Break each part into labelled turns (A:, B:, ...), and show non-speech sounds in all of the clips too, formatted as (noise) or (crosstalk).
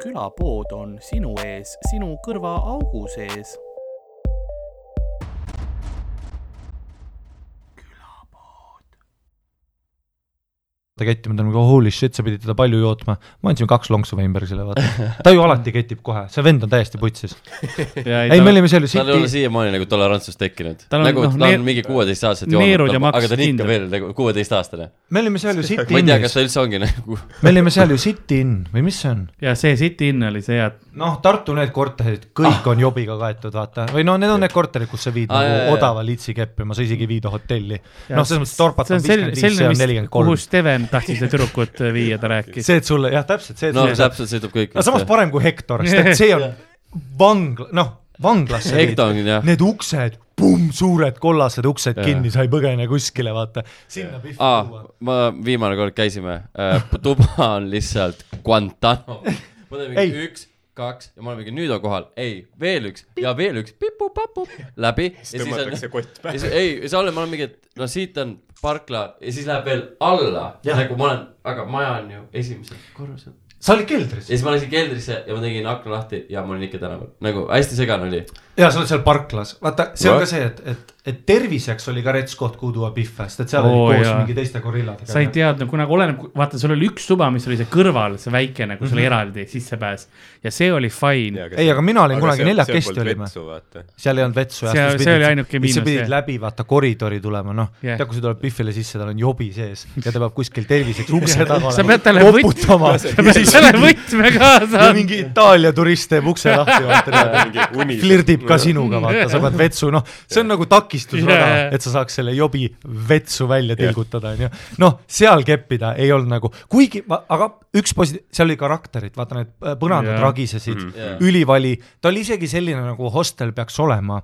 A: külapood on sinu ees, sinu kõrvaaugu sees.
B: ta kettima, ta on nagu holy shit, sa pidid teda palju jootma. ma andsin kaks lonksu Weinbergile, vaata. ta ju alati ketib kohe, see vend on täiesti putsis. ei , me olime seal ju
C: tal ei ole
B: City ,
C: siiamaani nagu tolerantsust tekkinud .
D: Tal on,
C: nagu
D: noh,
C: ta
D: neer-
C: on mingi kuueteistaastaselt
D: neerud ja
C: joonud ,
D: maks
C: aga ta on ikka
D: kindel.
C: veel nagu kuueteistaastane .
B: me olime seal ju City
C: (laughs) ma ei tea , kas
B: Innis ,
C: ta üldse ongi nagu ,
B: me olime seal ju City Inn või mis see on ?
D: ja see City Inn oli see , et
B: noh , Tartu need korterid , kõik on jobiga kaetud , vaata , või no need on need korterid , kus sa viid
C: Aa, Ah. jaa,
B: nagu
C: jaa.
B: odava litsi keppi , ma sa isegi ei vii ta hotelli .
D: Ja
B: noh , selles mõttes torpat
D: see
B: on
D: on selline ,
B: viiskümmend viis , see
D: selline ,
B: on
D: mis
B: nelikümmend , kolm
D: kuhu . Steven tahtis seda tüdrukut äh, viia , ta rääkis .
B: see , et sulle jah , täpselt see , et
C: no
B: sulle saab ,
C: täpselt sõidab kõik .
B: aga samas parem kui Hektor , sest et see on vangla , noh , vanglasse
C: Hektor on jah .
B: need uksed , pumm , suured kollased uksed
C: Jaa.
B: kinni , sa ei põgene kuskile , vaata . sinna pihvi
C: aa
B: tuua .,
C: ma viimane kord käisime äh, , (laughs) tuba on lihtsalt Guantanamo . ma teen mingi
B: Ei.
C: üks , kaks ja ma olen mingi nüüd on kohal , ei , veel üks ja veel üks , pipu-papu , läbi . ja siis
E: tõmmatakse
C: on ,
E: kott pähe .
C: ei , sa oled , ma olen mingi , et no siit on parkla ja siis läheb veel alla , nagu ma olen , aga maja on ju esimesel korrusel .
B: sa olid keldris
C: ja ? siis ma läksin keldrisse ja ma tegin akna lahti ja ma olin ikka tänaval , nagu hästi segane oli .
B: jaa , sa oled seal parklas , vaata , see on
C: Jah.
B: ka see , et , et , et terviseks oli ka rets koht , kuhu tuua pihve , sest et seal
D: Oo,
B: oli koos
D: jaa.
B: mingi teiste gorilladega .
D: sa ei . teadnud , kuna oleneb , vaata , sul oli üks tuba , mis oli see kõrval , see väikene , kus
B: Mhm.
D: oli eraldi sissepääs ja see oli (laughs) fine .
B: Ei, aga mina olin kunagi neljakesti olime. seal ei olnud vetsu
D: See-
B: siis
D: see oli
B: pidid-
D: ainuke
B: siis sa
D: miinus,
B: pidid
D: jah.
B: läbi vaata koridori tulema , noh
D: Jah.
B: yeah. , tead , kui sa tuled pihvile sisse , tal on jobi sees ja ta peab kuskil terviseks ukse taga
D: sa pead talle võt- ,
B: koputama
D: (laughs) sa pead talle võtme kaasa
B: ja . mingi Itaalia turist teeb ukse lahti , vaata . flirdib ka sinuga , vaata , sa pead vetsu , noh , see on nagu takistusrada
D: Jaa. ,
B: et sa saaks selle jobi vetsu välja tilgutada , onju . noh , seal keppida ei olnud nagu , kuigi , aga üks posi- , seal oli karakterit , vaata need äh, põnadad
D: Jaa.
B: ragisesid mm ,
C: Jaa.
B: -hmm. ülivali , ta oli isegi selline nagu hostel peaks olema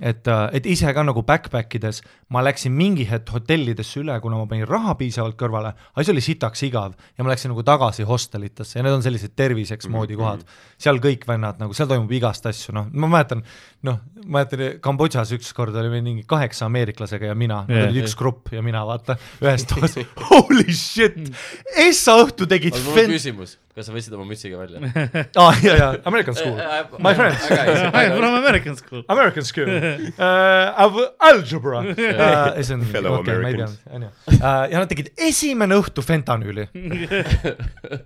B: et , et ise ka nagu backpack ides ma läksin mingi hetk hotellidesse üle , kuna ma panin raha piisavalt kõrvale , aga siis oli sitaks igav ja ma läksin nagu tagasi hostelitesse ja need on sellised terviseks
D: Mhm,
B: moodi kohad . seal kõik vennad nagu , seal toimub igast asju , noh , ma mäletan , noh , ma mäletan Kambodžas ükskord oli meil mingi kaheksa ameeriklasega ja mina , nad
D: Jaa.
B: olid üks grupp ja mina
D: (laughs)
B: vaata ühes toas , holy
D: Mm.
B: shit , essa õhtu tegid
C: aga mul on
B: fent- ,
C: küsimus , kas sa võtsid oma mütsiga
B: (laughs)
C: välja ?
B: aa jaa jaa , American
C: Äh,
B: school , My friends.
D: From American School .
B: American
C: (laughs)
B: school uh, of algebra uh, . see on ,
E: Fellow
B: okei , ma ei tea
E: Americans. ,
B: onju . ja nad tegid esimene õhtu
C: (laughs)
B: fentanüüli .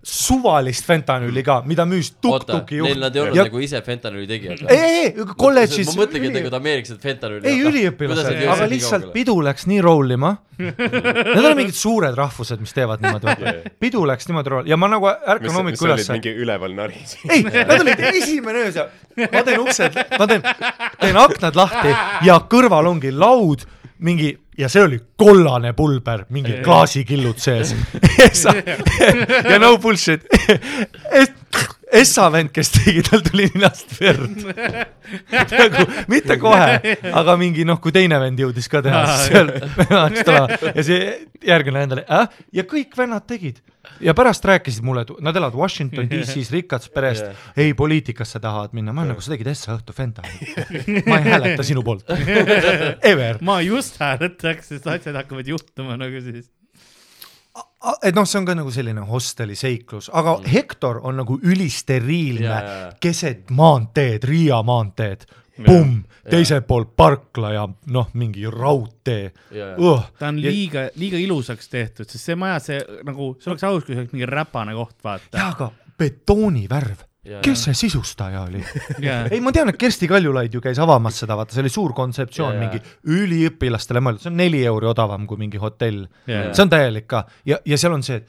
B: suvalist fentanüüli ka , mida müüs
C: oota ,
B: tuk-tuki
C: neil
B: juht .
C: nad ei olnud
B: Ja-
C: nagu ise fentanüüli tegijad
B: ei ,? ei , ei , kolledžis .
C: ma mõtlengi , et nagu ta ameeriklased fentanüüli noh,
B: ei , üliõpilased , aga lihtsalt pidu läks nii rollima . Need on mingid suured rahvused , mis teevad niimoodi . pidu läks niimoodi rollima ja ma nagu ärkan
E: mis
B: hommikul
E: sa olid
B: ülesse
E: mingi üleval naris . (laughs)
B: ei , nad olid esimene öö seal , ma teen uksed , ma teen , teen aknad lahti ja kõrval ongi laud , mingi , ja see oli kollane pulber , mingi klaasikillud sees . ja no bullshit , Essa vend , kes tegi , tal tuli ninast verd . nagu mitte kohe , aga mingi noh , kui teine vend jõudis ka teha , siis seal hakkas tulema ja see järgmine vend oli äh? , ja kõik vennad tegid . ja pärast rääkisid mulle , et nad elavad Washington DC-s rikkast perest
C: Jah.
B: yeah. , ei poliitikasse tahavad minna , ma olen nagu sa tegid Essa õhtu fentanyli . ma ei hääleta sinu
C: (laughs)
B: poolt , ever .
D: ma just hääletaks , sest asjad hakkavad juhtuma nagu siis .
B: et noh , see on ka nagu selline hosteli seiklus , aga Hektor on nagu ülisteriilne
C: Mm. Jaa,
B: yeah,
C: jaa, jaa.
B: yeah. keset maanteed , Riia maanteed . Pumm , teiselt poolt parkla ja noh , mingi raudtee
C: Jaa, jaa.
B: uh, .
D: ta on liiga , liiga ilusaks tehtud , sest see maja , see nagu , see oleks aus , kui see oleks mingi räpane koht , vaata
B: jaa ,. aga betooni värv
C: Jaa, ,
B: kes see sisustaja oli ?
D: Jaa.
B: (laughs) ei , ma tean , et Kersti Kaljulaid ju käis avamas seda , vaata , see oli suur kontseptsioon ,
C: Jaa, jaa.
B: mingi üliõpilastele mõeldud , see on neli euri odavam kui mingi hotell .
D: Jaa.
B: see on täielik ka ja , ja seal on see ,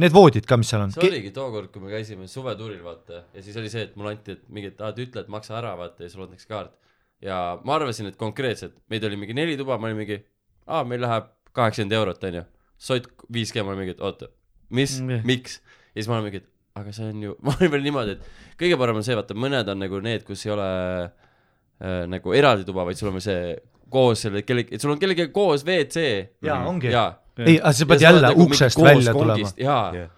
B: need voodid ka , mis seal on
C: see . oligi tookord , kui me käisime suvetuuril , vaata , ja siis oli see , et mulle anti , et mingi , et aa , et ütle , et maksa ära , vaata , ja sulle antakse kaart . ja ma arvasin , et konkreetselt , meid oli mingi neli tuba , ma olin mingi , aa , meil läheb kaheksakümmend eurot , onju . sott 5G , ma olin mingi , et oota , mis
D: Mm, jah. ,
C: miks ? ja siis ma olin mingi , et aga see on ju , (laughs) ma olin veel niimoodi , et kõige parem on see , vaata , mõned on nagu need , kus ei ole äh, nagu eraldi tuba , vaid sul on veel see koos selle kellegi , sul on kellegagi koos WC .
B: jaa , ongi .
C: jaa .
B: ei , aga sa pead
C: nagu
B: jälle uksest välja tulema .
C: jaa ,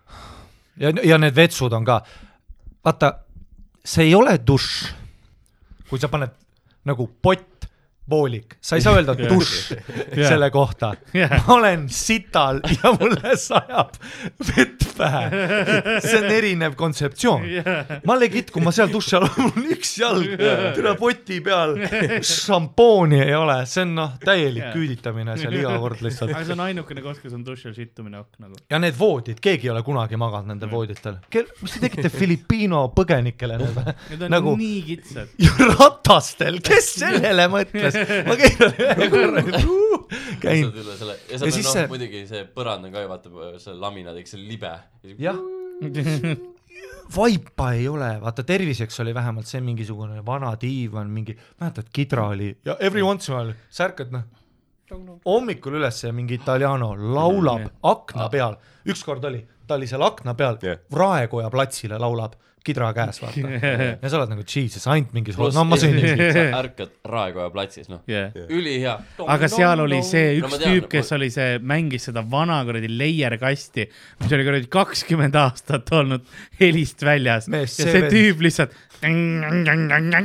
B: ja , ja need vetsud on ka , vaata , see ei ole dušš , kui sa paned nagu pott poolik , sa ei saa öelda dušš
D: Jah.
B: selle kohta .
D: Jah.
B: ma olen sital ja mulle sajab vett pähe . see on erinev kontseptsioon . ma legit , kui ma seal duši all olen , mul on üks jalg üle poti peal , šampooni ei ole , see on noh , täielik
D: Jah.
B: küüditamine seal iga kord lihtsalt
D: (laughs) aga . see on ainukene koht , kus on duši all sittumine ok nagu .
B: ja need voodid , keegi ei ole kunagi maganud nendel vooditel . kel- , mis te tegite Filipiino põgenikele need
D: (laughs) Need on
B: nagu
D: nagu... nii kitsad . (laughs)
B: ja ratastel , kes sellele mõtles ? ma
D: (laughs)
B: käin ühe korra , (laughs) käin
C: saad üle selle ja
B: Ja
C: saad
B: siis
C: siis noh
B: see-
C: see... muidugi see põrand on ka ju vaata selle laminaadiga see libe
B: jah , vaipa ei ole , vaata terviseks oli vähemalt see mingisugune vana diivan , mingi , mäletad , kidra oli ja every once in a while sa ärkad noh , hommikul üles ja mingi Italiano laulab
D: Jah.
B: akna peal , ükskord oli , ta oli seal akna peal
E: Jah. ,
B: Raekoja platsile laulab , kidra käes (laughs) vaata . ja sa oled nagu jesus , ainult mingis ,
C: Pluss-
B: no (laughs) ma sõin
C: sa
B: nii .
C: ärkad Raekoja platsis noh
D: Yeah.
C: ülihea
D: aga seal oli see
C: No ma
D: üks
C: tean,
D: tüüp , kes
C: ma-
D: oli see , mängis seda vana kuradi leierkasti , mis oli kuradi kakskümmend aastat olnud helist väljas
B: Mees,
D: ja
B: see
D: see
B: vend-
D: tüüp lihtsalt .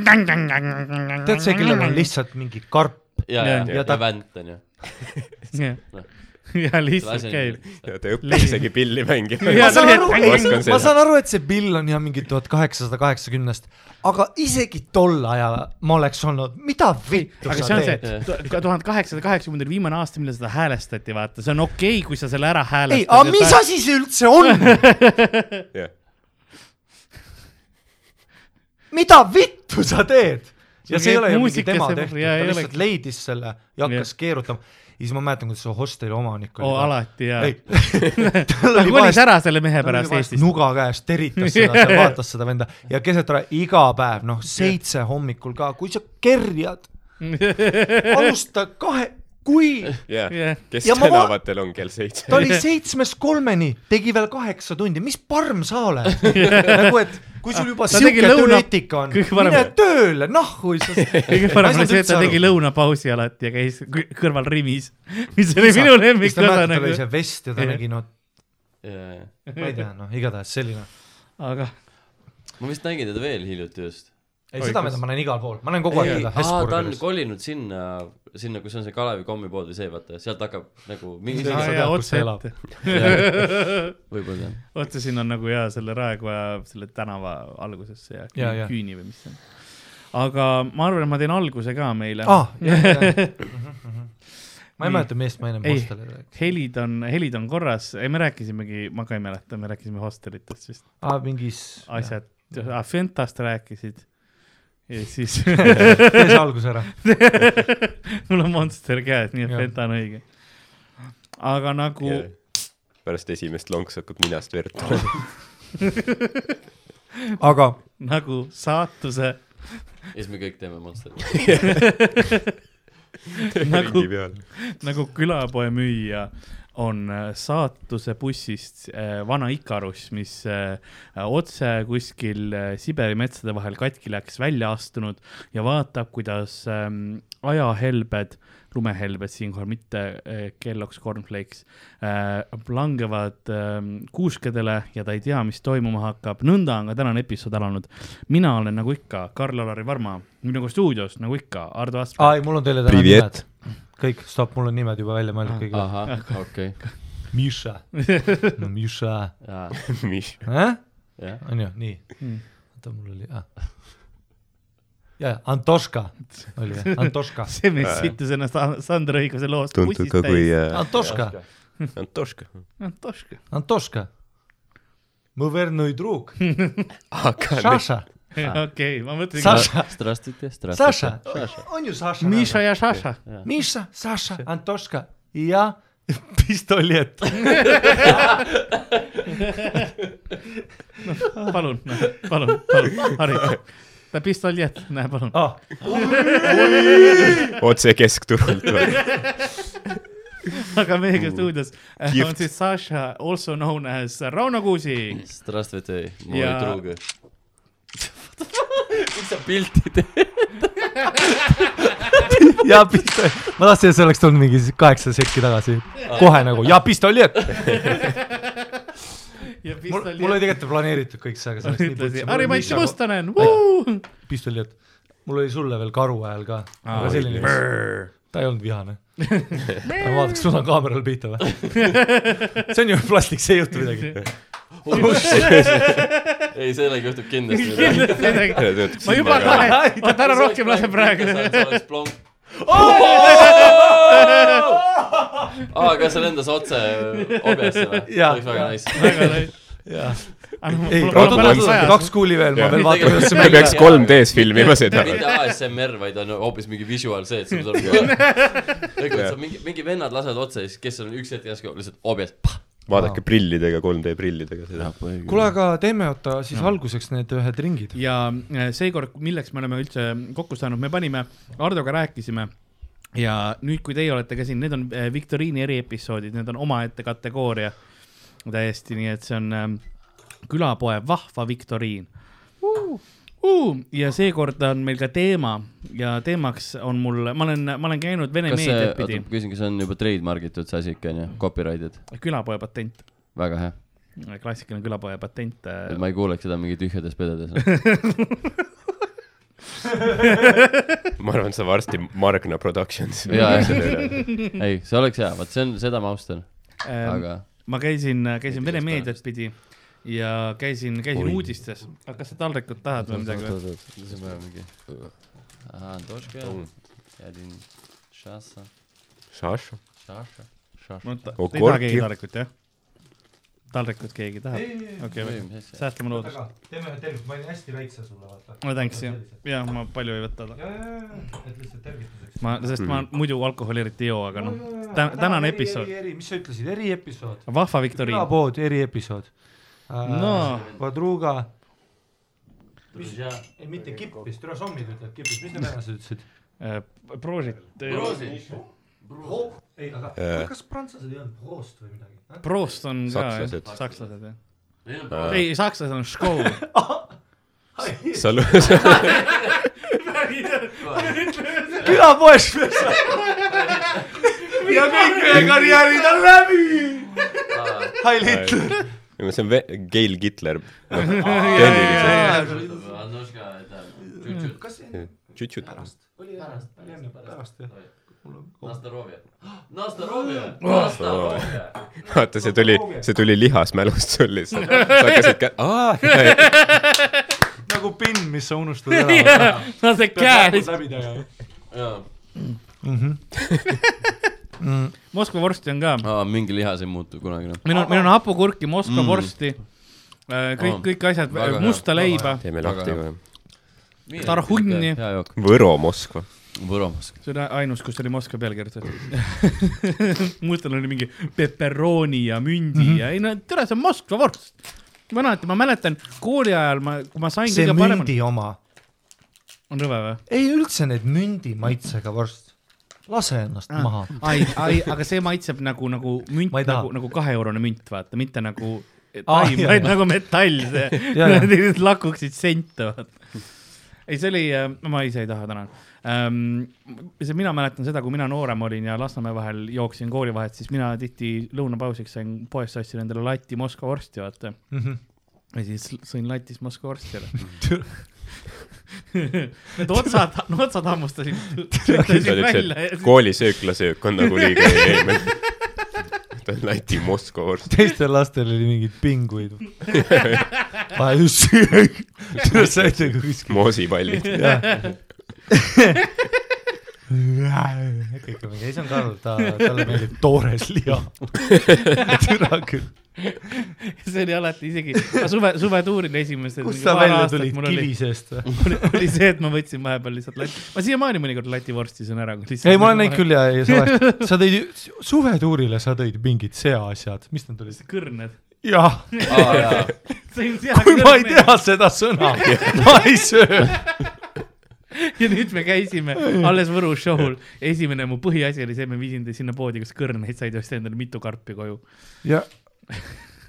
B: tead
D: tead
B: see , kellel on lihtsalt mingi karp
C: ja
D: Jah.
C: ja
B: Ja
C: ja
B: ta-
C: ta vänt onju
D: lihtsalt .
C: Noh.
D: ja
C: Selle
D: lihtsalt
C: asja
D: käib
C: nimi- .
E: ja ta õppis isegi pilli mängima .
B: ma
D: Ja
B: saan aru ,
D: tegelikult-
B: ei ,
E: Oskan
B: ma
E: seda.
B: saan aru , et see pill on jah mingi tuhat kaheksasada kaheksakümnest , aga isegi tol ajal ma oleks olnud , mida vittu
D: aga see
B: sa
D: on
B: teed ?
D: see tuhat kaheksasada kaheksakümmend oli viimane aasta , millal seda häälestati , vaata , see on okei okay, , kui sa selle ära
B: ei
D: häälestad ., Nagu
B: aga mis asi see üldse on ,
D: (laughs)
B: mida vittu sa teed ? ja
D: See
B: see ei
D: käib
B: ole ju mingi
D: muusikasse
B: tema
D: puhul,
B: tehtud ,
D: jaa,
B: ta
D: ei
B: lihtsalt leidis selle ja hakkas keerutama . ja siis ma mäletan , kuidas see hosteli omanik
D: oo , alati jaa . Nagu
B: ei , (laughs) tal
D: ta
B: oli
D: kolis
B: vahest
D: ära selle mehe
B: tal oli
D: pärast
B: vahest
D: Eestist .
B: nuga käes teritas seda ,
D: (laughs)
B: ta vaatas seda venda ja keset ära iga päev , noh , seitse hommikul ka , kui sa
D: (laughs)
B: kerjad , alusta kahe , kui
E: jah
D: Jah. ,
E: kes
B: Ja ma va-
E: tänavatel on kell seitse
B: ta .
D: (laughs)
B: oli seitsmest kolmeni , tegi veel kaheksa tundi , mis parm sa
D: (laughs)
B: oled ? nagu , et kui sul juba
D: Ta tegi
B: siuke
D: lõuna-
B: tööeetika on ,
D: kõige parem-
B: mine tööle , nahhu
D: (laughs)
B: sa .
D: kõige parem oli see , et ta tegi lõunapausi alati ja käis kõ- kõrval
B: (laughs)
D: Rimis , mis oli minu lemmik osa
B: osa nagu . tal oli
D: nagu ,
B: see vest ja ta
D: Jah.
B: nägi no ,
C: ja ja
B: ma ei tea , noh , igatahes selline .
D: aga
C: ma vist nägin teda veel hiljuti just
B: ei ,
D: Oi,
B: seda
D: kas-
B: ma näen igal pool , ma näen kogu aeg
C: ei ,
B: seda
C: aa ta on
B: Hesburgeris .
C: kolinud sinna sinna kus on see Kalevi kommipood või see vaata sealt hakkab nagu mingi
B: Aa, tead,
D: jaa,
B: kus ta
D: otse
B: elab.
D: ette ,
C: võibolla jah
D: otse siin on nagu jaa , selle Raekoja selle tänava algusesse ja,
B: Jaa,
D: ja
B: jaa.
D: küüni või mis see on . aga ma arvan , et ma teen alguse ka meile
B: aa , Ah, jah , jah . ma ei
D: Nii.
B: mäleta , millest ma ennem
D: Ei.
B: hosteli rääkisin .
D: helid on , helid on korras , ei me rääkisimegi , ma ka ei mäleta , me rääkisime hostelitest vist ,
B: aa , mingis .
D: asjad , Fentast rääkisid ja siis (laughs)
B: (laughs) tee see algus ära .
D: mul on Monster käes , nii et
B: Jah.
D: Fenta on õige . aga nagu yeah.
E: pärast esimest lonksu hakkab ninast verd tulema .
B: aga
D: nagu saatuse ,
C: ja siis me kõik teeme Monsterit
D: nagu , (laughs) nagu külapoe müüja on äh, saatuse bussist äh, vana Ikarus , mis äh, otse kuskil äh, Siberi metsade vahel katki läks , välja astunud ja vaatab , kuidas ähm, ajahelbed , lumehelbed siinkohal , mitte äh, kelloks cornflakes äh, , langevad äh, kuuskedele ja ta ei tea , mis toimuma hakkab . nõnda on ka tänane episood alanud . mina olen nagu ikka Karl-Alari Varma , minuga stuudios nagu ikka Ardo Asper .
B: aa , ei , mul on teile täna
E: Privet.
B: nimed . kõik , stopp , mul on nimed juba välja
D: Ah,
B: mõeldud kõigile .
C: ahah okei
B: Miša no Miša ,
C: jaa
E: mis ?
B: eh?
C: jah
B: on ju , nii
D: Mm. .
B: oota , mul oli , ah . jaa , Antoška oli jah , Antoška ,
D: see mees sittus ennast A- Sandra Õiguse loost
E: tuntud ka kui . äh,
B: Antoška ,
E: Antoška .
D: Antoška .
B: Antoška . Mu vernõi truuk ,
E: aga
B: Saša ,
D: (laughs) okei , ma mõtlesin .
B: Saša ,
C: Strastite strastite
B: Saša , on ju Saša .
D: Miša , ja Saša .
B: (laughs) Miša , Saša , Antoška ja (laughs) pistolet .
D: palun , palun , palun , harige . ta pistoljet , (laughs) näe palun .
B: (laughs) ah ,
E: otse keskturult (laughs) või ?
D: aga meiega stuudios äh, on
E: Mm. Gift.
D: siis Saša , also known as Rauno Kuusik .
C: Strastite moj
D: Ja-
C: drug miks sa pilti teed
B: ja pistolet , ma tahtsin , et see oleks tulnud mingi kaheksa sekki tagasi , kohe nagu ja (laughs) pistolet .
D: ja
B: mul , mul oli
D: pistoljet
B: tegelikult planeeritud kõik see , aga see läks nii nagu-
D: ütlesin , Harri-Mati (laughs)
B: põtsi.
D: Mustonen .
B: pistolet . mul oli sulle veel karu hääl ka , aga selline , ta ei olnud (laughs) vihane . vaadake , sul on kaameral pihta või ? (laughs) see on ju plastik , see ei juhtu midagi . (laughs)
C: ei , sellega juhtub kindlasti midagi .
D: kindlasti midagi , ma juba kahe , oota ära rohkem lase praegu .
C: aa , kas Ah, see lendas otse objesse või ?
B: Jaa.
C: oleks väga nice .
D: väga nice .
B: jah , ei , oot , oot , oot ,
D: aga
B: kaks kuuli veel , ma
E: Jah.
B: veel vaatan , kuidas see
E: me
C: Tegelikult-
B: mängib .
E: peaks 3D-s filmima seda .
C: mitte ASMR , vaid on hoopis mingi visual see , et sul tuleb kohe . mingi , mingi vennad lasevad otse ja siis , kes on üks hetk järsku lihtsalt objes .
E: vaadake prillidega , 3D prillidega seda .
B: kuule , aga teeme oota siis no. alguseks need ühed ringid .
D: ja äh, seekord , milleks me oleme üldse kokku saanud , me panime , Hardoga rääkisime ja nüüd , kui teie olete ka siin , need on äh, viktoriini eriepisoodid , need on omaette kategooria täiesti , nii et see on ähm, külapoe vahva viktoriin uh, . ja seekord on meil ka teema ja teemaks on mul , ma olen , ma olen käinud Vene
C: kas see ,
D: meediat
C: oota ,
D: pidi ,
C: ma küsin , kas see on juba trademark itud see asi ikka onju , copyrighted ,
D: külapoe patent ,
C: väga hea ,
D: klassikaline külapoe patent . äh,
C: et ma ei kuuleks seda mingi tühjades pededes .
B: (laughs)
E: ma arvan , see varsti Margna Productions .
C: Jaa,
E: (laughs)
C: ei , see oleks hea , vot see on , seda ma austan , aga
D: ma käisin , käisin Vene
C: Näiteks
D: meediat pidi ja käisin , käisin Oi. uudistes . aga kas sa taldrikut tahad või midagi või ?
C: Aha, Antoška, ja din Šasa ,
E: Šaša .
C: Šaša , Šaša .
D: no ta-
E: Okorki.
D: ei taha keegi taldrikut , jah ? taldrikut keegi tahab ? okei , säästame loodust .
B: teeme ühe tervise , ma olin hästi väikse sulle , vaata .
D: no thanks , jah . jah , ma palju ei võta .
B: ja , ja , ja , et lihtsalt tervituseks .
D: ma , sest ma muidu alkoholi eriti ei joo , aga noh , tänane episood ,.
B: mis sa ütlesid , eriepisood ?
D: vahva viktoriin .
B: külapood , eriepisood . Äh,
D: No. .
B: Padruga , ei mitte kippis , türa sommid ütlevad kippis , mis (laughs) need venelased ütlesid ?
D: äh, Prožit .
B: ei , aga
E: Äh.
B: kas prantslased ei olnud proost või midagi ?
D: Prost on ka , jah
E: Sakslased. ,
D: sakslased , jah .
E: Äh.
D: ei , sakslased on Škov .
E: sa lu- , (laughs)
B: külapoes . (laughs) ja kõik meie karjäärid on läbi . Heil Hitler .
E: see on ve- Gail (laughs) Noh, Gitler .
B: kas enne ,
E: tšutšut .
B: pärast , oli pärast , oli enne , pärast jah ?
E: vaata , see tuli , see tuli lihasmälust sul
D: (laughs)
E: lihtsalt . sa hakkasid ka , aa ,
B: nagu pinn , mis sa unustad
D: (laughs)
B: ära .
D: no see kääris .
B: läbi teha .
D: Moskva vorsti on ka
C: aa , mingi lihas ei muutu kunagi noh. enam .
D: meil on , meil on hapukurki , Moskva
C: Mm.
D: vorsti , kõik
C: Aa, ,
D: kõik asjad
C: väga , hea,
D: musta leiba ,
E: teeme
C: Väga
E: lahti
D: noh.
C: hea.
E: kohe .
B: Mm,
D: Tarhunni.
C: hea jook ,
E: Võro ,
D: (laughs)
E: Moskva .
C: Võromask .
D: see oli ainus , kus oli Moskva peal (laughs) kirjutatud . muustel oli mingi peperooni ja mündi mm -hmm. ja ei no tere , see on Moskva vorst . ma alati , ma mäletan kooli ajal ma , kui ma sain
B: see
D: kõige paremini ,
B: mündi oma ,
D: on rõve või ?
B: ei üldse need mündi maitsega vorst , lase ennast ah. maha .
D: ai , ai , aga see maitseb nagu , nagu münt
B: Ma ei , taha.
D: nagu , nagu kaheeurone münt , vaata , mitte nagu
B: Aa,
D: taim ,
B: jaa,
D: vaid
B: jaa.
D: nagu metall , (laughs)
B: Jaa, jaa.
D: see , lakuksid sente , vaata . ei , see oli , ma ise ei taha , tänan ähm, . see , mina mäletan seda , kui mina noorem olin ja Lasnamäe vahel jooksin kooli vahet , siis mina tihti lõunapausiks sain poest ostsin endale lati Moskva vorsti , vaata .
B: Mhm.
D: ja siis sõin latist Moskva vorsti ära (laughs) Need otsad , otsad hammustasid ,
E: sa
D: töötasid
E: olid
D: välja
E: see
D: ja siis
E: koolisööklasöök on nagu
D: (laughs)
E: liiga eelmine . ta on Läti Moskva vorst .
B: teistel lastel oli mingeid pinguid . ma just söögi , tule saite nagu kuskil .
E: moosipallid .
B: kõik on mingi , ei see on Karl , ta , talle meeldib toores liha . türa küll ,
D: (laughs) see oli alati isegi suve , suvetuuril esimesed .
B: kust sa välja tulid , kivi ? seest või ?
D: oli see , et ma võtsin vahepeal lihtsalt lati , ma siiamaani mõnikord lativorsti söön ära . nagu
B: ei , ma olen näinud . küll ja , ja (laughs) salajast , sa tõid , suvetuurile sa tõid mingid seaasjad , mis need olid ?
D: kõrned . (laughs)
B: jah ,
C: aa jaa ,
B: kui (laughs) ma ei . tea seda
C: (laughs)
B: sõna , ma ei söö .
D: ja nüüd me käisime alles Võru show'l , esimene mu põhiasi oli see , et ma viisin teid sinna poodi , kus kõrneid said ja ostsin endale mitu karpi koju .
B: ja ,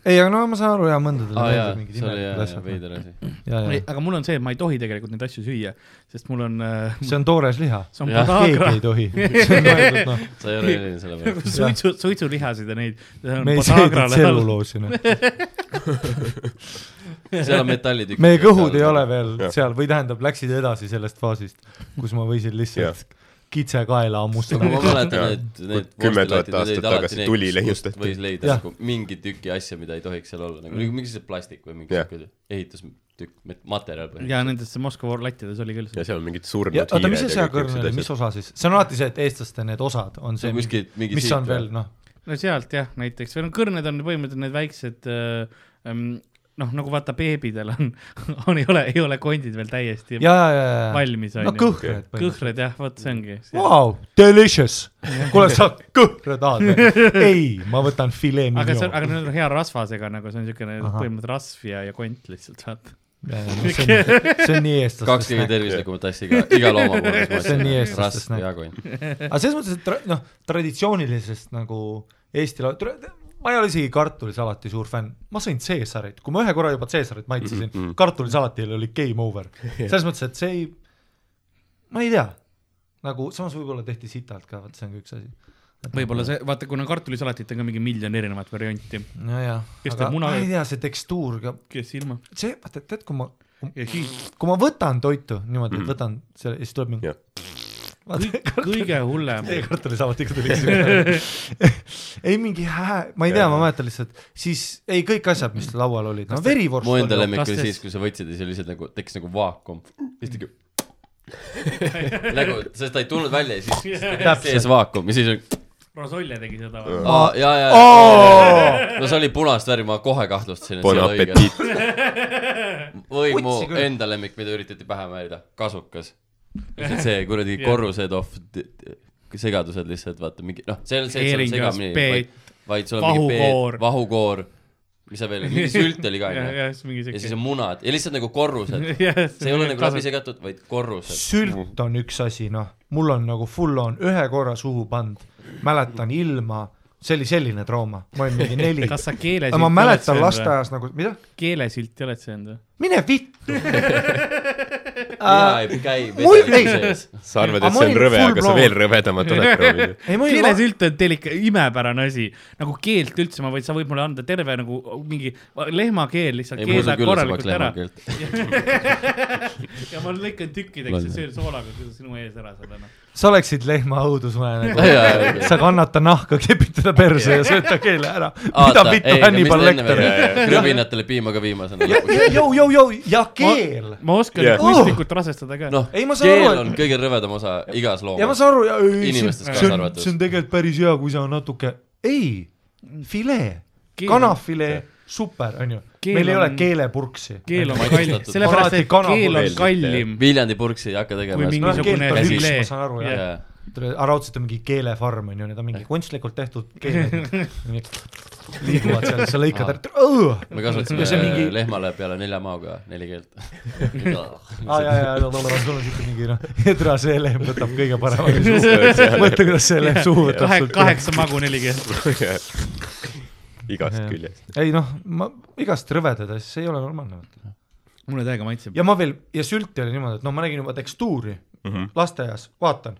B: ei , aga no ma saan aru ja mõndadel
C: aa jaa
B: meeldivad , mingid
C: see oli
B: imelikud
C: jaa ,
B: asjad .
C: veider asi .
B: ja , ja ,
D: aga mul on see , et ma ei tohi tegelikult neid asju süüa , sest mul on äh, ,
B: see on toores liha .
D: see on
C: Jah.
B: keegi
D: podagra
B: ei (laughs) tohi , see on mõeldud noh ,
C: sa
B: (laughs)
C: ei ole eriline selle peale .
D: suitsu , suitsulihasid ja neid .
B: (laughs) me ei söönud tselluloosina .
C: seal on metallitükk .
B: meie kõhud ei ole veel seal või tähendab , läksid edasi sellest faasist , kus ma võisin lihtsalt kitse kaela
C: ma
B: hammustada .
C: mäletan ,
E: Jah.
C: et need
E: Kui kümme tuhat
C: vorstilatid olid
E: aastat
C: alati
E: tagasi
C: need,
E: tuli
C: kust-
E: leiustati.
C: võis leida
B: Jah.
C: nagu mingi tüki asja , mida ei tohiks seal olla , nagu mingi see plastik või mingi
E: Jah.
C: siuke ehitustükk , materjal
D: ja
C: põhimõtteliselt .
D: nendesse Moskva lattides oli küll
E: ja
D: see .
E: seal on mingid
C: nagu
E: surnud
B: oota , mis see
E: hiired ja
B: seakõrn
E: kõik niisugused
B: oli , mis
E: asjad .
B: osa siis , see on alati see , et eestlaste need osad on see , mis
C: kuskilt mingi
B: mis on veel noh ,
D: no sealt jah , näiteks , või no kõrned on põhimõtteliselt need väiksed äh, ähm, noh , nagu vaata beebidel on , (laughs) on , ei ole , ei ole kondid veel täiesti
B: ja , ja , ja , ja .
D: valmis on
B: no
D: ju .
B: kõhred .
D: kõhred jah , vot see ongi .
B: Vau , delicious . kuule , sa kõhra tahad või ?
D: (laughs)
B: ei , ma võtan filee
D: aga see on ,
B: mignon .
D: aga need on hea rasvasega nagu see on siukene
B: Ahah.
D: põhimõtteliselt rasv ja , ja kont lihtsalt vaata .
B: Äh,
D: (laughs)
B: see on- see on nii
C: kaks kõige
B: eestlaste .
C: tervislikumat asja iga , iga
B: (laughs)
C: looma puhul .
B: See on nii eestlaste
C: rasv
B: snack.
C: ja kont .
B: aga selles mõttes , et tra- noh , traditsioonilisest nagu Eesti lau- , ma ei ole isegi kartulisalati suur fänn , ma sõin Caesarit , kui ma ühe korra juba Caesarit maitsesin mm -hmm. , kartulisalatil oli game
D: (laughs)
B: over . selles mõttes , et see ei , ma ei tea , nagu samas võib-olla tehti sitalt ka , vot see on ka üks asi .
D: võib-olla see , vaata , kuna kartulisalatit on ka mingi miljon erinevat varianti ,
B: nojah ,
D: Kes
B: aga
D: teeb muna-
B: ma ei tea , see tekstuur ka ,
D: kes ilma .
B: see , vaata , tead , kui ma
D: ja siis
B: kui ma võtan toitu niimoodi ,
D: Mm.
B: et võtan selle ja siis tuleb mingi
E: Jah. .
B: (laughs)
D: kõige hullem ,
B: teie kartulisalatiga tuli üks . (laughs) ei mingi hää , ma ei tea , ma mäletan lihtsalt , siis ei kõik asjad ,
D: Mm.
B: mis laual olid , no verivorst
C: mu enda
B: oli
C: lemmik oli
D: Lastest-
C: siis , kui sa võtsid ja see lihtsalt nagu tekkis nagu vaakum . siis
B: (laughs)
C: tegi . nagu , sest ta ei tulnud välja ja siis
B: Täpselt.
C: (laughs) sees vaakum ja siis on
D: Rosolje tegi seda .
C: aa , ja , ja ,
B: Oo!
C: ja , no see oli punast värvi , ma kohe kahtlustasin , et
E: Bon
C: see oli õige .
E: appetit ,
C: või mu
B: Utsi küll.
C: enda lemmik , mida üritati pähe määrida ,
D: (laughs)
C: kasukas . lihtsalt see kuradi
D: Jah.
C: korrused of d- d- segadused lihtsalt vaata mingi noh , see on see , et sul on
D: heeringas ,
C: segamini , vaid
D: peet ,,
C: vaid sul on mingi
D: vahukoor.
C: peet , vahukoor , mis seal veel ,
D: (laughs)
C: mingi sült oli ka
D: ja ,
C: onju .
D: ja siis mingi
C: ja siis
D: siuke
C: on . munad ja lihtsalt nagu
D: (laughs)
C: korrused . see ei ole nagu läbi segatud , vaid korrused .
B: sült on üks asi , noh , mul on nagu full on ühe korra suhu pannud , mäletan ilma , see oli selline trauma , ma olin mingi neli .
D: (laughs) kas sa keelesilt
B: aga ma mäletan ? lasteaias nagu , mida ,
D: keelesilti oled söönud või ?
B: mine vittu .
C: jaa , ei käi .
B: äh, mul- ei.
E: sa arvad ,
B: Aga
E: et see
B: ma
E: on
B: olin
E: rõve ,
B: full
E: aga sa
B: blown.
E: veel rõvedamat
B: (laughs)
E: oled proovinud . (laughs)
B: ei , ma olin ,
D: keelesilt on teil ikka imepärane asi , nagu keelt üldse , ma võin , sa võid mulle anda terve nagu mingi lehmakeel lihtsalt ,
C: ei , mul
D: keeda
C: on küll samaks
D: korralikult ära
C: lehmakeelt .
D: ja ma lõikan tükkideks ja söön soolaga , kui sa sinu ees ära saad . noh.
B: sa oleksid lehma õudusune nagu
C: Jaa, jaa, jaa.
B: sa kannata nahka , kepid teda perse ja sööd ta keele ära . mida
C: Aata,
B: vittu
C: ei, aga mis
B: Hannibal
C: ta enne
B: Lecter
C: veel- . krõbinatele piima ka
D: (laughs)
C: viimasena lõpuks .
B: jõu , jõu , jõu ja keel .
D: ma oskan
E: Jah.
D: yeah. kunstlikult rasestada ka
C: noh ,
B: Ei, ma saan
C: keel
B: aru, et-
C: on kõige rõvedam osa igas
B: ja ma
C: loomas .
B: saan aru , see on
C: Inimestest kaasa arvatud.
B: see on tegelikult päris hea , kui sa natuke , ei , filee ,
D: Keel-
B: kanafilee , super , onju .
D: Keel
B: meil ei ole
D: on-
B: keelepurksi .
D: keel on
C: Maistatud.
D: kallim ,
B: Ma
D: sellepärast
B: alati
D: et keel on
B: kanapoleelit-
D: kallim .
C: Viljandi purksi ei hakka
D: Kui
B: Noh,
C: tegema .
D: mingisugune-
C: käsi-
B: ma saan aru , jah .
C: jaa ,
B: aga raudselt on mingi keelefarm , onju , need on mingi kunstlikult tehtud keeled .
D: (laughs)
B: liiguvad seal , sa lõikad ära .
C: me
B: Ja see
C: kasvatasime
B: mingi-
C: lehmale peale nelja maoga neli
E: (laughs)
C: keelt . Ah,
B: aa jaa , jaa , no mul on sul on siuke mingi noh , Edra see lehm võtab kõige parema mõtle , kuidas see lehm suhu võtab
D: kahe ,
B: sult .
D: kaheksa magu nelikümmend .
E: igast
B: Jah.
E: küljest .
B: ei noh , ma igast rõvedad asju , see ei ole normaalne .
D: mulle täiega maitseb .
B: ja ma veel , ja sülti oli niimoodi , et no ma nägin juba tekstuuri mm -hmm. lasteaias , vaatan .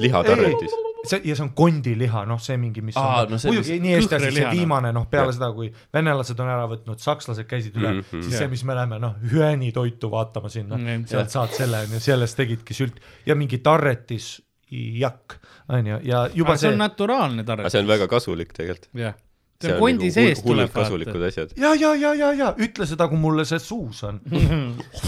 E: lihatarvitis .
B: see ja see on kondiliha , noh , see mingi , mis
C: Aa,
B: on
C: no see,
B: muidugi
C: mis
B: nii Eesti asi , see
D: kõhreliha,
B: viimane noh , peale seda , kui venelased on ära võtnud , sakslased käisid üle mm , -hmm. siis see , mis me läheme noh , hüäänitoitu vaatama sinna mm ,
D: Mhm.
B: -hmm. sealt saad selle onju , sellest tegidki sült ja mingi tarretis jakk onju ja juba
D: aga see
B: see,
D: on
B: see... .
D: naturaalne
E: aga
D: tarvis .
E: see on väga kasulik tegelikult .
D: jah , see on kondi sees tuleb
E: hullult
D: vaata
E: kasulikud . asjad .
B: ja , ja , ja , ja , ja ütle seda , kui mulle see suus on .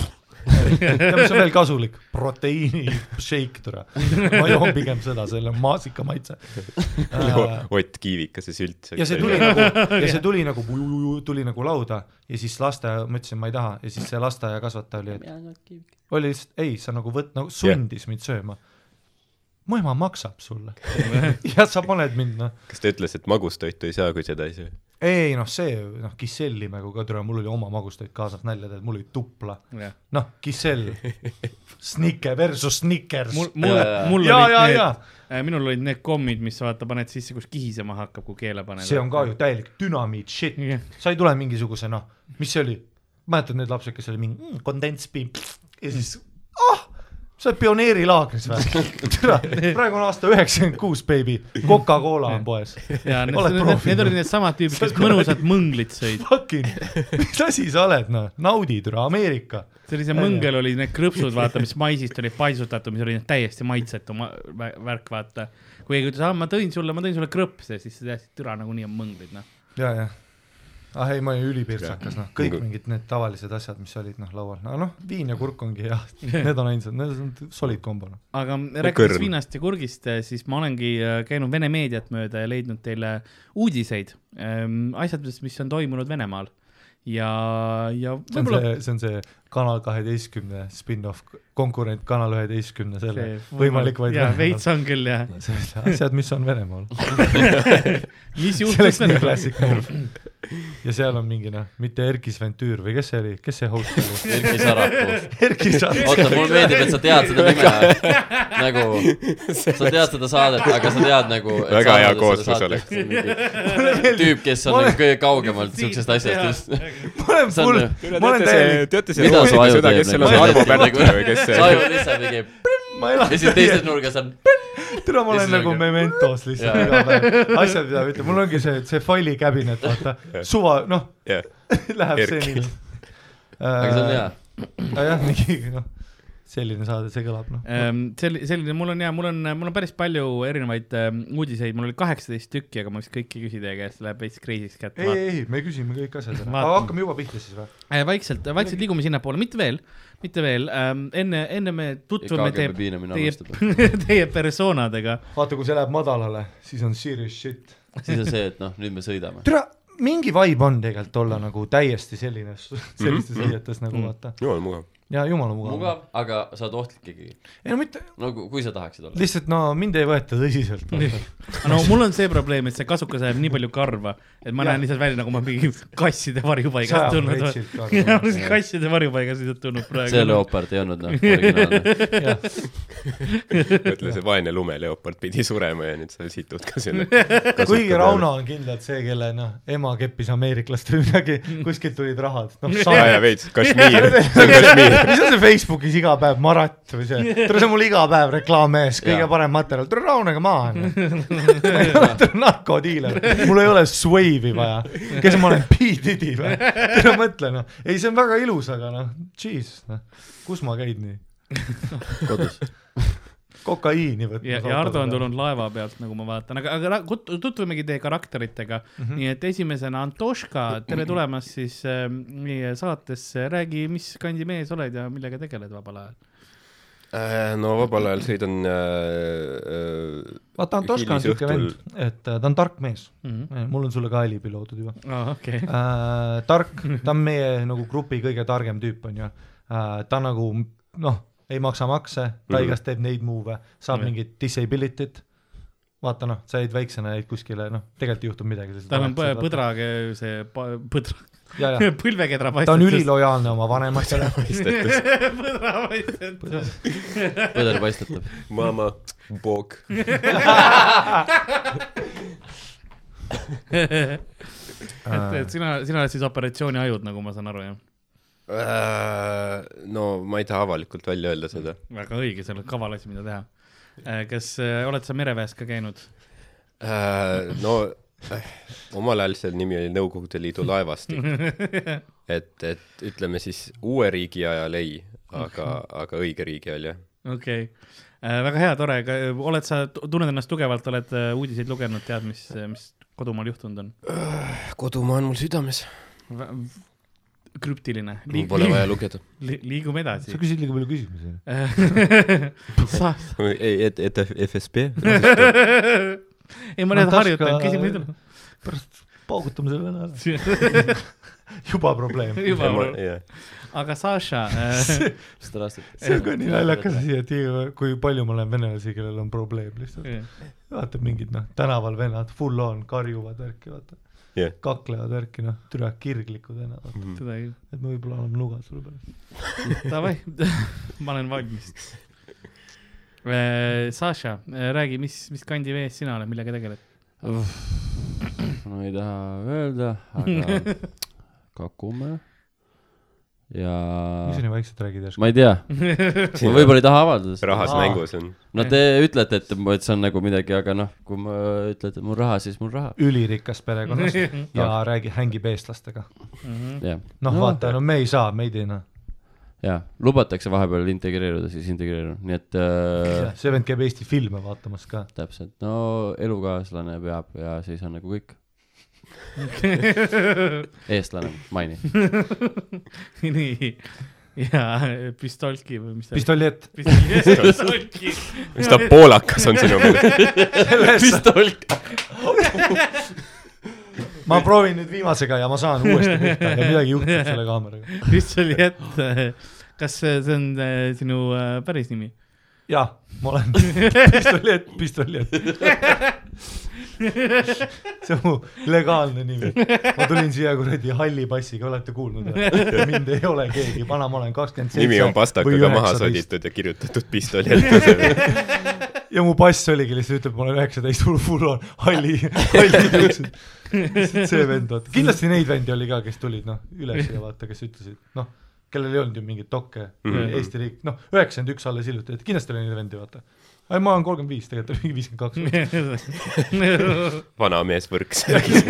B: ja mis on veel kasulik , proteiini shake tule , ma joon pigem seda , selle maasika maitse . Äh,
E: Ott Kiivikas ja sült .
B: ja see tuli nagu , ja see tuli nagu , tuli nagu lauda ja siis lasteaia , ma ütlesin , ma ei taha ja siis see lasteaiakasvataja oli , et oli lihtsalt , ei , sa nagu võt- , nagu sundis mind sööma . mu ema maksab sulle (laughs) ja sa paned mind noh ,
E: kas ta ütles , et magustoitu ei saa , kui seda ei söö ?
B: ei noh , see noh , kissellimegu ka tule , mul oli oma magustoid kaasas nalja teha , mul oli tupla , noh , kissell , snike versus snickers .
D: mul , mul
C: Jaa, jaa. ,
D: mul
B: Jaa,
D: olid
B: jaa, jaa.
D: need , minul olid need kommid , mis sa vaata paned sisse , kus kihisema hakkab , kui keele paned .
B: see on ka ju täielik dünamiit , shit
D: Jah.
B: sa ei tule mingisuguse noh , mis see oli , mäletad need lapsed , kes oli mingi mm, kondentspiim ja siis ah , sa oled pioneerilaagris või ? (laughs) tere , praegu on aasta üheksakümmend kuus , baby , Coca-Cola on poes . (laughs)
D: ja need,
B: Oled
D: need,
B: proovinud?
D: need olid needsamad tüübid , kes mõnusat mõnglit sõid .
B: Fucking , mis asi sa oled , noh , naudi türa , Ameerika .
D: sellise mõngel olid need krõpsud , vaata , mis maisist olid paisutatud , mis oli täiesti maitsetu ma vä- värk , vaata . kui keegi ütles , aa , ma tõin sulle , ma tõin sulle krõpse , siis sa teadsid , türa nagunii on mõnglid , noh .
B: ja , jah . ah ei , ma olin ülipirtsakas , noh , kõik mingid need tavalised asjad , mis olid , noh , laual , no noh , viin ja kurk ongi hea , need on ainsad , need on solid kombo , noh .
D: aga rääkides
E: kõrn.
D: viinast ja kurgist , siis ma olengi äh, käinud Vene meediat mööda ja leidnud teile eh, uudiseid ähm, asjadest , mis on toimunud Venemaal ja , ja
B: see on
D: võib-olla
B: see , see on see Kanal kaheteistkümne spin-off , konkurent Kanal üheteistkümne selle
D: see
B: võimalik vaid
D: jaa , veits
B: Venemaal .
D: on küll jah .
B: asjad , mis on Venemaal . (laughs)
D: mis
B: see
D: juhtus
B: oleks nii
D: Venemaal ?
B: klassikaline . ja seal on mingi noh , mitte Erkki Sventüür või kes see oli , kes see host
D: (laughs)
B: oli ?
C: Erki Sarapuu .
B: Erkki Saar
C: oota , mulle meeldib , et sa tead seda
E: (laughs)
C: nime nagu , sa tead seda saadet , aga sa tead nagu .
E: Väga hea kooslus oleks. .
C: tüüp , kes on
B: Mulle-
C: nagu kõige kaugemalt siuksest asjast just .
B: ma olen
C: see on-
B: full , ma olen täielik ,
E: teate
C: mida su aju teeb ?
E: kes seal on , Arvo Pärtner või kes
C: see ?
E: see
C: aju lihtsalt mingi
B: ma elan
C: ja siis
E: (laughs)
C: teises nurgas on .
B: täna ma
C: ja
B: olen
C: siis
B: nagu
C: nagu-
B: mementos lihtsalt
C: Jaa.
B: iga päev , asjad , mida ma ütlen , mul ongi see , see faili cabinet , vaata , suva , noh , (laughs)
E: jah ,
B: läheb
E: Erki.
B: see nii .
C: aga see on hea .
B: aga jah , mingi noh , selline saade , see kõlab noh .
D: selline , Ehm, selline , mul on ja mul on , mul on päris palju erinevaid ähm, uudiseid , mul oli kaheksateist tükki , aga ma vist kõiki ei küsi teie käest , läheb veits crazy'ks kätte .
B: ei , ei , ei , me küsime kõik asjad ära ,
D: Vaatame.
B: aga hakkame juba pihta siis või ?
D: Äh, vaikselt , vaikselt liigume sinnapoole , mitte veel , mitte veel ähm, , enne , enne me tutvume
C: KGB
D: teie ,
C: piinamine alustada .
D: teie , (laughs) teie persoonadega .
B: vaata , kui see läheb madalale , siis on serious shit .
C: siis on see , et noh , nüüd me sõidame .
B: türa , mingi vibe on tegelikult olla nagu täiesti selline , sellistes riietes nagu vaata .
E: jumal mugav .
B: ja jumala mugav, mugav. .
C: mugav , aga sa oled ohtlik ikkagi .
B: ei no mitte ,
C: no kui- kui sa tahaksid olla .
B: lihtsalt no mind ei võeta tõsiselt .
D: no mul on see probleem , et see kasukas ajab nii palju karva , et ma
B: Jah.
D: näen lihtsalt välja nagu ma mingi kasside
B: Sajab
D: varjupaigast tulnud
B: retsilt karva.
D: olen . jah , ma olen kasside varjupaigast lihtsalt tulnud
C: see
D: praegu .
C: leopard ei olnud noh , originaalne .
E: ütle , see vaene lumeleopard pidi surema ja nüüd sa situd ka sinna .
B: (laughs) kuigi Rauno . on kindlalt see , kelle noh , ema keppis ameeriklaste või midagi , kuskilt tulid rahad , noh
E: aa jaa ,
B: sae .
E: veits ,
B: (laughs)
E: Kashmir , see on Kashmir .
B: mis on see Facebookis iga päev marat või see , tule see on mul iga päev reklaammees , kõige
C: Jaa.
B: parem materjal , tule Raunaga
D: (laughs)
B: (laughs) maha . narkodiiler , mul ei ole Swave'i vaja , kes ma olen , P Diddy või ? tule mõtle noh , ei , see on väga ilus , aga noh , jeez , noh , kus ma käin
E: (laughs)
B: nii ,
C: kodus .
B: kokaiini võtmas .
D: ja , ja Ardo on tulnud laeva pealt , nagu ma vaatan , aga , aga ra- kut- tutvumegi teie karakteritega mm . -hmm. nii et esimesena Antoška , tere tulemast siis äh, meie saatesse , räägi , mis kandi mees oled ja millega tegeled vabal ajal ?
E: Äh, no vabal ajal sõidan äh,
B: vaata , Antoška on siuke
E: Hilisõhtul-
B: vend , et äh, ta on tark mees
D: Mhm.
B: Eh, mul on sulle ka alibi loodud juba .
D: aa , Ah, okei .
B: äh, tark , ta
D: (laughs)
B: on meie nagu grupi kõige targem tüüp , on ju äh, . ta nagu noh , ei maksa makse , ta
E: Mhm.
B: igast teeb neid move'e , saab yeah.
D: Mm-hmm. Jah.
B: mingit disability't . vaata noh , sa jäid väiksena , jäid kuskile , noh , tegelikult ei juhtunud midagi .
D: tal on põ- . põdrage see , põdra ,
B: ja ,
D: (laughs)
B: ja
D: põlvekedra
B: ta
D: paistab .
B: on
D: (laughs)
B: ülilojaalne oma vanematele .
E: äh, ,
D: põdra paistab .
C: põder paistetab .
E: (laughs) Mama Bog .
D: (laughs) et , et sina , sina oled siis operatsiooni ajud , nagu ma saan aru , jah ?
E: Äh, no ma ei taha avalikult välja öelda seda .
D: väga õige , see on kaval asi , mida teha . kas äh, oled sa mereväes ka käinud ?
E: no eh, omal ajal see nimi oli Nõukogude Liidu laevastik . et , et ütleme siis uue riigi ajal ei , aga , aga õige riigi ajal jah .
D: okei okay. , väga hea , tore , oled sa , tunned ennast tugevalt , oled äh, uudiseid lugenud , tead , mis , mis kodumaal juhtunud on ?
E: kodumaa on mul südames .
D: krüptiline .
E: mul pole
D: (laughs)
E: vaja lugeda .
D: liigume edasi
B: sa . küsid liiga palju küsimusi .
D: sa ,
E: (laughs) ei , et , et FSB .
D: (laughs)
E: (laughs)
D: ei ma lihtsalt harjutan , küsime nüüd .
B: pärast paugutame selle vene ära .
D: üle . (laughs)
B: juba probleem .
D: juba ,
E: jah .
D: (laughs) aga äh, Saša , (laughs)
B: see on ka nii naljakas asi , et iga- kui palju ma olen venelasi , kellel on probleem lihtsalt . vaata mingid noh , tänaval vennad full on , karjuvad värki , vaata ,
E: jah ,
B: kaklevad värki , noh , türa kirglikud vennad , vaata ,
D: seda ei ,
B: et me võib-olla oleme nuga sulle pärast .
D: davai , (laughs) ma olen valmis . (laughs) Saša , räägi , mis , mis kandi vees sina oled , millega (laughs) tegeled ?
C: ma ei taha öelda , aga kakume ja
B: miks sa nii vaikselt räägid järsku ?
C: ma ei tea , ma võib-olla ei taha avaldada seda .
E: rahas
B: Aa.
E: mängus on .
C: no te ütlete , et , et see on nagu midagi , aga noh , kui ma ütlete , et mul raha , siis mul raha ,
B: ülirikas perekonnast ja räägi , hängib eestlastega .
C: jah .
B: noh no, , vaata , no me ei saa , meid ei noh .
C: jaa , lubatakse vahepeal integreeruda , siis integreerun , nii et äh,
B: see vend käib Eesti filme vaatamas ka .
C: täpselt , no elukaaslane peab ja siis on nagu kõik . eestlane , maini .
D: nii , ja äh, pistolki või mis ta
B: pistoljett .
D: (laughs) pistolki ,
E: mis ta poolakas on sinu meelest ?
C: pistolk .
B: ma proovin nüüd viimasega ja ma saan uuesti pihta ja midagi juhtub selle kaameraga .
D: pistoljett . äh, kas see see on äh, sinu äh, päris (laughs) nimi ?
B: jah , ma olen pistoljett , pistoljett . see on mu legaalne nimi . ma tulin siia kuradi halli passiga , olete kuulnud või ? mind ei ole keegi , vana ma olen kakskümmend seitse .
E: nimi on pastakaga maha . soditud ja kirjutatud pistoljett .
B: ja mu pass oligi lihtsalt ütleb , ma olen üheksateist , mul full on halli , halli juuksed . lihtsalt see vend , vaata , kindlasti neid vendi oli ka , kes tulid noh , üles ja vaata , kes ütlesid , noh , kellel ei olnud ju mingeid dokke mm ,
E: Mhm.
B: -hmm. Eesti riik , noh , üheksakümmend üks alles hiljuti , et kindlasti oli neid vendi , vaata . ei , ma olen kolmkümmend viis , tegelikult oli mingi viiskümmend
E: vanamees Võrks rääkis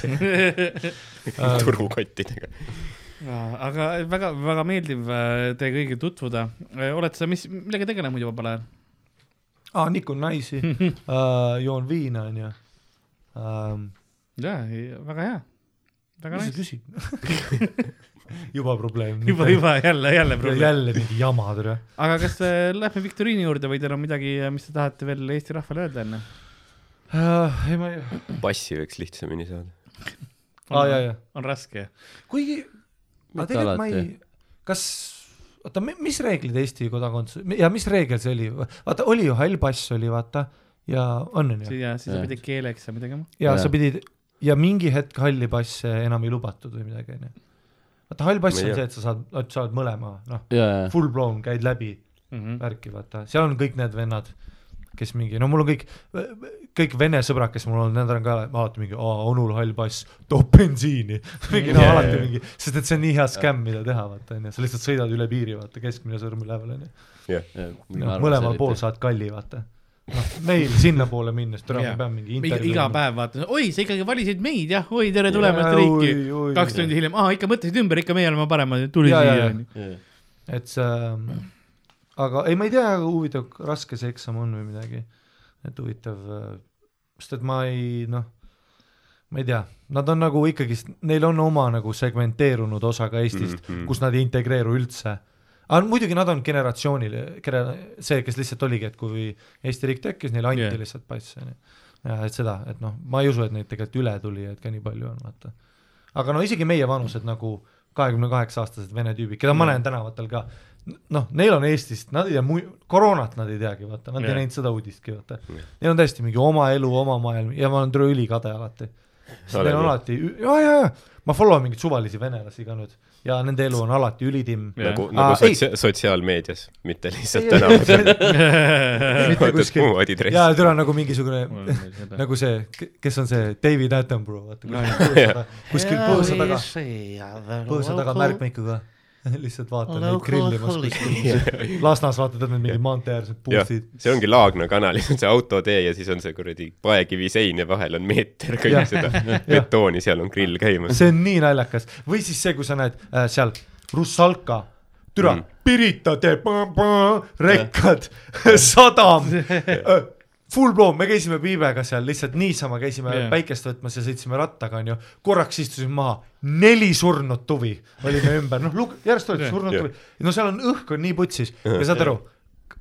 B: kaks .
E: turukottidega .
D: aga väga-väga meeldiv äh, teie kõigiga tutvuda . oled sa , mis , millega tegeled muidu vabal ajal ?
B: aa , nikun naisi , joon viina , onju .
D: jaa , väga hea . väga
B: mis sa
D: nice .
B: küsid ? juba probleem .
D: (laughs) juba , juba jälle , jälle probleem .
B: jälle mingi jama , tere .
D: aga kas äh, lähme viktoriini juurde või teil on midagi , mis te tahate veel Eesti rahvale öelda enne ?
B: ei , ma ei ,
E: passi võiks lihtsamini saada .
B: aa , jaa , jaa .
D: on raske .
B: kuigi , aga
C: Mitte
B: tegelikult ma ei
C: alati. ,
B: kas , oota , mis reeglid Eesti kodakondsus ja mis reegel see oli , vaata oli ju hall pass oli vaata ja on onju
D: ja siis sa
C: Jah.
D: pidid keeleeksami tegema .
B: ja sa
C: Jaa.
B: pidid ja mingi hetk halli passe enam ei lubatud või midagi onju . vaata hall pass
E: Ma
B: on
E: ei tea.
B: see , et sa saad , sa oled mõlema noh ,
C: jaa ,
B: full blown käid läbi
D: Mhm.
B: värki , vaata , seal on kõik need vennad , kes mingi , no mul on kõik , kõik vene sõbrad , kes mul on , need on ka alati mingi , aa , onul hall pass , toob bensiini . (laughs) mingi no
E: Jaa,
B: alati
E: jaa.
B: mingi , sest et see on nii hea skämm , mida teha , vaata onju , sa lihtsalt sõidad üle piiri , vaata , keskmine sõrm üleval onju .
C: jaa .
B: mõlemal pool . saad kalli , vaata . noh , meil sinnapoole minnes , täna
D: Jaa.
B: me peame mingi
D: iga,
B: intervjuu .
D: iga . päev vaatan , oi , sa ikkagi valisid meid , jah , oi , tere tulemast
B: Jaa, oi,
D: riiki
B: oi, .
D: kaks
B: oi.
D: tundi hiljem , aa , ikka mõtlesid ümber , ikka meie oleme paremad , tuli
B: Jaa, jaa,
D: siia
B: jaa. . et see , aga ei , ma ei tea , huvitav , raske see eksam on või midagi , et huvitav , sest et ma ei noh , ma ei tea , nad on nagu ikkagist , neil on oma nagu segmenteerunud osa ka Eestist mm ,
E: Mhm.
B: -hmm. kus nad ei integreeru üldse . aga muidugi nad on generatsioonil , see , kes lihtsalt oligi , et kui Eesti riik tekkis , neile anti
D: Jah.
B: yeah. lihtsalt pass , on ju . ja et seda , et noh , ma ei usu , et neid tegelikult ületulijaid ka nii palju on , vaata . aga no isegi meie vanused nagu kahekümne kaheksa aastased vene tüübid , keda ma näen tänavatel ka , noh , neil on Eestist , nad ei tea mu- , koroonat nad ei teagi , vaata , nad
D: Jah.
B: ei näinud seda uudistki , vaata . Neil on täiesti mingi oma elu , oma maailm ja ma olen türa ülikade alati . sest
E: Oled
B: neil on
E: või?
B: alati , jaa , jaa , jaa , ma follow mingeid suvalisi venelasi ka nüüd ja nende elu on alati ülitimm .
E: nagu ,
B: Aa,
E: nagu
B: ei.
E: sotsia- , sotsiaalmeedias , mitte lihtsalt tänaval .
B: (laughs) mitte
E: vaatad
B: kuskil ,
E: moodidressi .
B: jaa , türa nagu mingisugune nagu see , kes on see David Attenborough , vaata kuskil põõsa taga , kuskil põõsa taga ,
D: Äh,
B: põõsa taga märkmikuga (laughs) lihtsalt vaata neid grillimas
E: (laughs)
B: kuskil Lasnas vaata , tead need mingid maanteeäärsed
E: jah ,
B: puustid .
E: see ongi Laagna kanalis on (laughs) see autotee ja siis on see kuradi paekivi sein ja vahel on meeter kõik
B: Jah.
E: seda betooni , seal on grill käimas .
B: see on nii naljakas või siis see , kui sa näed äh, seal Russalka , türa
E: Mm.
B: mm. , Pirita teeb rekkad , (laughs) sadam äh, . Full blown , me käisime Piibega seal lihtsalt niisama , käisime
D: Jaa.
B: yeah. päikest võtmas ja sõitsime rattaga , onju . korraks istusin maha , neli surnud tuvi oli meie ümber , noh , lug- , järjest olid
D: Jah.
B: yeah. surnud
E: Jah.
B: yeah. tuvi . no seal on õhk on nii putsis ja saad aru ,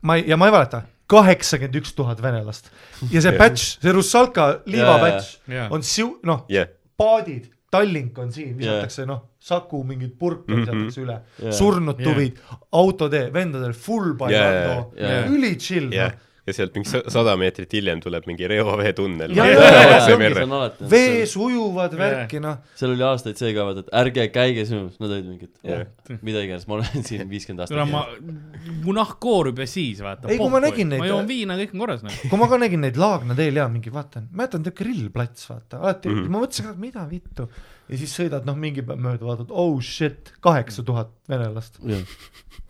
B: ma ei , ja ma ei valeta , kaheksakümmend üks tuhat venelast . ja see
E: Jah.
B: batch , see Russalka
C: Jaa, jaa.
B: liivabatch
D: Jaa.
B: on siu- , noh
E: jah ,
B: paadid , Tallink on siin , visatakse noh , saku mingeid purke
E: Mhm.
B: visatakse üle
C: Jaa.
B: surnud
D: Jaa.
B: tuvid , autotee , vendadel full by
E: Jaa,
B: rando
C: jaa, jaa.
B: üli chill
E: Jaa.
B: noh ,
E: ja sealt mingi sa- sada meetrit hiljem tuleb mingi reoveetunnel .
B: Jaa, jaa, jaa, see
E: otse
B: ongi,
E: merre .
B: vees ujuvad värki , noh .
C: seal oli aastaid see ka , vaata , et ärge käige sõnumis , nad olid mingid , mida iganes , ma olen siin viiskümmend aastat
D: kuna ma , mu nahk koorub ja siis vaata .
B: Ei, kui ma nägin neid- äh.
D: ma joon viina , kõik on
B: (laughs)
D: korras nagu .
B: kui ma ka nägin neid Laagna teel ja mingi vaatan , mäletan niisugune grillplats , vaata , alati
C: Mhm.
B: mm , -hmm. ma mõtlesin ka , et mida vittu . ja siis sõidad noh , mingi päev mööda vaatad , oh shit , kaheksa tuhat venelast ,
C: teinud .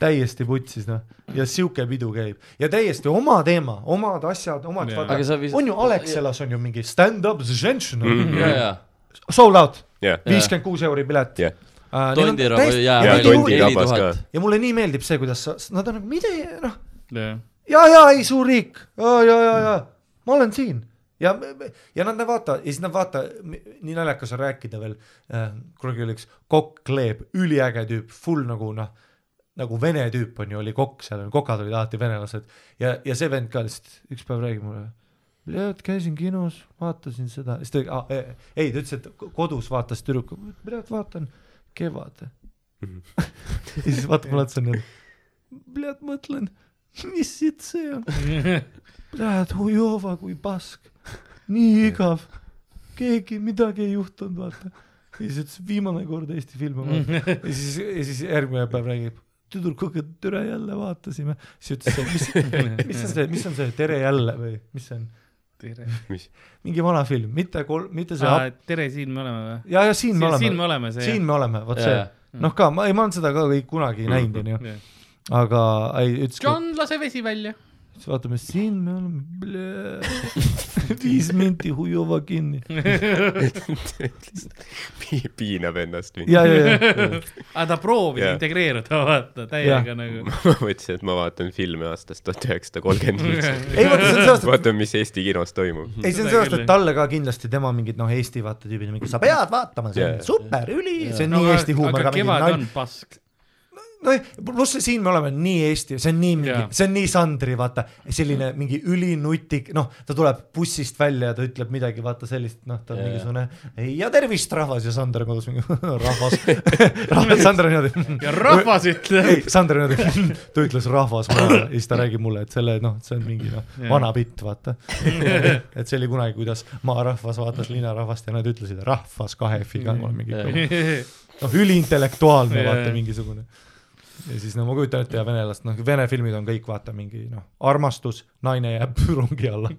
B: täiesti putsis noh , ja sihuke pidu käib ja täiesti oma teema , omad asjad , omad
D: Jaa.
B: vaata
C: Aga sa vis- ,
B: on ju Alexelas on ju mingi stand-up sensation mm ,
C: ja ,
B: -hmm.
C: ja ,
B: sold out ,
E: jah ,
B: viiskümmend kuus euri pilet
E: Jah.
B: uh, .
C: tondiraba ja ,
E: jaa,
C: ja
E: tondi
C: neli
E: tabas ka.
C: tuhat .
B: ja mulle nii meeldib see , kuidas sa , nad on nagu , mida , noh
D: jah , (laughs)
B: ja , ja ei , suur riik ja , ja , ja , ja ma olen siin ja , ja nad vaata ja siis nad vaata , nii naljakas on rääkida veel äh, , kunagi oli üks kokk Kleeb , üliäge tüüp , full nagu noh , nagu vene tüüp on ju , oli kokk seal , kokad olid alati venelased ja , ja see vend ka lihtsalt üks päev räägib mulle . tead , käisin kinos , vaatasin seda , siis ta , ei ta ütles , et ko- kodus vaatas tüdruk , tead vaatan Kevad . (laughs) ja siis vaata mulle otsa niimoodi , tead mõtlen , mis siit see on . Lähed Ujova kui pask , nii igav , keegi midagi ei juhtunud , vaata . ja siis ütles viimane kord Eesti filme vaatan ja siis , ja siis järgmine päev räägib tüdrukuga türa jälle vaatasime , siis ütles , mis , mis on see , mis on see Tere jälle või mis see on ,
D: tere .
B: mingi vana film , mitte kolm , mitte see ah, ,
D: tere , siin me oleme või ?
B: ja , ja siin me
D: siin
B: oleme ,
D: me oleme , see
B: siin me oleme , vot
C: Jaa,
B: see
C: jaa. ,
B: noh ka , ma ei , ma olen seda ka kõik kunagi näinud , onju ,
D: Mm. jah .
B: aga ei , ütles
D: John , lase vesi välja .
B: siis vaatame , siin me oleme ,
E: (laughs)
B: viis minti hujuva kinni .
E: (laughs) piinab ennast mind .
B: ja , ja , ja ,
D: aga ta proovis
E: Jah.
D: integreeruda , vaata , täiega
B: Jah. (laughs)
D: nagu .
E: (laughs) ma mõtlesin , et ma vaatan filme aastast tuhat üheksasada
B: (laughs)
E: kolmkümmend viis .
B: ei vaata , see on Mhm. sellest ,
E: vaatame , mis Eesti kinos toimub .
B: ei see on
D: Seda
B: sellest ,
D: küll,
B: et talle ka kindlasti tema mingid noh , Eesti vaata tüübid , mingi sa pead vaatama , see on
E: Jaa.
B: super , üli , see on nii Eesti huumor ,
D: nagu- aga
B: aga mingi
D: kevad on
B: nalj .
D: pask .
B: no pluss see siin me oleme nii Eesti , see on nii mingi
D: Jaa. ,
B: see on nii Sandri , vaata , selline mingi ülinutik , noh , ta tuleb bussist välja ja ta ütleb midagi , vaata sellist , noh , ta on
C: Jaa.
B: mingisugune "Ei, ja tervist , rahvas ja Sander kodus mingi (laughs)
D: (laughs)
B: rahvas , rahvas , Sander on niimoodi .
D: ja rahvas ütleb .
B: ei , Sander niimoodi , (laughs) ta ütles rahvas maha ja siis ta räägib mulle , et selle noh , see on mingi noh , vana bitt , vaata . (laughs) et see oli kunagi , kuidas maarahvas vaatas linnarahvast ja nad ütlesid rahvas kahe F-iga , ma olen mingi noh , üliintellektuaalne vaata
D: Jaa.
B: mingisugune . ja siis no ma kujutan ette ja venelast , noh vene filmid on kõik vaata mingi noh , armastus , naine jääb (laughs) rongi alla ,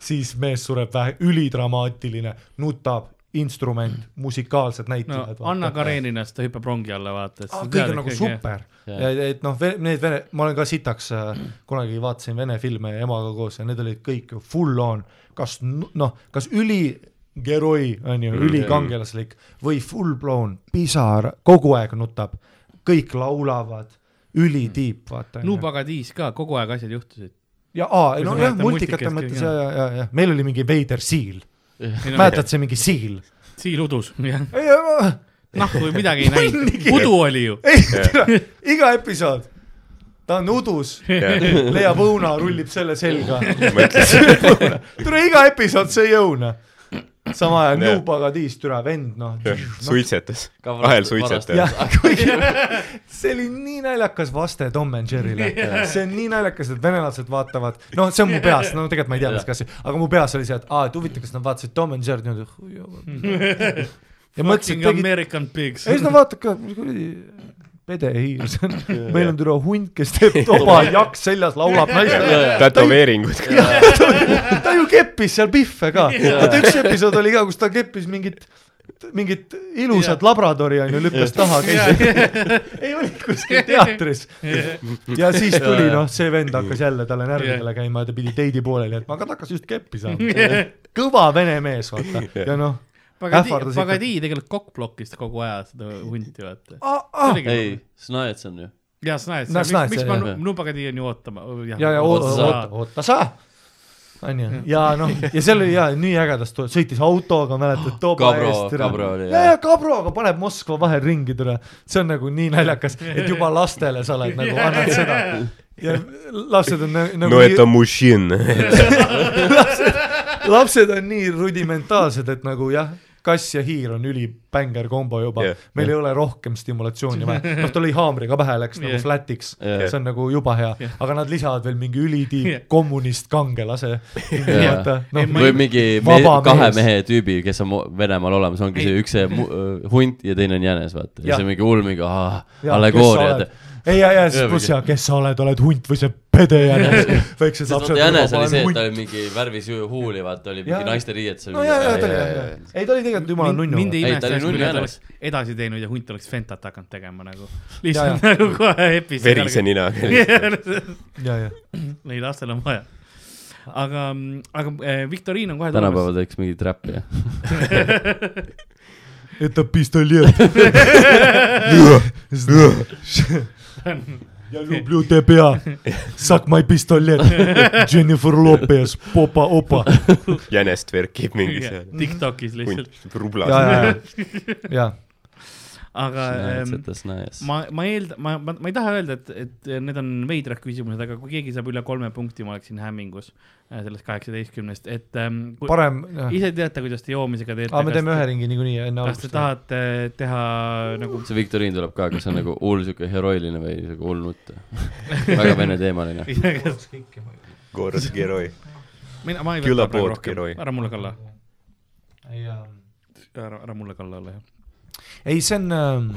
B: siis mees sureb vähe , ülidramaatiline , nutab , instrument , musikaalsed
D: (laughs) no
B: näitlejad .
D: Anna Kareninas , ta hüppab rongi alla , vaata .
B: Ah, kõik on nagu super
C: jah.
B: ja et noh , need vene , ma olen ka sitaks äh, , kunagi vaatasin vene filme emaga koos ja need olid kõik ju full on , kas nu- noh , kas üli geroi on ju , ülikangelaslik või full blown pisar , kogu aeg nutab , kõik laulavad , ülitiip , vaata .
D: Nubagadiis ka , kogu aeg asjad juhtusid .
B: ja aa ,
D: Kui sa
B: nojah ,
D: mäletad
B: multikate
D: multikest
B: mõttes
D: kõik,
B: ja , ja , ja , ja meil oli mingi veider siil , mäletad see mingi siil ?
D: siil udus ,
B: (laughs)
D: jah .
B: ei ,
D: nahku midagi ei näinud , udu oli ju .
B: ei , iga episood , ta on udus leiab õuna , rullib selle selga . tule iga episood sõi õuna . sama ajal
E: Jah.
B: New Pagadiis , türa vend , noh . (laughs)
E: suitsetas , vahel suitsetas .
B: jah , kuigi (laughs) see oli nii naljakas vaste Tom and Jerry'le , see on nii naljakas , et venelased vaatavad , noh , see on mu peas , no tegelikult ma ei tea , mis kassi , aga mu peas oli see , et aa , et huvitav , kas nad vaatasid Tom and Jerry'd niimoodi . ja mõtlesin ,
D: Fucking
B: tegid
D: American pigs .
B: ja siis
D: (laughs)
B: nad vaatavad ka , mis kuradi pede hiir see on , meil on türa hunt , kes teeb toba , jakk seljas , laulab naistele .
E: tätoveeringud ka .
B: ta ju keppis seal pihve ka , vaata üks episood oli ka , kus ta keppis mingit , mingit ilusat labradori onju , lükkas taha , käis , ei olnud kuskil teatris . ja siis tuli noh , see vend hakkas jälle talle närvidele käima ja ta pidi teidi pooleli jätma , aga ta hakkas just keppi saama . kõva vene mees , vaata , ja noh ,
D: Pagadi
B: ähvardas , ikka.
D: Pagadi tegelikult kokk blokkis kogu aja seda hunti , vaata .
B: Ah,
D: nagu-
C: ei , Snajets on ju .
D: ja Snajets
B: No , Snajec,
D: miks
B: jah,
D: ma
B: jah.
D: Nu- Nubagadi on ju ootama . oh,
B: ja , ja oota , oota , oota sa . onju , ja noh , ja seal oli ja nii ägedas , sõitis autoga , mäletad , tooba
C: Kabro-
B: eest ära
C: Kabro oli, .
B: ja ,
C: jah.
B: ja Kabroga paneb Moskva vahel ringi türa , see on nagu nii naljakas , et juba lastele sa oled nagu annad seda . ja lapsed on nä- nagu
E: no et ta
B: nii ,
E: mušin . (laughs)
B: lapsed on nii rudimentaalsed , et nagu jah , kass ja hiir on ülibänger kombo juba
E: Jah,
B: yeah, , meil yeah. ei ole rohkem stimulatsiooni vaja , noh ta lõi haamriga pähe , läks yeah.
D: Jah.
B: nagu flat'iks yeah.
C: Jah. ,
B: see on nagu juba hea
D: Jah.
B: yeah. , aga nad lisavad veel mingi ülitiib
D: Jah.
B: yeah. kommunist kangelase
C: Jah.
B: yeah. .
D: Ma
C: Noh, või
D: ei-
C: mingi me,
B: vaba
C: kahe
B: mees.
C: mehe tüübi , kes on mu- Venemaal olemas , ongi see üks see mu- äh, hunt ja teine on jänes , vaata . ja
B: Jah.
C: see mingi ulmiga , allegooria .
B: ei , ja , ja
C: Jah,
B: siis pluss
C: mingi-
B: ja kes sa oled , oled hunt või see pede jänes , väiksed
C: sest
B: lapsed .
C: vaata jänes oli see , et ta oli mingi värvis ju- huuli , vaata oli
B: Jaa,
C: mingi
B: jaa.
C: naiste riietus .
B: no ja , ja ta oli
E: jaa,
B: jah ,
E: jaa,
B: jah , ei ta oli tegelikult jumala
D: mind
B: nunnu
D: mind ei
C: Ei,
D: imesta
C: ta oli ,
D: kui
C: nunnu
D: nad
C: jänes.
D: oleks edasi teinud ja hunt oleks fentat hakanud tegema nagu . lihtsalt nagu kohe episood .
E: verise ninaga .
D: (laughs)
B: ja , ja
D: Neid lastel on vaja . aga , aga eh, Viktoriin on kohe
C: tänapäeval teeks mingit räppi , jah .
B: это пистолет. Я люблю тебя. Suck my пистолет. Jennifer Lopez, popa opa .
E: jänest verkib mingi
D: Jah,
E: seal .
D: Tiktokis lihtsalt ,
B: ja ,
E: rublas .
B: ja , ja , (laughs) ja ,
D: aga ehm,
C: näitsetas najas .
D: ma , ma eeldan , ma, ma , ma ei taha öelda , et , et need on veidrad küsimused , aga kui keegi saab üle kolme punkti , ma oleksin hämmingus äh, sellest kaheksateistkümnest , et ähm, kui,
B: parem .
D: ise teate , kuidas te joomisega teete
B: aga me teeme ühe . ringi niikuinii enne
D: kas te
B: algust .
D: tahate teha nagu ,
C: see Viktoriin tuleb ka , kas see on nagu hull siuke heroiline või siuke hull nutt ? väga vene teemaline .
E: Goros Geroi .
D: (laughs) mina , ma ei
E: Küla
D: võta praegu
E: pood,
D: rohkem
E: Geroi. ,
D: ära mulle kalla , ära , ära mulle kalla ole , jah .
B: ähm, ei , see on ,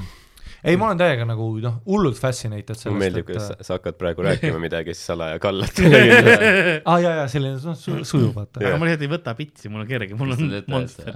B: ei , ma olen täiega nagu noh , hullult fascinated
E: mulle
B: sellest ,
E: meeldib , kuidas sa-
B: et .
E: sa hakkad praegu
B: (laughs)
E: rääkima midagi , siis salaja kallad kellelegi .
B: aa , ja , ja selline noh , sujuv vaata .
D: aga ma lihtsalt ei võta pitsi , mul on kerge , mul on monster .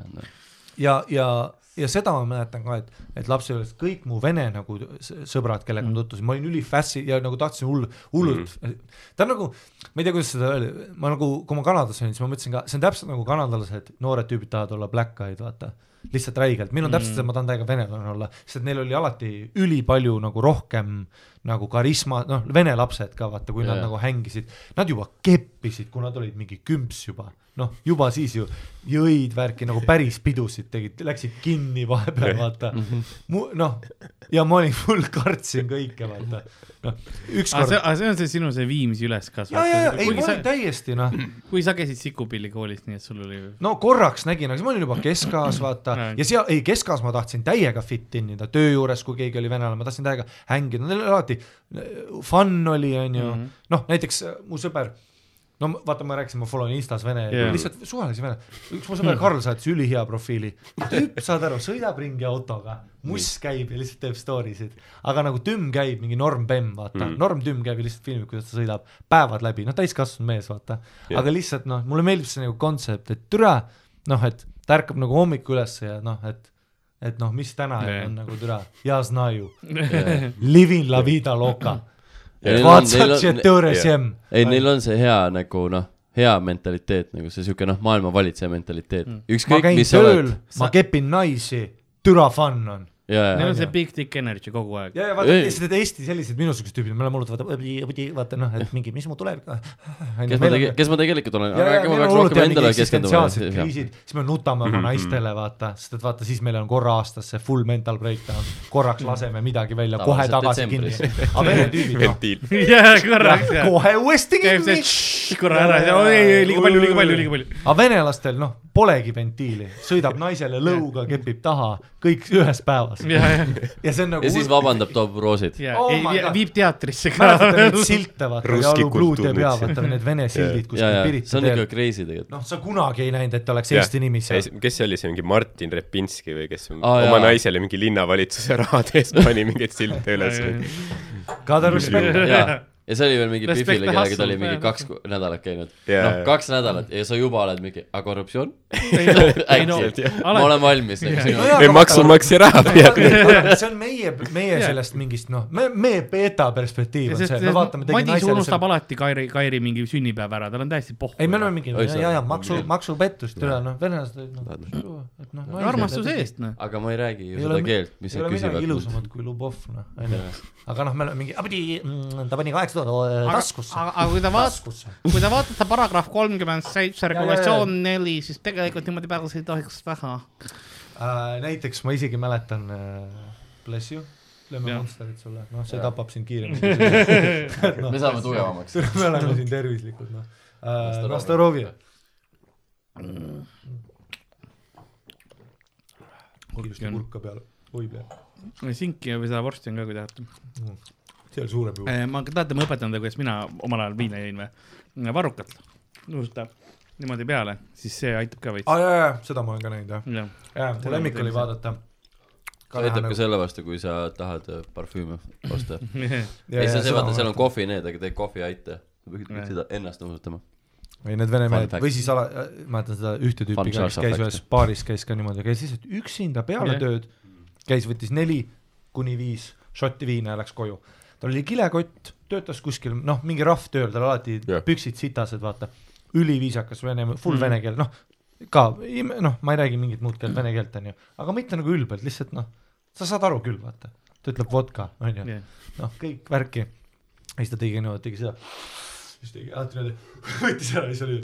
B: ja , ja , ja seda ma mäletan ka , et , et lapsepõlves kõik mu vene nagu s- sõbrad , kellega ma mm. tutvusin , ma olin ülifässi ja nagu tahtsin hull , hullult mm. , ta on nagu , ma ei tea , kuidas seda öelda , ma nagu , kui ma Kanadas olin , siis ma mõtlesin ka , see on täpselt nagu kanadalased , noored tüübid tahavad olla black eyed , vaata lihtsalt räigelt , meil on täpselt see , ma tahan täiega venelane olla , sest et neil oli alati ülipalju nagu rohkem nagu karisma , noh , vene lapsed ka vaata , kui yeah.
C: Jaa.
B: nad nagu hängisid , nad juba keppisid , kui nad olid mingi kümps juba , noh , juba siis ju jõid värki nagu päris pidusid tegid , läksid kinni vahepeal , vaata .
D: Mhm.
B: mu noh , ja ma olin , mul kartsin kõike , vaata , noh ,
D: aga
B: ükskord
D: Ah, see , aga see on see sinu see Viimsi üleskasv .
B: ja , ja , ja ei , ma
D: sa
B: olin , täiesti noh ,
D: kui sa käisid Sikupilli koolis , nii et sul oli .
B: no korraks nägin , aga siis ma olin juba keskajas , vaata
D: Näin.
B: ja seal , ei keskajas ma tahtsin täiega fit in ida töö juures , kui keegi oli venelane , ma tahtsin täiega hängida , neil oli alati äh, fun oli , onju
D: Mhm. ,
B: noh , näiteks äh, mu sõber no ma- vaata , ma rääkisin , ma follow in Instas vene
D: Jaa.
B: yeah. , lihtsalt suvalisi vene , üks mu sõber Karl saatis ülihea profiili , tüüp , saad aru , sõidab ringi autoga , muss käib ja lihtsalt teeb story sid , aga nagu tümm käib , mingi Norm Bemm , vaata
C: Mhm.
B: mm. , Norm Tümm käib ja lihtsalt filmib , kuidas ta sõidab päevad läbi , noh , täiskasvanud mees , vaata yeah. ,
E: Jah.
B: aga lihtsalt noh , mulle meeldib see nagu kontsept , et türa , noh , et ta ärkab nagu hommikul ülesse ja noh , et et noh , mis täna
D: Jah.
B: yeah. on nagu türa , ja znaju ,
C: ei ,
B: living la vida loca ,
C: Ja neil on- neil on-
B: vaatad ,
E: jah.
C: neil on see hea nagu noh , hea mentaliteet nagu see siuke noh , maailma valitseja mentaliteet .
B: ma
C: ükskõik ,
B: käin
C: mis sa
B: tööl
C: oled .,
B: ma kepin naisi , türa fun on .
C: ja ,
D: Neil
C: ja ,
D: on see big dick energy kogu (laughs) aeg .
B: ja , ja vaata
C: Ei. ,
B: lihtsalt et Eesti sellised minusugused tüübid , me oleme hullult vaata , vaata noh , et mingi , mis mu tulevik on .
C: kes ma tege- , kes ma tegelikult olen , aga äkki ma peaks rohkem endale keskenduma .
B: siis me nutame
C: Mhm,
B: oma naistele , vaata , sest et vaata , siis meil on korra aastas see full mental breakdown , korraks laseme midagi välja , kohe
C: Mhm. Tavaliselt
B: tagasi kinni
C: detsembris. .
B: aga vene tüübid , noh ,
E: (laughs) ventiil .
D: jah , korraks jah .
B: kohe uuesti
D: käib see
B: kinni .
D: tšš korra ära , ei , ei , liiga palju , liiga palju , liiga
B: (laughs)
D: palju .
B: aga venelastel , noh , polegi ventiili , sõidab naisele lõuga , kepib taha , kõik ühes päevas .
D: ja , ja ,
B: ja see on nagu
C: ja siis vabandab , toob roosid .
D: ja
B: Oh
D: ei,
B: my
D: vi-
B: God.
D: viib teatrisse ka .
B: (laughs) mäletate neid
D: (laughs)
B: silte , vaata ,
E: Russki
B: Jalu Bluude
E: kultuur
B: pea ,
E: nüüd siin.
B: vaata need vene sildid , kus
C: ja , ja see
B: Pirita
C: on ikka
B: teeb .
C: crazy tegelikult .
B: noh , sa kunagi ei näinud , et oleks Eesti nimi seal .
E: kes see oli , see mingi Martin Repinski või kes
C: Aa,
E: oma
C: jaa.
E: naisele mingi linnavalitsuse rahad eest pani mingeid silte üles või ?
B: Kadar Respekt ,
D: (laughs)
C: ja , ja see oli veel mingi
D: Respect the
C: Pifile , kellega ta
D: hustle,
C: oli mingi
D: jah.
C: kaks ku- nädalat käinud .
E: Jaa,
C: noh
E: jaa. ,
C: kaks nädalat ja sa juba oled mingi , aga korruptsioon ? (laughs)
D: ei no
E: Äkki, ,
C: ma
D: alati
C: olen valmis nagu sinu
B: Nojah.
E: me maksumaksja raha peame .
B: see on
C: (laughs)
B: meie , meie sellest mingist noh , me , meie beeta perspektiiv
D: Ja
B: on
D: sest
B: see ,
D: sest
B: me vaatame tegi
D: Madis
B: naisele
D: unustab
B: selle
D: alati Kairi , Kairi mingi sünnipäeva ära , tal on täiesti pohhu .
B: ei , me oleme mingi ,
C: Oi, sa-
B: ja , ja maksu , maksupettust üle , noh , venelased olid noh , et noh .
D: armastuse eest , noh .
C: aga ma ei räägi ju
B: ei
C: seda
B: ole,
C: keelt , mis
B: ei
C: nad
B: ole midagi
C: küsivad .
B: ilusamat kui Lubov , noh , onju . aga noh , me oleme mingi , ta pani kaheksa tuhat äh, taskusse .
D: aga kui ta vaatas ,
B: taskusse .
D: kui te vaatate paragrahv kolmkümmend seitse
B: regulatsioon
D: regulatsioon neli , siis tegelikult niimoodi pärast ei tohiks teha .
B: Äh, näiteks ma isegi mäletan äh, , bless you , lööme
D: Jah.
B: Monsterit sulle , noh , see tapab sind
D: (laughs)
B: kiiremini .
C: me saame tugevamaks .
B: me oleme siin tervislikud , noh äh,
D: Mm.
C: Nastarovi. .
B: Nastarovi , kindlasti
D: on.
B: kurka peale , oi peale ,
D: sinki või seda vorsti on ka , kui tahate .
B: see oli suurem juhus .
D: ma , tahate , ma õpetan teile , kuidas mina omal ajal viina jõin või ? varrukat nuusuta niimoodi peale , siis see aitab ka veits .
B: aa Ah, jaa , jaa , seda ma olen ka näinud jah , (laughs)
D: jah ,
B: jaa , mu lemmik oli vaadata .
C: aitab ka selle vastu , kui sa tahad äh, parfüüme osta . ei ,
B: nagu- jaa,
C: see , see
B: seda
C: vaata ,
B: ma
C: seal on kohvi need , aga tee kohvi aita . sa pead
D: Jah.
C: seda ennast nuusutama .
B: või need vene
C: Fun
B: mehed
C: fact.
B: või siis ala , mäletan seda ühte
C: Fun
B: tüüpi , kes
C: charge
B: käis
C: fact.
B: ühes baaris , käis ka niimoodi , käis lihtsalt üksinda peale
D: Jah.
B: tööd , käis , võttis neli kuni viis šotti viina ja läks koju . tal oli kilekott , töötas kuskil , noh , mingi rahv tööl , tal alati
E: Jah.
B: püksid sitased , vaata , üliviisakas vene ,
C: Mm.
B: full vene keel , noh , ka , noh , ma ei räägi mingit muud keelt , vene keelt , onju , aga mitte nagu ülbelt , lihtsalt noh , sa saad aru küll , vaata , ta ütleb vodka , onju , noh , kõik värki . ja siis ta tegi niimoodi , tegi seda , siis tegi alati niimoodi , (laughs) võttis ära ja siis oli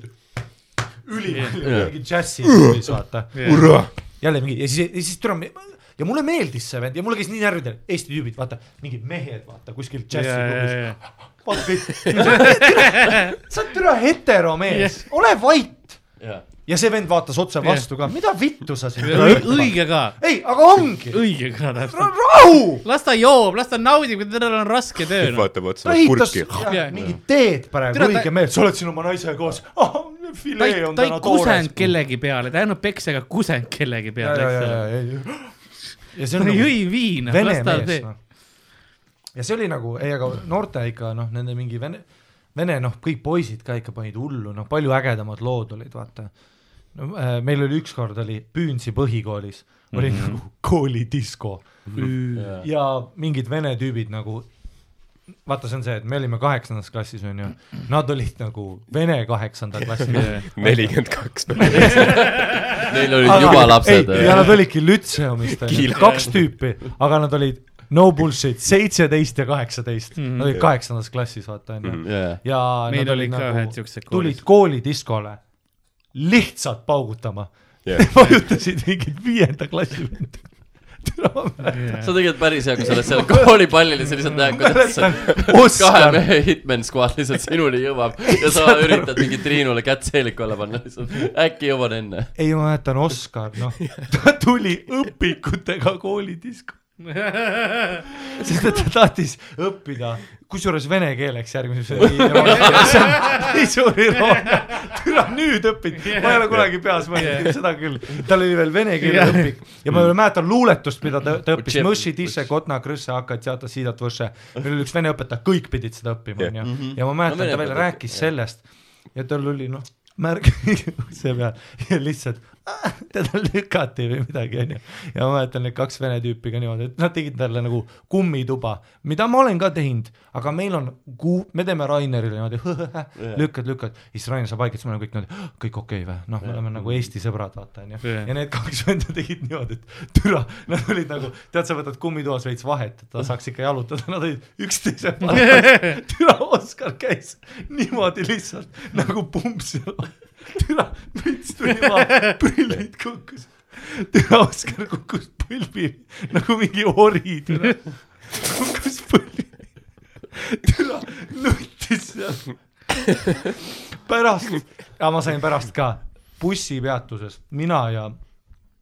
B: ülipalju yeah. mingi džässi siis vaata ,
E: hurraa .
B: jälle mingi ja siis , ja siis tule , ja mulle meeldis see vend ja mulle käis nii närvidel , Eesti tüübid , vaata , mingid mehed , vaata kuskil džässiklubis yeah, ,
D: jah .
B: yeah. vaata
D: (laughs)
B: kõik , sa oled türa heteromees yeah. , ole vait
C: jaa .
B: ja see vend vaatas otse
D: Jah.
B: vastu ka , mida vittu sa siin
D: õige ka ,
B: ei , aga ongi ,
D: õige ka täpselt .
B: rahu
D: las ta joob , las ta naudib , tal on raske töö
E: siis . vaatab otsa
B: ta , ehitas
E: kurki .
B: jah,
D: Jah.
B: mingit teed praegu ,
D: Tere, ta-
B: õige mees , sa oled siin oma naisega koos oh, ,
D: ta
B: filee
D: ei ,
B: on
D: ta ei
B: täna toores
D: kusenud . kellegi peale , ta ei andnud peksa , aga kusenud
B: ja ,
D: kellegi
B: ja ,
D: peale , eks
B: ja ,
D: ole .
B: ja , ja , ja see on
D: ta
B: nagu
D: jõi viina ,
B: vene
D: las ta
B: mees ,
D: (laughs) teeb .
B: noh . ja see oli nagu , ei , aga noorte ikka noh , nende mingi vene , vene noh , kõik poisid ka ikka panid hullu , noh , palju ägedamad lood olid , vaata . no äh, meil oli ükskord oli Püünsi põhikoolis oli mm -hmm. nagu koolidisko ja mingid vene tüübid nagu vaata , see on see , et me olime kaheksandas klassis , onju , nad olid nagu vene kaheksanda klassi
E: nelikümmend kaks .
B: (laughs)
C: Neil olid juba lapsed . äh,
B: ja nad olidki lütseumist , kaks tüüpi , aga nad olid no bullshit , seitseteist ja kaheksateist mm , -hmm. nad olid kaheksandas klassis , vaata onju .
C: jaa .
B: ja
D: Mhm. Meil
B: nad
D: olid
B: olid
D: ka ühed
B: nagu
D: siuksed , koolis.
B: tulid koolidiskole lihtsalt paugutama , (laughs) vajutasid mingit viienda klassi vend .
D: (laughs)
C: see on tegelikult päris hea , kui sa oled seal koolipallil ja sa lihtsalt näed , kuidas see (laughs) kahe
B: Oskar ,
C: mehe hitman squad lihtsalt sinuni jõuab ja sa üritad mingi Triinule kätt seeliku alla panna lihtsalt , äkki jõuan enne .
B: ei ma mäletan , Oskar , noh , ta tuli õpikutega koolidisko . sest et ta tahtis õppida , kusjuures vene keeleks (laughs) järgmises isuroonia , türa nüüd õpid , ma ei ole kunagi peas mõelnud yeah. seda küll , tal oli veel vene keele
D: Jah.
B: yeah. õpik ja Mm. ma veel mäletan luuletust , mida ta, ta õppis
C: Učeb- ,
B: mõši tise kotna krõsse hakad seata siidat võrše , meil oli üks vene õpetaja , kõik pidid seda õppima
E: Jah.
B: onju ja ma mäletan no, ,
C: Mhm. No vene
B: ta veel
C: õpetaja-
B: rääkis sellest ja tal oli noh , märk (laughs) see peal ja lihtsalt "Ah, teda lükati või midagi onju . ja ma mäletan need kaks vene tüüpi ka niimoodi , et nad tegid talle nagu kummituba , mida ma olen ka teinud , aga meil on kuu- , me teeme Rainerile niimoodi (laughs) lükkad , lükkad , siis Rainer saab haiget , siis me oleme kõik niimoodi , kõik okei okay, või , noh , me oleme nagu Eesti sõbrad , vaata onju .
D: Jah.
B: ja need kaks (laughs) venda tegid niimoodi , et türa , nad olid nagu , tead , sa võtad kummitoas veits vahet , et ta saaks ikka jalutada , nad olid üksteise vahel . türa , Oskar käis niimoodi lihtsalt nagu pumps ja türa , müts tuli maha , prillid kukkus . türa , Oskar kukkus põlvi nagu mingi ori , türa . kukkus põlvi . türa nuttis seal . pärast , aga ma sain pärast ka , bussipeatuses mina ja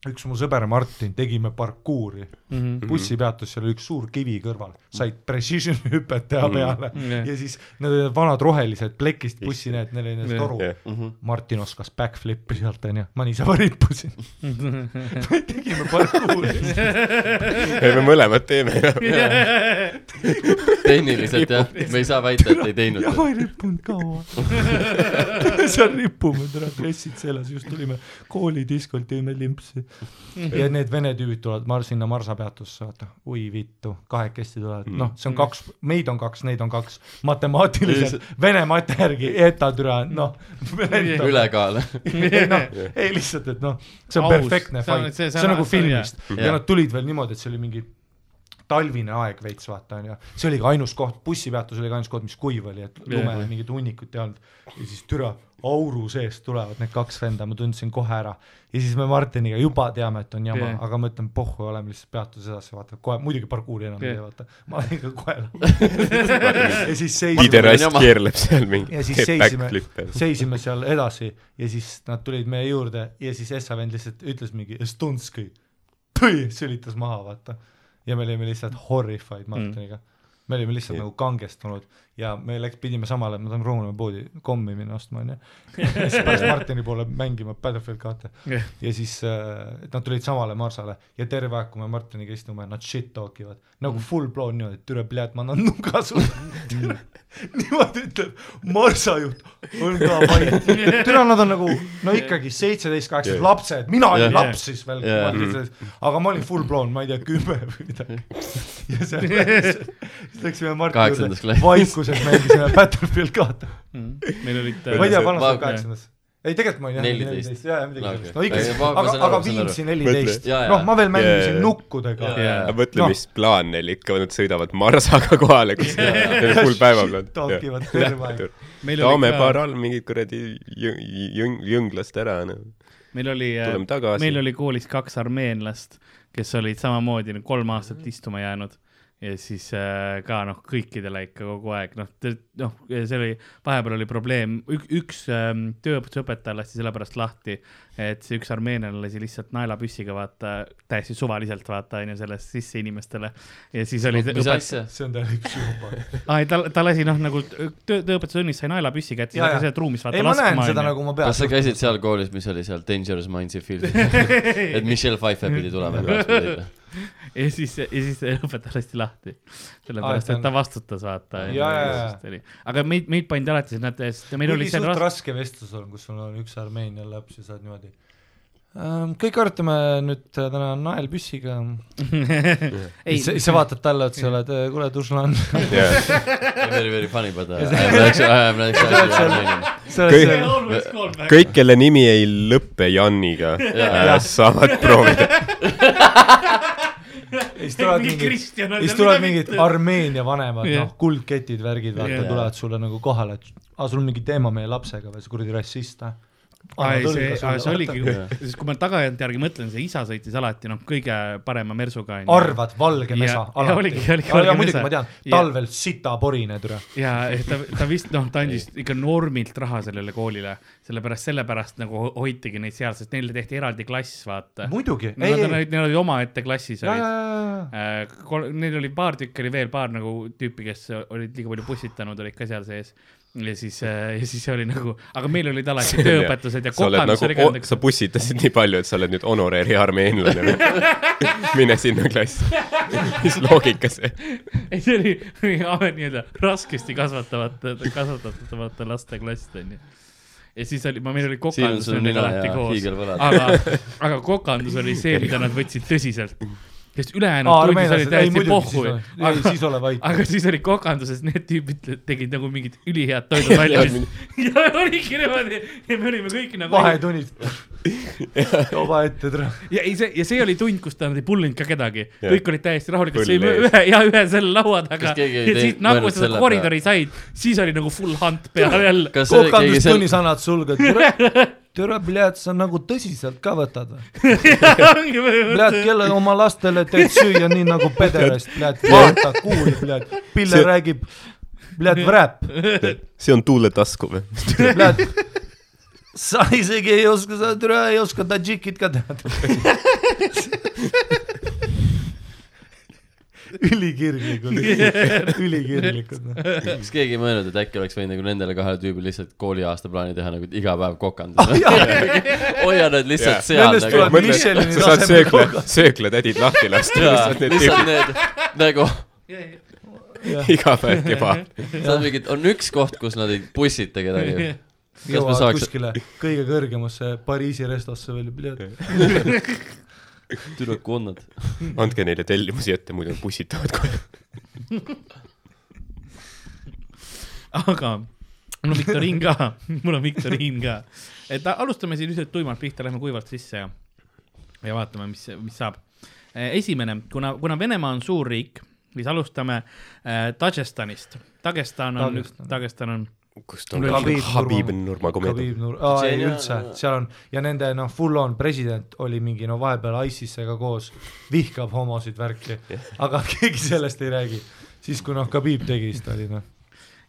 B: üks mu sõber Martin tegime parkuuri mm -hmm. , bussipeatus , seal oli üks suur kivi kõrval , said precision hüpet teha peale mm
D: Jah.
B: -hmm. ja siis need olid vanad rohelised plekist bussi need , neil oli need
D: Jah.
B: toru
E: Jah.
B: yeah. . Martin oskas backflip'i sealt onju , ma niisama rippusin . me tegime parkuuri ,
E: ei , me mõlemad teeme jah .
C: tehniliselt jah , me ei saa väita , et ei
B: ja
C: teinud .
B: ma ei rippunud kaua . (laughs) seal ripume täna , dressid seljas , just tulime koolidiskolt , teeme limpsi . ja need vene tüübid tulevad , ma sinna Marsa peatusse , vaata , oi vittu , kahekesti tulevad ,
C: Mm.
B: noh , see on kaks , meid on kaks , neid on kaks , matemaatiliselt vene mate järgi , eta türa , noh .
C: ülekaal .
B: ei
D: (laughs)
B: noh , ei lihtsalt , et noh , see on Aus.
D: Aus.
B: perfektne
D: See on-
B: fight ,
D: see-
B: see,
D: see
B: see on
D: on-
B: nagu
D: see on hea.
B: filmist ja.
C: Jah.
B: ja nad tulid veel niimoodi , et see oli mingi talvine aeg veits vaata onju , see oli ka ainus koht , bussipeatus oli ka ainus koht , mis kuiv oli , et lume
D: Jah.
B: yeah. mingit hunnikut ei olnud . ja siis türa auru seest tulevad need kaks venda , ma tundsin kohe ära ja siis me Martiniga juba teame , et on jama
D: Jah.
B: yeah. , aga ma ütlen pohhu , oleme lihtsalt peatuses edasi , vaata kohe , muidugi parkuuri enam yeah. ei
D: Jah.
B: tee , vaata . ma olin ka
D: (laughs)
B: kohe . ja siis seisime
E: piderast
C: jama.
E: keerleb seal mingi .
B: ja siis seisime , seisime seal edasi ja siis nad tulid meie juurde ja siis Essa vend lihtsalt ütles mingi Estonski . tui , sülitas maha , vaata . ja me olime lihtsalt horrified Martiniga . me olime lihtsalt
E: Nii.
B: nagu kangestunud ja me läks , pidime samal ajal , me tulime Ruunamäe poodi kommi minna ostma , onju . siis pärast Martini poole mängima Battlefield kahte . ja siis , et nad tulid samale marsale ja terve aeg , kui me Martiniga istume , nad shit talk ivad nagu full blown niimoodi , et türa pljat , ma annan nuga sulle . niimoodi ütleb , marsajuht on ka vait . türa , nad on nagu , no ikkagi seitseteist , kaheksateist
E: Jah.
B: lapsed , mina
C: Jah.
B: olin laps siis veel
C: Jah. Mhm.
B: yeah. , aga ma olin full blown , ma ei tea , kümme või midagi .
C: (laughs)
B: ja seal läks , siis läksime Marti
C: Kaheksandas
B: juurde
C: klassis. ,
B: vaikuses mängisime Battlefield kahte .
D: meil olid
B: ma ei tea , vanas
C: Ma-
B: ma olin kaheksandas . ei , tegelikult ma olin jah
C: 14.
B: neliteist , jaa , jaa , midagi
C: No
B: sellist , no
C: okei.
B: ikkagi
C: Ei, , ma- ma
B: aga
C: saan , aru,
B: aga
C: ma saan
B: Viimsi
E: Mõtle.
B: neliteist
C: Jaa, , jaa.
B: noh , ma veel mängisin
E: Jaa.
B: nukkudega
C: Jaa, jaa.
E: aga mõtle
B: Noh.
E: no. , mis plaan neil ikka on , nad sõidavad Marsaga kohale (laughs) kuskile , neil on full päevaplaan .
B: talkivad terve aeg. .
D: meil
E: Taame
D: oli ka-
E: paar all mingid kuradi jõng- , jõng- , jõnglast ära , noh .
D: meil oli ,
E: Tuleme tagasi.
D: meil oli koolis kaks armeenlast , kes olid samamoodi nagu kolm aastat istuma jäänud ja siis äh, ka noh , kõikidele ikka kogu aeg noh , noh , see oli , vahepeal oli probleem , üks ähm, tööõpetuse õpetaja lasti sellepärast lahti , et see üks armeenlane lasi lihtsalt naelapüssiga vaata , täiesti suvaliselt vaata onju sellest sisse inimestele ja siis oli .
C: mis asja ?
B: see on täielik psühhopaat .
D: aa , ei ta , ta lasi noh , nagu töö , tööõpetustunnis sai naelapüssi kätte , siis
B: Jaa,
D: hakkas
B: jaa.
D: sealt ruumis vaata
B: ei , ma näen
D: onju.
B: seda
D: (laughs)
B: nagu ma
C: kas
B: peas
C: sa . käisid seal koolis , mis oli seal Dangerous Mindsi film ? et Michelle Pfeiffer pidi tulema edaspidi .
D: ja siis , ja siis see õpetaja lasti lahti . sellepärast ,
B: Aa, et
D: et ta vastutas , vaata .
B: Jaa, jaa, jaa.
D: aga meid , meid pandi alati sinna , et meil oli
B: kuigi
D: see
B: suht
D: rast- ,
B: raske vestlus on , kus sul on üks Armeenia laps ja sa oled niimoodi . kõik arutame nüüd täna naelpüssiga .
D: ei ,
B: sa sa vaatad talle otsa , oled , kuule , Dušlan . (laughs)
C: Very , very funny , but uh, I am actually , I am actually .
B: sa oled
E: Kõik-
B: seal ,
E: kõik , kelle nimi ei lõppe Janiga , saavad proovida .
B: siis tulevad
D: Mingi
B: mingid ,
D: Kristjan on
B: siis
D: seal,
B: tulevad
D: mida
B: mingid
D: mitte.
B: Armeenia vanemad ,
D: Jah.
B: noh , kuldketid , värgid , vaata
D: Jah. ,
B: tulevad sulle nagu kohale , et aa , sul on mingi teema meie lapsega või sa kuradi rassist , noh .
D: ai , see , see oligi , (laughs) sest kui ma tagantjärgi mõtlen , see isa sõitis alati noh , kõige parema mersuga .
B: arvad , valge
D: Ja-
B: mesa
D: ja ,
B: alati
D: (laughs) oligi- oligi . valge
B: aga muidugi
D: mesa.
B: ma tean ,
D: Ja-
B: talvel sitaporine , türa .
D: ja et ta , ta vist noh , ta andis ikka normilt raha sellele koolile , sellepärast , sellepärast nagu ho- hoitigi neid seal , sest neile tehti eraldi klass , vaata .
B: muidugi , ei ,
D: Nad
B: ei ,
D: olid , neil olid omaette klassis
B: ja , ja ,
D: olid
B: ja ,
D: Äh, kol- , neil oli paar tükki oli veel paar nagu tüüpi , kes olid liiga palju pussitanud , olid ka seal sees . ja siis , ja siis oli nagu , aga meil olid alati (laughs) tööõpetused ja
E: sa oled
D: kokandus oli ka
E: nagu , sa pussitasid nii palju , et sa oled nüüd honorari
D: (laughs)
E: armeenlane . mine sinna klassi .
C: (laughs)
E: mis loogika see ?
D: ei see oli amet nii-öelda raskesti kasvatavate , kasvatatavate laste klass onju . ja siis oli , ma , meil oli
C: siin on
D: kokandus
C: sul
D: oli
C: nina
D: alati
C: ja
D: koos ,
C: hiigelvõlad .
D: aga ,
C: (laughs)
D: aga kokandus oli see , mida nad võtsid tõsiselt . sest
B: Aa,
D: ülejäänud tunnis Noh, oli
B: armeenlased- ei,
D: täiesti
B: muidugi, siis
D: pohhu
B: ole- . ei, siis ole vait.
D: aga siis oli kokanduses need tüübid tegid nagu mingid ülihead
E: (laughs)
D: toidud valmis . (laughs) ja oligi niimoodi ja me olime kõik nagu .
B: vahetunnid tooba ette , türa .
D: ja ei , see ja see oli tund , kus ta nad ei pullinud ka kedagi ,
E: Jah.
D: kõik olid täiesti rahulikud ,
E: Pull
D: sõime
E: ees.
D: ühe ja ühe selle laua taga
C: Kas . keegi
D: ja
C: ei teinud-
D: siis nagu
C: mõelnud
D: seda
C: selle
D: koridori said , siis oli nagu full hunt
C: (laughs)
D: peal jälle .
C: kas see oli keegi seal ,
B: kokandustunnis annad sulge , türa , türa , pljat , sa nagu tõsiselt ka võtad või ? pljat , kelle oma lastele teed süüa nii nagu pederast , pljat , vaata , kuuli , pljat , Pille
E: See-
B: räägib , pljat , vräp ,
E: see on tuule tasku või ?
B: pljat . sa isegi ei oska , sa türa ei oska tadžikit ka teha . ülikirglikud , ülikirglikud . noh.
C: (laughs) kas keegi ei mõelnud , et äkki oleks võinud nagu nendele kahele tüübile lihtsalt kooliaasta plaani teha nagu et iga päev kokandus ? (laughs) hoia nad lihtsalt
E: Jaa.
C: seal
B: Nendest tuleb
C: nagu .
B: mõte- Michelini
E: sa saad
B: tasemel
E: söökla , sööklatädid lahti lasta , lihtsalt need
C: lihtsalt need nagu ,
E: tüübid (laughs) iga päev kebab .
C: saad mingit , on üks koht , kus nad ei pussita (laughs) kedagi . Kas me
B: jõuavad
C: saaks-
B: saaks... kuskile kõige kõrgemasse Pariisi restosse veel , pljat .
C: tüdrukunnad .
E: andke neile tellimusi ette , muidu nad pussitavad kohe .
D: aga mul on viktoriin ka , (laughs) mul on viktoriin ka , et a- alustame siin lihtsalt tuimalt pihta , lähme kuivalt sisse ja , ja vaatame , mis , mis saab . esimene , kuna , kuna Venemaa on suur riik , siis alustame äh, Dagestanis . Dagestan on ,
B: Dagestan.
D: Dagestan on ,
E: kust on
D: Mul oli-
E: Habib- Habib Nurmagomedov ?
B: Khabib Nur- , aa ei
C: Tšetšeenia-
B: üldse , seal on ja nende noh , full on president oli mingi no vahepeal ISISega koos , vihkab homosid värki , aga (laughs) keegi sellest ei räägi . siis kui noh , Khabib tegi , siis ta oli noh ,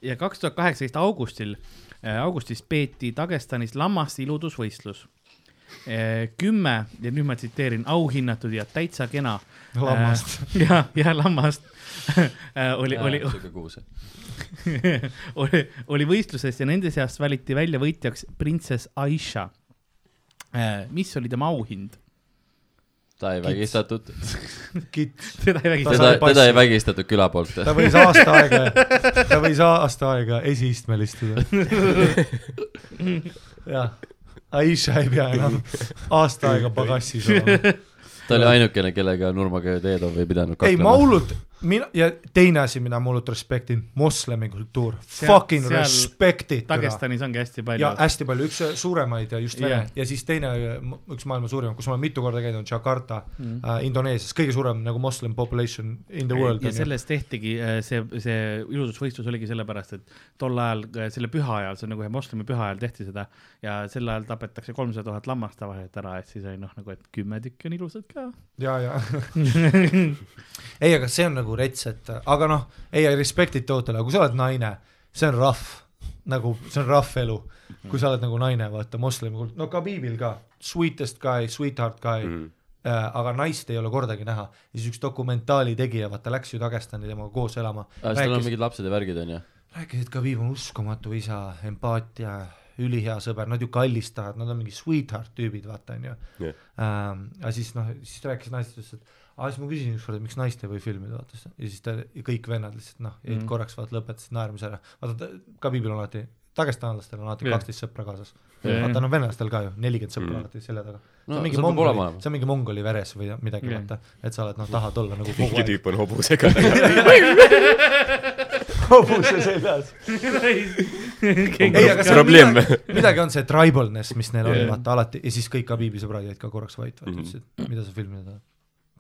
D: ja kaks tuhat e, kaheksateist augustil , augustis peeti Dagestanis lammaste iludusvõistlus . kümme ja nüüd ma tsiteerin auhinnatud ja täitsa kena . (laughs)
B: Lammast. .
D: ja , ja lammast (laughs) E, oli , oli ,
C: sihuke kuuse .
D: (laughs) oli , oli võistluses ja nende seast valiti välja võitjaks printsess Aisha . mis oli tema auhind ? (laughs)
C: ta ei vägistatud ,
B: kits .
D: teda ei
B: Ta
C: teda
B: sai ,
D: vägistanud .
C: teda
B: passi.
C: ei vägistatud küla poolt .
B: ta võis aasta aega , ta võis aasta aega esiistmel istuda . jah , Aisha ei pea enam aasta aega pagassis olema .
C: ta oli ainukene , kellega Nurmaga Teedov ei pidanud
B: ei , ma
C: kaklema .
B: hullult , mina ja teine asi , mida ma hullult respektin , moslemi kultuur ,
D: Seal-
B: fucking
D: seal
B: respect'i .
D: Dagestanis ongi hästi
B: ja
D: palju .
B: hästi palju , üks suuremaid ja just Vene
D: Jah.
B: yeah. ja siis teine , üks maailma suurimaid , kus ma olen mitu korda käinud , on Jakarta mm. , äh, Indoneesias , kõige suurem nagu moslem population in the world .
D: ja sellest tehtigi äh, see , see ilususvõistlus oligi sellepärast , et tol ajal , selle püha ajal , see on nagu ühe moslemi püha ajal tehti seda ja sel ajal tapetakse kolmsada tuhat lammast tavaliselt ära , et siis oli noh , nagu et kümme tükki on ilusad ka .
B: (laughs) ja , ja ei , aga see on nagu rets , et aga noh , ei respect'id tootele , kui sa oled naine , see on rough , nagu see on rough elu , kui sa oled nagu naine , vaata moslemi kult- , no Khabibil ka , sweetest guy , sweetheart guy mm ,
C: Mhm.
B: -hmm. äh, aga naist ei ole kordagi näha . ja siis üks dokumentaali tegija , vaata läks ju Dagestani temaga koos elama ,
C: Ah, tal on
B: rääkis ,
C: mingid lapsed ja värgid onju .
B: rääkis , et Khabib on uskumatu isa , empaatia , ülihea sõber , nad ju kallistavad , nad on mingi sweetheart tüübid , vaata onju
E: Jah.
B: ähm, . aga siis noh , siis ta rääkis naistest , ütles , et aa , siis ma küsisin ükskord , et miks naist ei või filmida , vaatas ja siis ta ja kõik vennad lihtsalt noh , jäid mm. korraks vaata lõpetasid naermise ära , vaata ta- Khabibil on alati Dagestaanlastel on alati
D: Jah.
B: kaksteist sõpra kaasas
D: Jah.
B: yeah. . vaata noh , venelastel ka ju nelikümmend sõpra mm. alati selja taga . see
C: No
B: on mingi
C: seal peab olema
B: mongoli
C: olema. ,
B: see on mingi mongoli veres või midagi
D: Jah.
B: yeah. vaata , et sa oled noh , tahad olla nagu kogu
E: mingi
B: aeg
E: tüüp on hobusega .
B: hobuse seljas . ei , aga see on
E: Probleem.
B: midagi , midagi on see tribalness , mis neil on
D: Jah. ,
B: vaata alati ja siis kõik Khabibi sõbrad jäid ka korraks vait , vaata ütlesid , mida sa filmida tahad .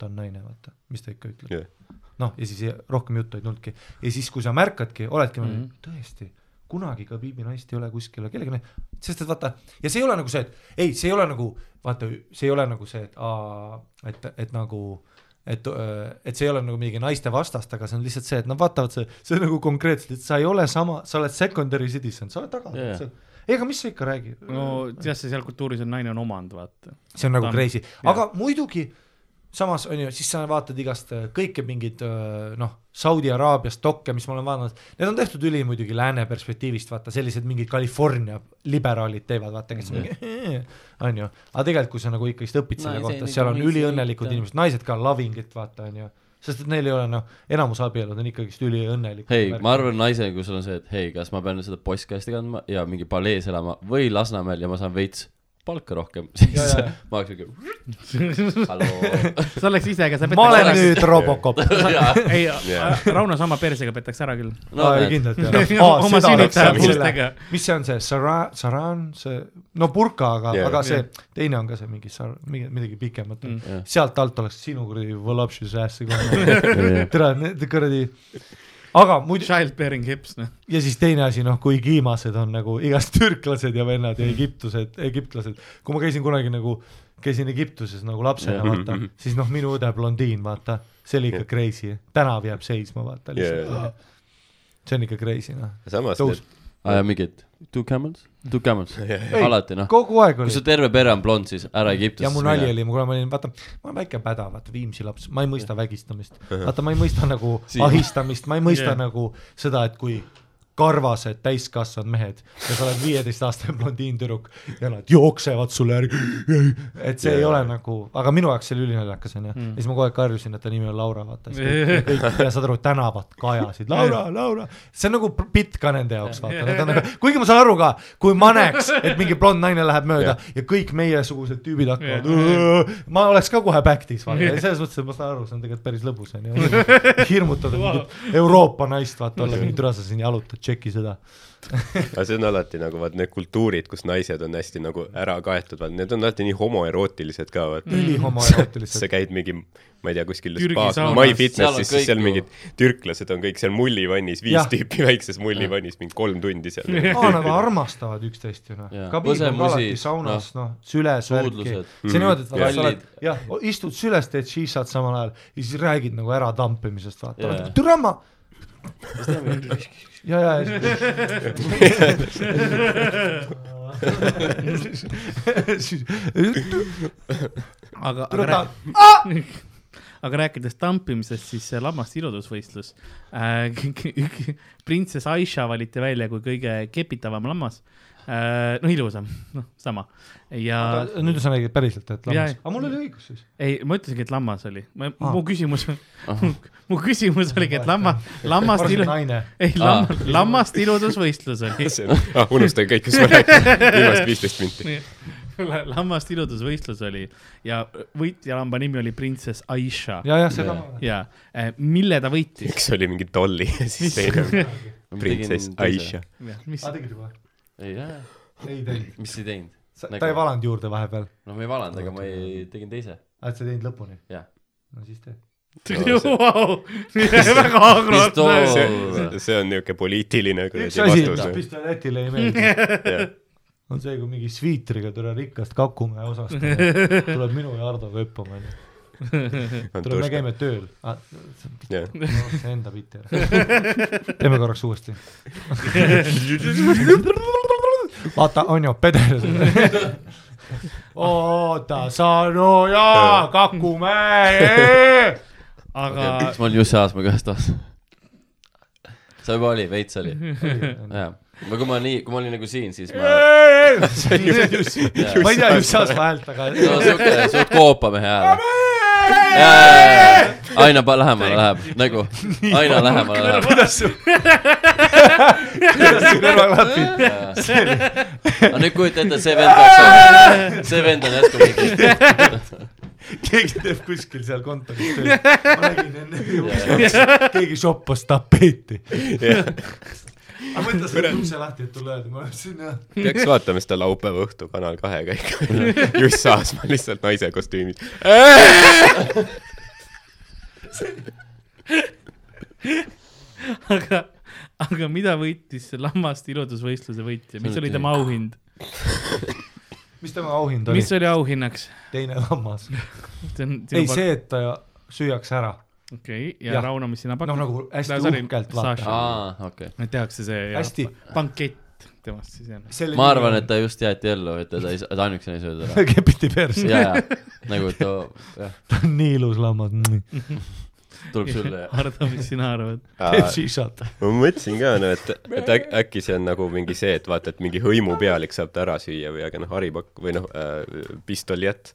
B: ta on naine , vaata , mis ta ikka ütleb
E: Jah. .
B: noh , ja siis ei- rohkem juttu ei tulnudki ja siis , kui sa märkadki , oledki mm ,
D: Mhm.
B: -hmm. tõesti kunagi Khabibi naist ei ole kuskil , kellega ne- , sest et vaata , ja see ei ole nagu see , et ei , see ei ole nagu , vaata , see ei ole nagu see , et aa , et , et nagu et , et see ei ole nagu mingi naiste vastast , aga see on lihtsalt see , et nad vaatavad , see , see on nagu konkreetselt , et sa ei ole sama , sa oled secondary citizen , sa oled taga
C: Jajah.
B: yeah. . ega mis sa ikka räägid
D: no tead sa seal kultuuris on naine on omand , vaata .
B: see on nagu
D: ta-
B: crazy , aga muidugi samas on ju , siis sa vaatad igast äh, kõike mingeid öö, noh , Saudi Araabias dokke , mis ma olen vaadanud , need on tehtud üli muidugi lääne perspektiivist , vaata sellised mingid California liberaalid teevad , vaata kes mingi (laughs) on ju , aga tegelikult , kui sa nagu ikkagist õpid selle
C: Naise
B: kohta ,
C: nagu
B: seal on
C: ise
B: üliõnnelikud
C: ikka.
B: inimesed , naised ka on loving it , vaata on ju , sest et neil ei ole noh , enamus abielud on ikkagist üliõnnelikud .
C: hei , ma arvan , naisena , kui sul on see , et hei , kas ma pean seda postkasti kandma ja mingi palees elama või Lasnamäel ja ma saan veits palka rohkem , (laughs) siis
B: ja, ja.
C: ma oleks siuke ,
B: (laughs)
C: halloo .
D: (laughs) sa oleks ise ka , sa
B: ma olen
D: petaks
B: nüüd
C: (laughs)
B: Robocop .
D: ära . (laughs) ei äh,
E: Jaa. ,
D: Rauno sama persega petaks ära küll .
B: no, . kindlalt jah .
D: Oma sünnitaja puustega.
B: mis see on see , Saran , Saran , see , no burka , aga
E: Jah.
B: yeah, , aga see yeah. teine on ka see mingi sar- , mingi , midagi pikemat
D: Mm.
B: mm. . sealt alt oleks sinu kuradi voluptuous'e kohe . tere , need kuradi , aga muidu ,
D: Childbearing hips , (laughs) noh .
B: ja siis teine asi , noh , kui kiimased on nagu igast türklased ja vennad ja egiptused , egiptlased , kui ma käisin kunagi nagu , käisin Egiptuses nagu
C: Mhm,
B: lapsena ,
E: Jah.
B: vaata , siis noh , minu õde blondiin , vaata , see oli ikka crazy , tänav jääb seisma , vaata
E: Jah.
B: lihtsalt . see on ikka crazy , noh .
E: samas
B: Tõus-
E: need ,
C: aa ja mingid two camels , two camels , alati noh .
B: kogu aeg
C: kui
B: oli
C: su terve pere on blond , siis ära
B: ja
C: Egiptusesse
B: mu nali . oli , kuna ma olin , vaata , ma olen väike päda , vaata Viimsi laps , ma ei mõista vägistamist , vaata , ma ei mõista nagu
C: Siin-
B: ahistamist , ma ei mõista
D: Jah.
B: nagu seda , et kui karvased täiskasvanud mehed ja sa oled viieteistaastane blondiin tüdruk ja nad jooksevad sulle järgi , et see ei ole nagu , aga minu jaoks see oli ülinaljakas onju , ja siis ma kogu aeg karjusin , et ta nimi on Laura , vaata , siis kõik kõik- ja saad aru , tänavad kajasid , Laura , Laura , see on nagu pr- bitt ka nende jaoks , vaata , nad on nagu , kuigi ma saan aru ka , kui ma näeks , et mingi blond naine läheb mööda ja kõik meiesugused tüübid hakkavad
D: Jah.
B: "Õõ", ma oleks ka kohe back'is , vaata , selles mõttes , et ma saan aru , see on tegelikult päris lõbus , on ju . hirmutada mingit Euroopa naist , vaata , olla mingi türa , sa siin jalutad , tšeki seda .
E: aga see on alati nagu vaat need kultuurid , kus naised on hästi nagu ära kaetud , vaat need on alati nii homoerootilised ka , vaat .
B: ülihomoerootilised.
E: sa käid mingi , ma ei tea , kuskil
D: Türgi
E: spaas ,
D: saunas,
C: seal on
E: MyFitnessis , siis
C: kõik
E: seal
C: ju.
E: mingid türklased on kõik seal mullivannis , viis
B: Jah.
E: tüüpi väikses mullivannis , mingi kolm tundi seal . Ah,
B: aa , nad armastavad üksteist ju noh
C: Jaa. .
B: kabiin on
C: Põsemusid,
B: alati saunas , noh , süles , värki
C: suudlused. .
B: see on niimoodi , et vaata, sa oled
C: Kallid. ,
B: jah , istud süles , teed šiisat samal ajal ja siis räägid nagu ära tampimisest , vaata ,
C: Jaa.
B: oled nagu türa ma . ja , ja , ja siis .
D: aga ,
B: Tule
D: aga rääk- . (laughs) aga rääkides tampimisest , siis see lammaste iludusvõistlus äh, . (laughs) printsess Aisha valiti välja kui kõige kepitavam lammas äh, . no ilusam , noh sama ja
B: nüüd sa nägid päriselt , et
D: Jaa, jaa.
B: lammas . aga mul oli õigus siis .
D: ei , ma ütlesingi , et lammas oli ,
B: Aa.
D: mu küsimus , (laughs) mu küsimus oligi , et lamma , lammast
B: arvasin
D: ilu- ,
B: naine .
D: ei lamm- , lammast iludusvõistlus oli .
E: ah , unustan kõik , mis ma räägin , viimased viisteist minti .
D: lammast iludusvõistlus oli ja võitja lamba nimi oli printsess Aisha ja,
B: ja , jah , seda ma mäletan .
D: ja eh, mille ta võitis ?
E: üks oli mingi Dolly ja siis teine oli
D: (laughs)
E: printsess Aisha .
D: mis (laughs)
B: aa , tegid juba ?
C: ei jaa ,
B: ei teinud .
C: mis ei teinud ?
B: ta ei valanud juurde vahepeal ,
C: no ma ei valanud , aga ma ei , tegin teise ,
B: et sa ei teinud lõpuni .
C: jah .
B: no siis tee .
D: wow, , väga agrotne .
B: (laughs)
C: pistool ,
E: see on niisugune poliitiline
B: üks
E: kuradi
B: asi ,
E: vastus .
B: mis talle Lätile ei meeldi , on see , kui mingi sviitriga tule rikast Kakumäe osast tuleb minu ja Hardo köppama , onju . tule , me käime tööl . Ah,
E: (laughs) käime .
B: see enda pitt ei ole . teeme korraks uuesti . vaata , on ju , peder . oota , Sanu ja Kakumäe .
D: aga
C: miks ma olen Jussi Aasma kõhest
B: (laughs)
C: taas ? see juba oli , veits oli ,
B: Mhm.
C: jah . no kui ma nii , kui ma olin nagu siin , siis ma
B: ma ei tea , mis seas vahelt ,
C: no
B: aga .
C: siuke , suht koopamehe hääl . aina pa- lähemale läheb , nagu aina lähemale läheb .
B: kuidas sul , (laughs) kuidas sul kõrvaklapid ?
C: aga nüüd kujuta ette , see vend peaks , see vend on järsku mingi ,
B: keegi teeb kuskil seal kontoris tööd . ma nägin enne jooksmas , keegi shoppas tapeeti . aga mõtle selle ukse lahti , et tulla öelda , ma ütlesin jah .
E: peaks vaatama seda laupäeva õhtu Kanal kahega (laughs) ikka . Juss Aasma lihtsalt naise kostüümis .
D: aga , aga mida võitis see lammast iludusvõistluse võitja , mis
C: See
D: oli
C: oli
D: tema auhind ,
B: mis tema auhind oli
D: mis ? oli auhinnaks ?
B: teine lammas . ei ,. see , et ta süüakse ära .
D: okei , ja
B: Jah.
D: Rauno , mis sina pakud
B: noh ,? nagu hästi
D: Sorry,
B: uhkelt
D: Sasha.
B: vaata .
C: aa , okei .
D: no tehakse see jah,
B: Hästi.
D: bankett temast siis jah .
C: ma arvan ,
B: (laughs)
C: et ta just jäeti ellu , et teda ei , ta ainukesena ei sööda ära .
B: ta kepiti persse ,
C: ja , ja nagu too , jah ,
B: ta on nii ilus lammas , Mm.
C: tuleb
D: (laughs)
C: sulle ja
D: Hardo , mis sina arvad ?
B: teeb shishat .
E: ma mõtlesin ka , no et , et äk- äkki see on nagu mingi see , et vaata , et mingi hõimupealik saab ta ära süüa või , aga noh , haripakk või noh äh, , pistoljet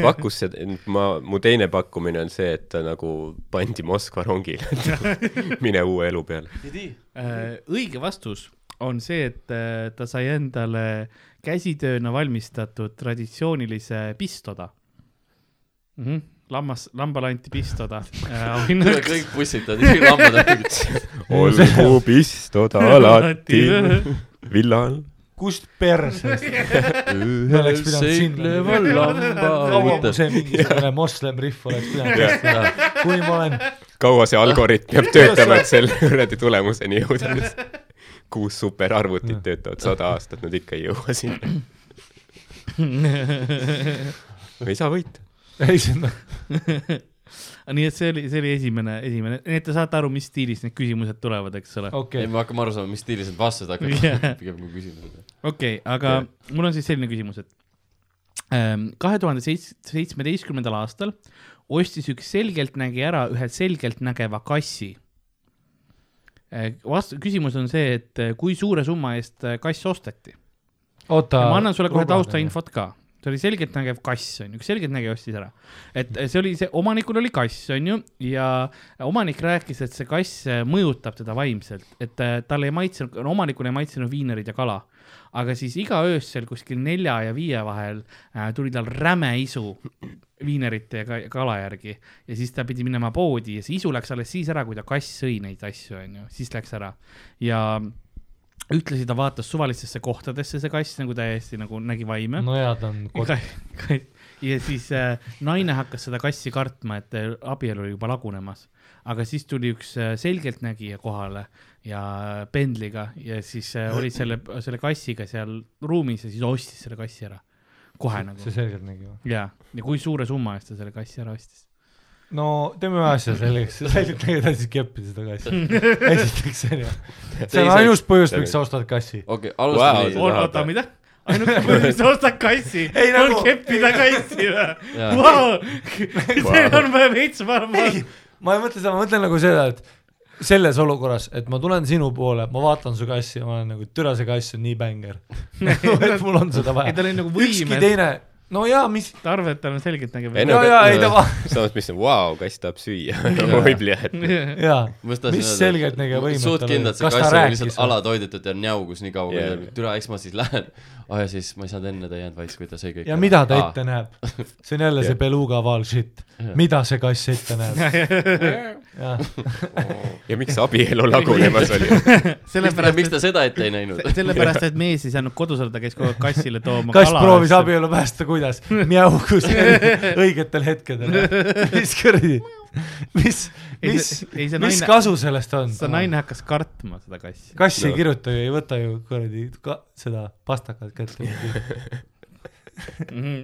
E: pakkus seda , ma , mu teine pakkumine on see , et ta nagu pandi Moskva rongile , (laughs) et mine uue elu peale .
D: Äh, õige vastus on see , et äh, ta sai endale käsitööna valmistatud traditsioonilise pistoda mm . -hmm. lammas , lambale anti (laughs) pistoda äh,
C: Tule,
D: auhinnaks .
C: kõik pussitavad , isegi lambad on kõik .
B: (laughs)
E: olgu pistoda alati villa all .
B: kust persest ? me oleks pidanud sinna . kaua mu see mingisugune moslem rihv oleks pidanud kestma , kui ma olen
E: kaua see
B: (laughs)
E: algoritm peab töötama , et selle kuradi tulemuseni jõuda ? kuus superarvutit töötavad sada aastat , nad ikka ei jõua
B: (laughs)
E: sinna . ei saa võita .
B: ei , see on ,
D: (laughs) nii et see oli , see oli esimene , esimene , nii et te saate aru , mis stiilis need küsimused tulevad , eks ole .
B: okei
C: ei , me hakkame aru saama , mis stiilis need vastused
D: Jah.
C: hakkavad . pigem kui küsimused .
D: okei okay, , aga mul on siis selline küsimus , et kahe tuhande seitsmeteistkümnendal aastal ostis üks selgeltnägija ära ühe selgeltnägeva kassi . vast- , küsimus on see , et eh, kui suure summa eest eh, kass osteti .
B: oota .
D: ma annan sulle kohe . taustainfot ka see oli selgeltnägev kass , on ju , üks selgeltnägija ostis ära . et eh, see oli see , omanikul oli kass , on ju , ja omanik rääkis , et see kass eh, mõjutab teda vaimselt , et eh, talle ei maitsenud , omanikule ei maitsenud viinerid ja kala . aga siis iga öösel kuskil nelja ja viie vahel äh, tuli tal räme isu viinerite ja ka- ja kala järgi ja siis ta pidi minema poodi ja see isu läks alles siis ära , kui ta kass sõi neid asju , onju , siis läks ära ja ühtlasi ta vaatas suvalistesse kohtadesse , see kass nagu täiesti nagu nägi vaime .
B: no jaa , ta on kod- ,
D: Ka- ja siis äh, naine hakkas seda kassi kartma , et äh, abielu oli juba lagunemas , aga siis tuli üks äh, selgeltnägija kohale ja pendliga ja siis äh, oli selle , selle kassiga seal ruumis ja siis ostis selle kassi ära , kohe
B: see
D: nagu .
B: selgelt nägi ju .
D: ja , ja kui suure summa eest ta selle kassi ära ostis ?
B: no teeme ühe asja selgeks , (laughs) selgelt nägi ta siis keppida seda kassi . (laughs) esiteks see on ju , see on
C: Teiseks-
B: ainus põhjus , miks sa ostad kassi .
C: okei ,
E: Wow,
C: alustame
E: see-
C: nii .
E: Raha
D: oota ,
E: peal.
D: mida ? ainuke põhjus , osta kassi ,
B: (laughs) Ei,
D: on
B: nagu-
D: keppida kassi
C: Jaa.
D: või ? Teil on vaja veits varem .
B: ei , ma ei mõtle seda , ma mõtlen nagu seda , et selles olukorras , et ma tulen sinu poole , ma vaatan su kassi ja ma olen nagu , türa see kass on nii bänger . (laughs) et mul on seda
D: ei ,
B: vaja .
D: tal oli nagu
B: ükski
D: võimed ,
B: teine , no jaa , mis ,
D: tarved tal on selgeltnägija veel .
E: Enne-
B: jaa , jaa , ei ta va- ,
E: (laughs) samas , mis on , vau , kass tahab süüa . võib-olla jah , et
B: jaa .
C: mis ta
B: mis
C: siin öelda-
B: selgeltnägija võimed
C: suht kindlalt see
B: kas ta
C: kass oli
B: rääkis
C: lihtsalt ? alatoidetud ja njaugus nii kaua
E: Jaa.
C: yeah. , kui ta türa , eks ma siis lähen . aa ja siis ma ei saanud enne , ta ei jäänud vait , kui ta sõi kõik .
B: ja mida ta ette näeb ? see on jälle see beluga vaal shit . mida see kass ette näeb ? jah ,
E: ja miks abielu lagunemas oli ?
B: (laughs)
C: näeb ? miks
D: (laughs) sellepärast ,
C: ta seda ette ei näinud ? (laughs)
D: et sellepärast , et mees ei saanud kodus olla , ta käis kogu aeg kassile tooma
B: kass proovis . abielu päästa , kuidas ? mjaugus õigetel hetkedel . mis kuradi , mis ,
D: Ei,
B: mis
D: see- ei, see ,
B: mis
D: naine-
B: kasu sellest on ?
D: see naine hakkas kartma seda kassi .
B: kass ei
E: No.
B: kirjuta ju , ei võta ju kuradi ka, seda pastakat
D: (laughs)
B: kätte . Mhm.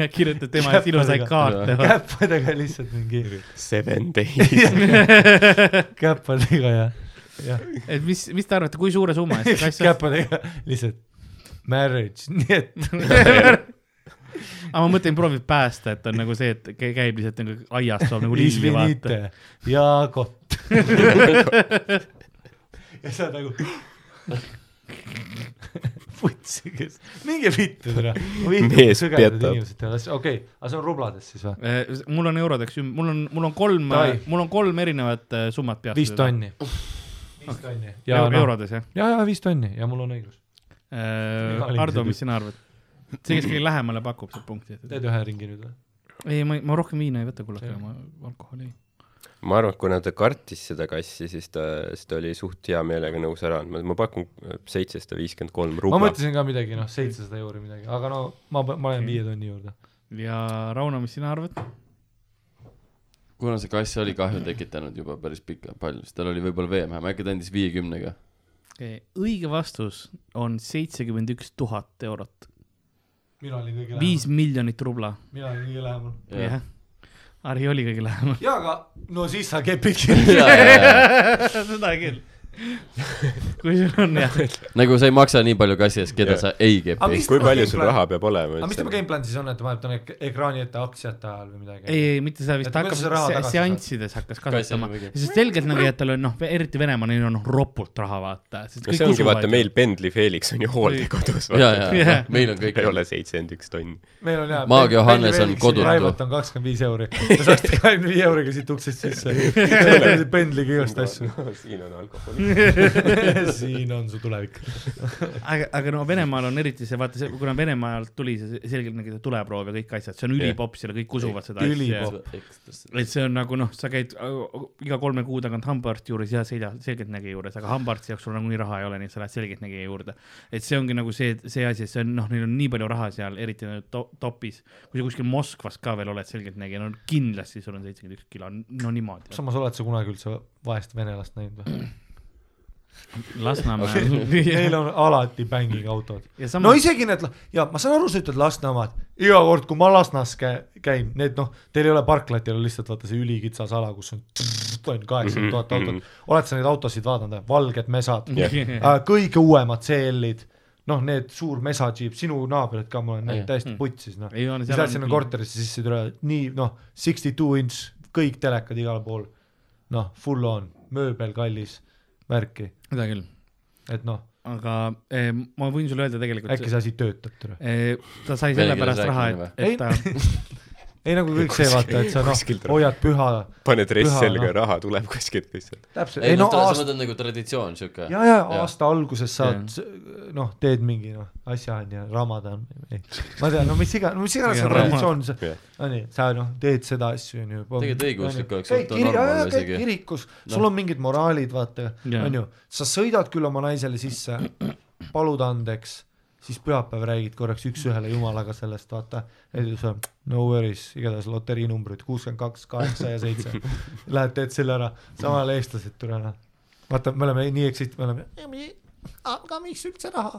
D: ja kirjutab tema eest ilusaid kaarte .
B: käppadega lihtsalt mingi ,
E: Seven
B: (laughs)
E: days .
B: käppadega ja , jah ,
D: et mis , mis te arvate , kui suure summa
B: (laughs)
D: eest see kass ostis ?
B: käppadega lihtsalt marriage , nii et
D: aga ma mõtlen , proovib päästa , et on nagu see , et kä- käib lihtsalt nagu aias , toob nagu liivi vaata .
B: Isvinite ja (laughs) kott ja sa nagu (laughs) putsi , kes , minge vittu täna .
E: Mees petab.
B: okei okay, , aga see on rublades siis või ?
D: Eh, mul on eurodeks , mul on , mul on kolm eh,
B: Tai. ,
D: mul on kolm erinevat äh, summat peast .
B: viis . tonni . viis tonni . ja
D: No.
B: noh ,
D: eurodes jah .
B: ja , ja viis tonni ja mul on õigus . olin
D: Ardo ,
B: see
D: mis sina arvad ? see , kes kõige lähemale pakub , saab punkti .
B: teed ühe ringi nüüd või ?
D: ei , ma , ma rohkem viina ei võta , kullake , ma alkoholi ei .
E: ma arvan , et kuna ta kartis seda kassi , siis ta , siis ta oli suht hea meelega nõus ära andma , ma pakun seitsesada viiskümmend kolm
B: ma
E: rubla .
B: mõtlesin ka midagi , noh , seitsesada euri midagi , aga no ma , ma lähen viie tonni juurde .
D: ja Rauno , mis sina arvad ?
C: kuna see kass oli kahju tekitanud juba päris pikka , palju , siis tal oli võib-olla veemähem , äkki ta andis viiekümnega .
D: õige vastus on seitsekümmend üks tuhat eurot ,
B: mina olin kõige
D: viis miljonit rubla ,
B: mina olin kõige lähemal .
C: (laughs)
D: jah . Harri oli kõige lähemal .
B: jaa , aga no siis sa kepidki .
D: (laughs) seda küll . kui sul on
E: (laughs)
D: jah ,
C: nagu sa ei maksa nii palju kassi eest , keda
E: Jah.
C: sa ei kepi .
E: kui palju sul raha peab olema
B: aga mis tema
E: üldse ?
B: game plan siis on , et ta vahetab ek ekraani ette aktsiate ajal või midagi ?
D: ei , ei mitte seda vist ,
B: Et
D: ta
B: kuidas sa raha
D: hakkab
B: tagasi
D: se- seanssides hakkas kasutama
C: Kassile või ,
D: sest selgeltnägijatel on noh , eriti Venemaal , neil on noh ropult raha vaata .
E: no see ongi , vaata , meil Bentley Felix on ju hooldekodus .
C: ja , ja
D: Jah. ,
C: meil on kõik
E: ei . ole seitsekümmend üks tonni .
B: meil on hea .
C: Maag Johannes on kodutu.
B: Raivat on kakskümmend viis euri , ta saaks
C: (laughs)
B: kahekümne viie euriga siit uksest sisse . pendliga igast
E: (laughs)
C: (laughs)
B: asju .
E: siin on alkohol .
B: siin on su tulevik .
D: aga , aga no Venemaal on eriti see , vaata see , kuna Venemaalt tuli see selgeltnägija tuleproov ja kõik asjad , see on
E: Jah.
D: ülipopp , seal kõik usuvad seda
B: Ülipopp.
D: asja . et see on nagu noh , sa käid äh, iga kolme kuu tagant hambaarsti juures ja selja , selgeltnägija juures , aga hambaarsti jaoks sul nagunii raha ei ole , nii et sa lähed selgeltnägija juurde . et see ongi nagu see , see asi , et see on noh , neil on nii palju raha seal , eriti nagu to- topis . kui sa kuskil Moskvas ka veel oled selgeltnägija , no kindlasti sul on seitsekümmend üks kilo , no niimoodi .
B: samas oled sa kunagi üldse vaest venelast näinud
C: (laughs)
B: või ? (laughs) Neil
D: Lasnamäel .
B: on alati bänging autod .
D: ja
B: no
D: samas ,
B: isegi need , ja ma saan aru , sa ütled Lasna omad , iga kord , kui ma Lasnas kä- , käin , need noh , teil ei ole parklat , teil on lihtsalt vaata see ülikitsas ala , kus on (laughs) kaheksakümmend tuhat
E: Mhm.
B: autot , oled sa neid autosid vaadanud , valged mesad
E: Jah.
D: (laughs)
B: Äh, kõige uuemad CL-id , noh , need suur mesa džiip , sinu naabrid ka , ma olen näinud
C: Jah.
B: täiesti
D: Mm.
B: putsis , noh .
D: Ei ole,
B: siis
D: seal on
B: lähed sinna
D: küll.
B: korterisse sisse , tule nii , noh , sixty two inch , kõik telekad igal pool , noh , full on , mööbel kallis , värki ,
D: seda küll ,
B: et noh ,
D: aga eh, ma võin sulle öelda tegelikult .
B: äkki see asi töötab , tule .
D: Eh, ta sai
C: Vene
D: selle pärast
C: keeles
D: raha ,
C: rääkimine
D: et , et ta ,
B: ei , nagu kõik see , vaata , et sa noh
E: Kuskil tuleb. ,
B: hoiad püha ,
E: paned ress
B: Püha,
E: selga
B: noh.
E: ja raha tuleb kuskilt lihtsalt .
B: täpselt ,
C: ei
B: ei
C: noh ,
B: no
C: sa
B: aasta ,
C: mõtled nagu traditsioon siuke .
B: ja , ja aasta alguses
D: Jah.
B: saad , noh , teed mingi noh , asja on ju , ramadan , ma tean , no mis iganes , mis iganes
D: Jah,
B: see traditsioon , see
E: Jah.
B: Onju , sa noh , teed seda asju , onju .
C: Tegelikult õigeusklik oleks olnud normaalne
B: normaalne isegi .
C: isegi.
B: kirikus , sul on mingid moraalid , vaata ,
D: Jaa.
B: onju , sa sõidad küll oma naisele sisse , palud andeks , siis pühapäev räägid korraks üks-ühele jumalaga sellest , vaata , et sa no worries , igatahes loteriinumbrid kuuskümmend kaks , kaheksa ja seitse , lähed teed selle ära , samal ajal eestlased tulevad , vaata , me oleme nii eksit- , me oleme , aga miks üldse raha ,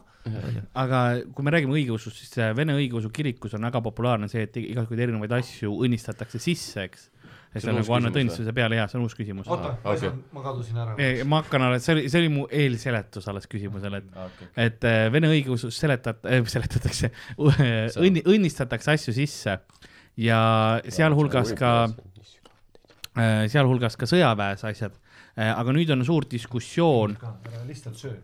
D: aga kui me räägime õigeusust , siis äh, see Vene õigeusu kirikus on väga populaarne see , et igasuguseid erinevaid asju õnnistatakse sisse , eks . ja
C: See
D: see
C: on
D: on
C: uus
D: nagu Anne
C: küsimus
D: Tõnissuse peale , jaa , see on uus küsimus .
B: oota
C: Aa, , okei.
B: ma kadusin ära .
D: ma hakkan alles , see oli , see oli mu eelseletus alles küsimusele , et
C: okay. .
D: et äh, vene õigeusus seletat- ,
C: (laughs)
D: seletatakse , õnni- , õnnistatakse asju sisse ja sealhulgas ka , sealhulgas ka sõjaväes asjad . aga nüüd on suur
C: Mm.
D: diskussioon .
B: lihtsalt söö .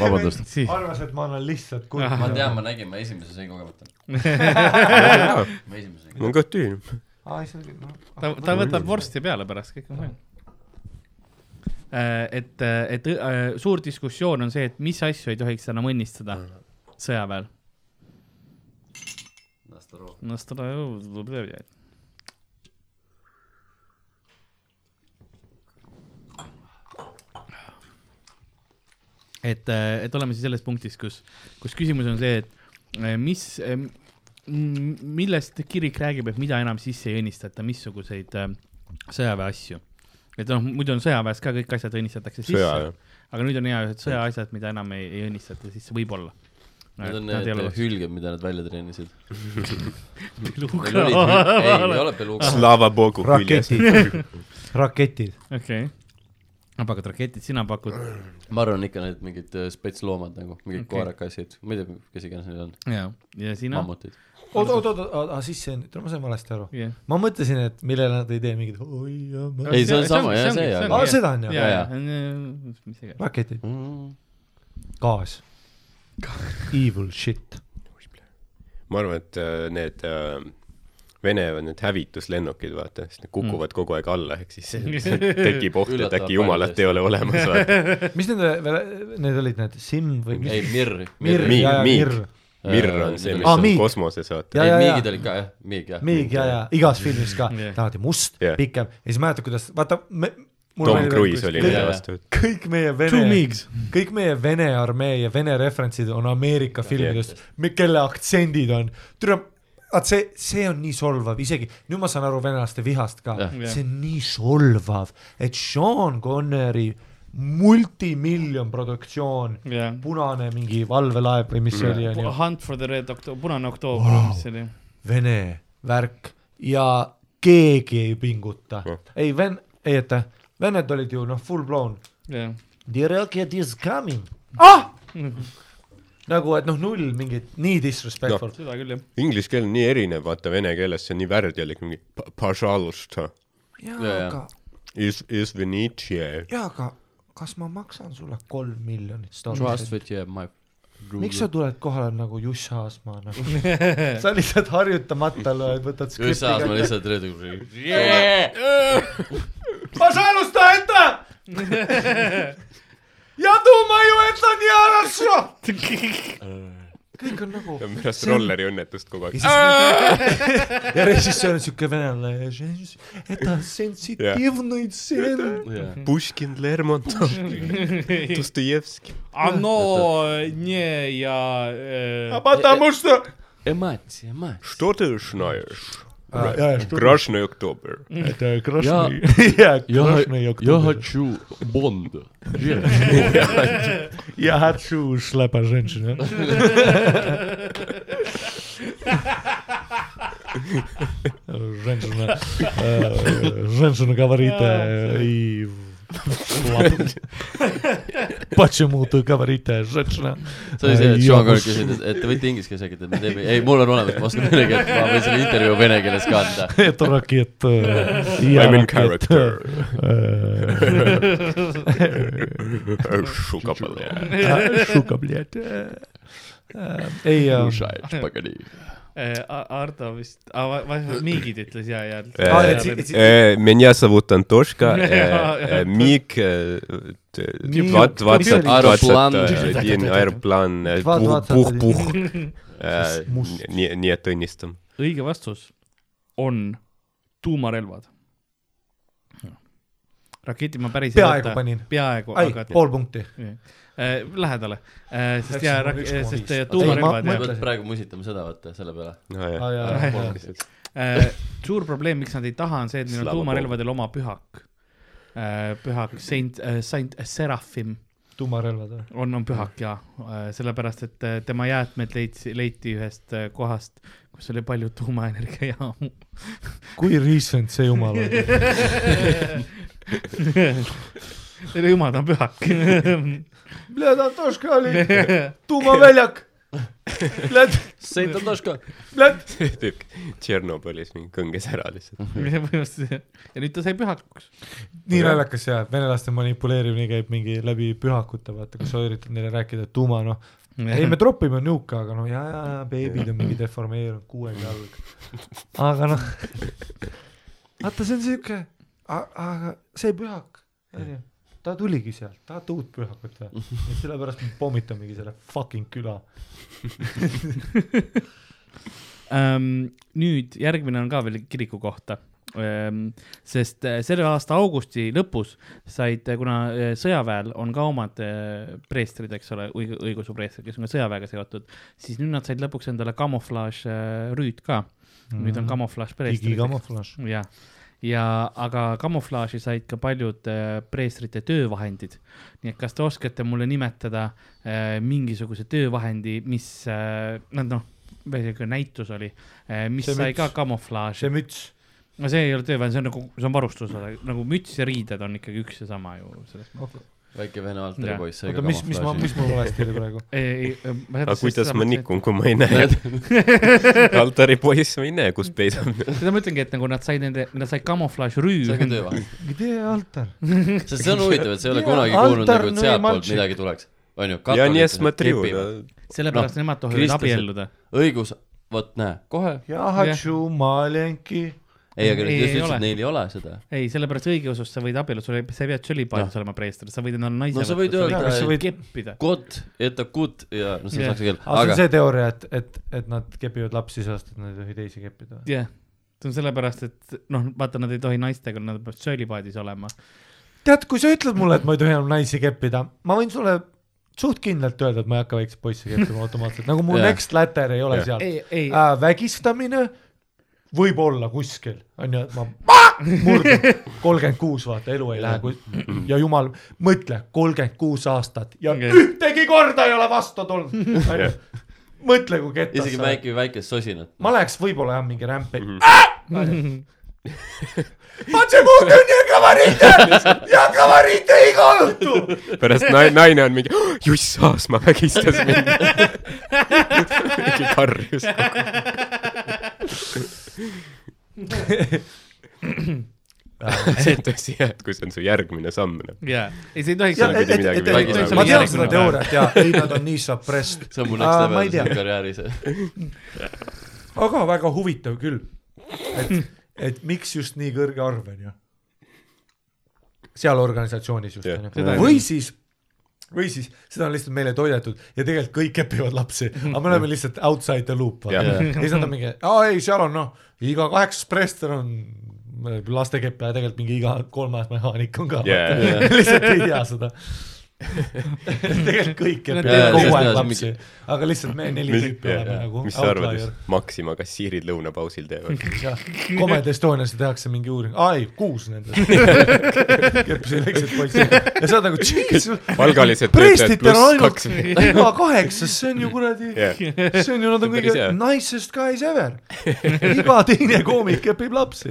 F: Vabandust. .
B: arvas , et ma annan lihtsalt
C: ma
B: kurku .
C: tean , ma nägin , ma esimese sõi
B: (laughs)
C: kogemata . ma esimese sõi .
E: mul on kõht tühi .
D: ta , ta võtab vorsti peale pärast , kõik on fine . et , et õ- äh, suur diskussioon on see , et mis asju ei tohiks enam õnnistada sõjaväel .
C: las ta rohkem .
D: no seda ju , et , et oleme siis selles punktis , kus , kus küsimus on see , et eh, mis , millest kirik räägib , et mida enam sisse ei õnnistata , missuguseid eh, sõjaväe asju . et noh , muidu on sõjaväes ka kõik asjad õnnistatakse
E: Sõjaväe.
D: sisse , aga nüüd on hea , et sõjaasjad , mida enam ei, ei õnnistata sisse , võib-olla .
C: Need on need hülged , mida nad välja
B: (laughs)
C: treenisid . ei
D: hülg .
C: ole Beluga .
B: Ah.
E: Slava Bogu küljes .
B: raketid , raketid .
D: okei , ma pakun raketid , sina pakud ,
C: ma arvan ikka need mingid äh, spetsloomad nagu ,
D: Okei.
C: mingid okay. koerakassid , ma ei tea , kes iganes need on ,
D: ja , ja sina .
C: mammutid .
B: oot , oot , oot , oot , siis see on , ma sain valesti aru .
D: jah ,
B: ma mõtlesin , et millele nad ei tee mingit oi ja ma .
C: ei , see on
D: see on-
C: sama ,
D: see
C: jah ,
D: ongi-
C: see
D: see
C: jah
D: ongi-
B: aa , seda on
D: ja ,
B: ju ?
D: ja, ja.
C: jaa. ,
D: mis iganes .
B: raketid ,
C: mm. .
B: gaas . Evil shit .
E: ma arvan , et äh, need äh, Vene need hävituslennukid , vaata , siis need kukuvad mm. kogu aeg alla , ehk
B: (laughs)
E: siis tekib oht , et
C: Üllatavalt
E: äkki jumalat ei ole olemas , vaata .
B: (laughs) mis nende , need olid need Sim või mis
C: ei ,?
B: (laughs)
C: Mir ,
B: Mir
E: Miig,
B: ja , ja
E: miig.
B: Mir .
E: Mirr on see , mis
B: Aa,
E: on
B: miig.
E: kosmoses , vaata .
B: Ja-
C: ei
B: ja- , ja.
C: Miigid olid ka jah , Miig jah .
B: Miig ja , ja igas filmis ka
D: Jah. ,
B: ta alati must
E: Jah.
B: yeah. , pikem ja siis mäletad , kuidas vaata me, .
E: Tom Cruise oli
C: Jaa,
E: nende
C: jaa.
E: vastu .
B: kõik meie
D: Two
B: vene ,
D: migs .
B: kõik meie vene armee ja vene referentsid on Ameerika filmidest , kelle aktsendid on , türa , vaat see , see on nii solvav , isegi nüüd ma saan aru venelaste vihast ka
C: Jah.
B: yeah. , see on nii solvav , et Sean Connery multimiljon produktsioon ,
D: jah ,
B: punane mingi valvelaev või mis see oli , onju .
D: Hunt for the Red October , Punane oktoober wow. , mis see oli .
B: Vene värk ja keegi ei pinguta
E: Jah. .
B: ei , ven- , ei oota , vennad olid ju noh , full blown .
D: jah ,
B: The rocket is coming ah! . (laughs) nagu , et noh , null mingit , nii disrespectful no. .
D: seda küll jah .
E: Inglise keel on nii erinev , vaata vene keeles , see on nii värdjalik , mingi pa- pažalusta ,
C: Jaa,
B: jaa ,
C: jaa.
B: aga ,
E: is , is venitše .
B: jaa , aga kas ma maksan sulle kolm miljonit
C: Trust
B: dollarit ?
C: with you my .
B: miks sa tuled kohale nagu Juss Aasmaa
C: (laughs)
B: nagu ? sa lihtsalt harjutamata loed , võtad
C: just samas
B: skripti .
C: ma lihtsalt
B: (laughs)
C: rõõdu- .
B: Пожалуйста, это!
C: (laughs)
B: Я думаю , это не хорошо . kõik on nagu .
E: pärast rolleri õnnetust kogu aeg .
B: ja režissöör on siuke venelane , это sensitiivne tseen .
E: Puškin , Lermontov , Dostojevski .
D: Anno , äh, nie
B: Ah,
D: ja .
B: Потому что .
C: emats , emats .
E: Что ты знаешь ?
B: это
E: Красный октябрь .
B: красный . Я красный октябрь.
C: хочу Bonda .
B: Я хочу шляпа женщина . Женщина, э, женщина говорит э, и шляпа. Почему ты говорит э, женщina?
C: see oli see , et
B: Äh,
C: Sean Connery
B: jagus.
C: küsis , et , et te võite inglise keeles rääkida , et me teeme , ei , mul on olemas , ma oskan vene keelt , ma võin selle intervjuu vene keeles ka anda .
B: Это ракет. э, Я
E: I am in
B: ракет. (laughs)
E: character .
B: э,
E: Šuka pole .
B: э, Сука, блядь. э, э, Эй, э,
D: äh, Ardo vist , Ah, mingid ütles ja , ja .
E: Aa, et Меня зовут Антошка
D: Jaa, jaa.
E: Э, э, Миг э, т-
B: Миг.
E: двад- двадцать
C: Аэроплан.
E: двадцать один аэроплан э,
B: Два-
E: пух
B: двадцать
E: пух
B: один.
E: пух Э,
B: С- муж.
E: не- не теннистом
D: õige vastus on tuumarelvad . raketi ma päris
B: Peaaegu panin.
D: peaaegu ,
B: Ai,
D: aga .
B: pool punkti .
D: Äh, Lähedale ,
B: Läks
D: sest ja
B: mul , üks koma
D: sest
B: viis.
D: äh,
B: Ei, ma-
D: tuumarelvad
C: me
D: ja
B: mõtlen-
C: peaks praegu musitama seda , vaata , selle peale .
B: Ah, jaa, jaa.
D: Äh, suur probleem , miks nad ei taha , on see , et neil on
E: Slava
D: Äh, tuumarelvadel oma pühak . pühak Saint , Saint äh, Seraphim ,
B: tuumarelvad või ?
D: on , on pühak ja sellepärast , et äh, tema jäätmed leidsi , leiti ühest äh, kohast , kus oli palju tuumaenergiajaamu .
B: (laughs)
D: (laughs)
B: kui recent see jumal on ?
D: selle jumal on pühak . (laughs)
B: Bledatoška oli tuumaväljak . Lähed ,
C: Saint Antoška .
E: (laughs)
B: lähed .
E: tüüp Tšernobõlis mingi kõnges ära lihtsalt .
B: Mhm.
D: põhimõtteliselt ja nüüd ta sai pühakuks .
B: nii naljakas jaa , venelaste manipuleerimine käib mingi läbi pühakute , vaata , kus sa üritad neile rääkida , et tuuma noh , ei me tropime nuuka , aga noh , jaa , jaa , jaa , beebid on mingi deformeerunud kuuega jalg . aga noh , vaata , see on siuke , aga see pühak , onju , ta tuligi sealt , tahate uut pühakut või ? et sellepärast me pommitamegi selle fucking küla .
D: Ähm, nüüd järgmine on ka veel kiriku kohta . sest äh, selle aasta augusti lõpus said , kuna äh, sõjaväel on ka omad äh, preestrid , eks ole , õigeusu preestrid , kes on ka sõjaväega seotud , siis nüüd nad said lõpuks endale kamuflaažrüüd ka . nüüd on kamuflaaž preestrid .
B: digikamuflaaž .
D: jah , ja aga kamuflaaži said ka paljud äh, preestrite töövahendid . nii et kas te oskate mulle nimetada äh, mingisuguse töövahendi , mis äh, , noh , või sihuke näitus oli äh, , mis
B: See
D: see sai
B: müts.
D: ka kamuflaaži
B: see ? müts ,
D: no see ei ole töövahend , see on nagu , see on varustus , nagu müts ja riided on ikkagi üks ja sama ju selles mõttes .
C: väike vene altari
D: Jah.
C: poiss sai ka
B: oota , mis , mis ma , mis
C: kamuflaaži .
B: mul valesti oli praegu ?
E: aga
D: aga
E: kuidas ma ? nikun , kui ma
B: (laughs)
E: ei näe altari poiss , ma ei näe , kus peidab .
D: seda ma ütlengi , et nagu nad said nende , nad said kamuflaažrüü .
C: see on ka töövahend ,
B: idee altar .
C: sest see on huvitav , et sa ei ole
B: Jaa,
C: kunagi kuulnud
B: altar
C: nagu , et
B: Nõi
C: sealtpoolt
B: Maltšik.
C: midagi tuleks , onju .
E: ja nii , et ma triun .
D: sellepärast nemad tohivad
C: kristlased-
D: abielluda .
C: õigus , vot näe , kohe .
B: ja hatšu malenki .
C: ei , aga
D: Ei,
C: nad
D: ei
C: just ütlesid ,
D: ole.
C: et neil ei ole seda .
D: ei , sellepärast õigeusust sa võid abielluda , sul ei , sa ei pea tšölipaadis
C: Jah.
D: olema preester , sa võid endale naise
C: No sa võid öelda,
D: sa
B: et-
D: võid keppida .
C: Kot , eta kut ja no see on
D: Jah.
C: saksa keel ,
B: aga see on
C: aga
B: see teooria , et , et , et nad kepivad lapsi sellest , et nad ei tohi teisi keppida .
D: jah , see on sellepärast , et noh , vaata , nad ei tohi naistega , nad peavad tšölipaadis olema .
B: tead , kui sa ütled mulle , et ma ei tohi enam naisi keppida , ma võin sulle suht kindlalt öelda , et ma ei hakka väikseid poisse keppima (laughs) automaatselt , nagu mu
C: Jaa.
B: next letter ei ole
E: Jaa.
B: seal .
D: ei , ei ,
B: äh, vägistamine võib olla kuskil , on ju , et
D: (laughs)
B: ma murdun kolmkümmend kuus , vaata , elu ei lähe kui... (clears throat) ja jumal , mõtle , kolmkümmend kuus aastat ja
D: Okei.
B: ühtegi korda ei ole vastu tulnud , on ju . (laughs) mõtle , kui ketas
C: isegi väike , väikest sosinat .
B: ma läheks võib-olla jah mingi rämpi . iga õhtu .
E: pärast na- naine on mingi , Juss Aasma vägistas
B: (laughs)
E: mind . mingi karjus .
B: (laughs)
E: see on tõsi jah , et kui see on su järgmine samm , noh .
D: jaa , ei see ei tohiks
E: Jah,
B: ja
E: Seal
B: et ,
E: pidi
D: olla .
B: et ,
E: midagi
B: et ,
C: välja
B: et
C: tulema.
B: ma tean
D: Järgmine
B: seda
D: päev.
B: teooriat ja ei , nad on nii suppressed ,
C: see on mu
B: Aa,
C: next
B: ma ei
C: level
B: tea.
C: siin
B: (laughs)
C: karjääris .
B: aga väga huvitav küll . et , et miks just nii kõrge arv on ju . seal organisatsioonis just
E: Jah.
B: on ju
D: Seda ,
B: või siis või siis seda on lihtsalt meile toidetud ja tegelikult kõik kepivad lapsi , aga me oleme lihtsalt outside the loop . ja
E: Jah.
B: siis nad on mingi , aa ei , seal on noh , iga kaheksas preester on lastekeppija , tegelikult mingi iga kolmas mehaanik on ka
E: Jaa.
B: yeah. , (laughs) lihtsalt ei tea seda . tegelikult kõik kepivad
D: Nad teevad
B: kogu
C: lihtsalt
B: aeg
C: edasi
B: lapsi , aga lihtsalt me neli tüüpi oleme nagu
E: mis sa arvad ,
B: outlier .
E: et Maxima kassiirid lõunapausil teevad ?
B: jah , Comedy Estonias tehakse mingi uuring , aa ei , kuus
E: (laughs)
B: nendest . keppisid väiksed poisid ja sa oled nagu , jesus ,
E: palgalised töötajad
B: preestitel on
E: pluss
B: ainult
E: kaks .
B: iga kaheksas , see on ju kuradi
E: Jah.
B: see on ju , nad on
E: See on päris
B: kõige
E: hea.
B: nicest guys ever . iga teine koomik kepib
E: (laughs)
B: lapsi .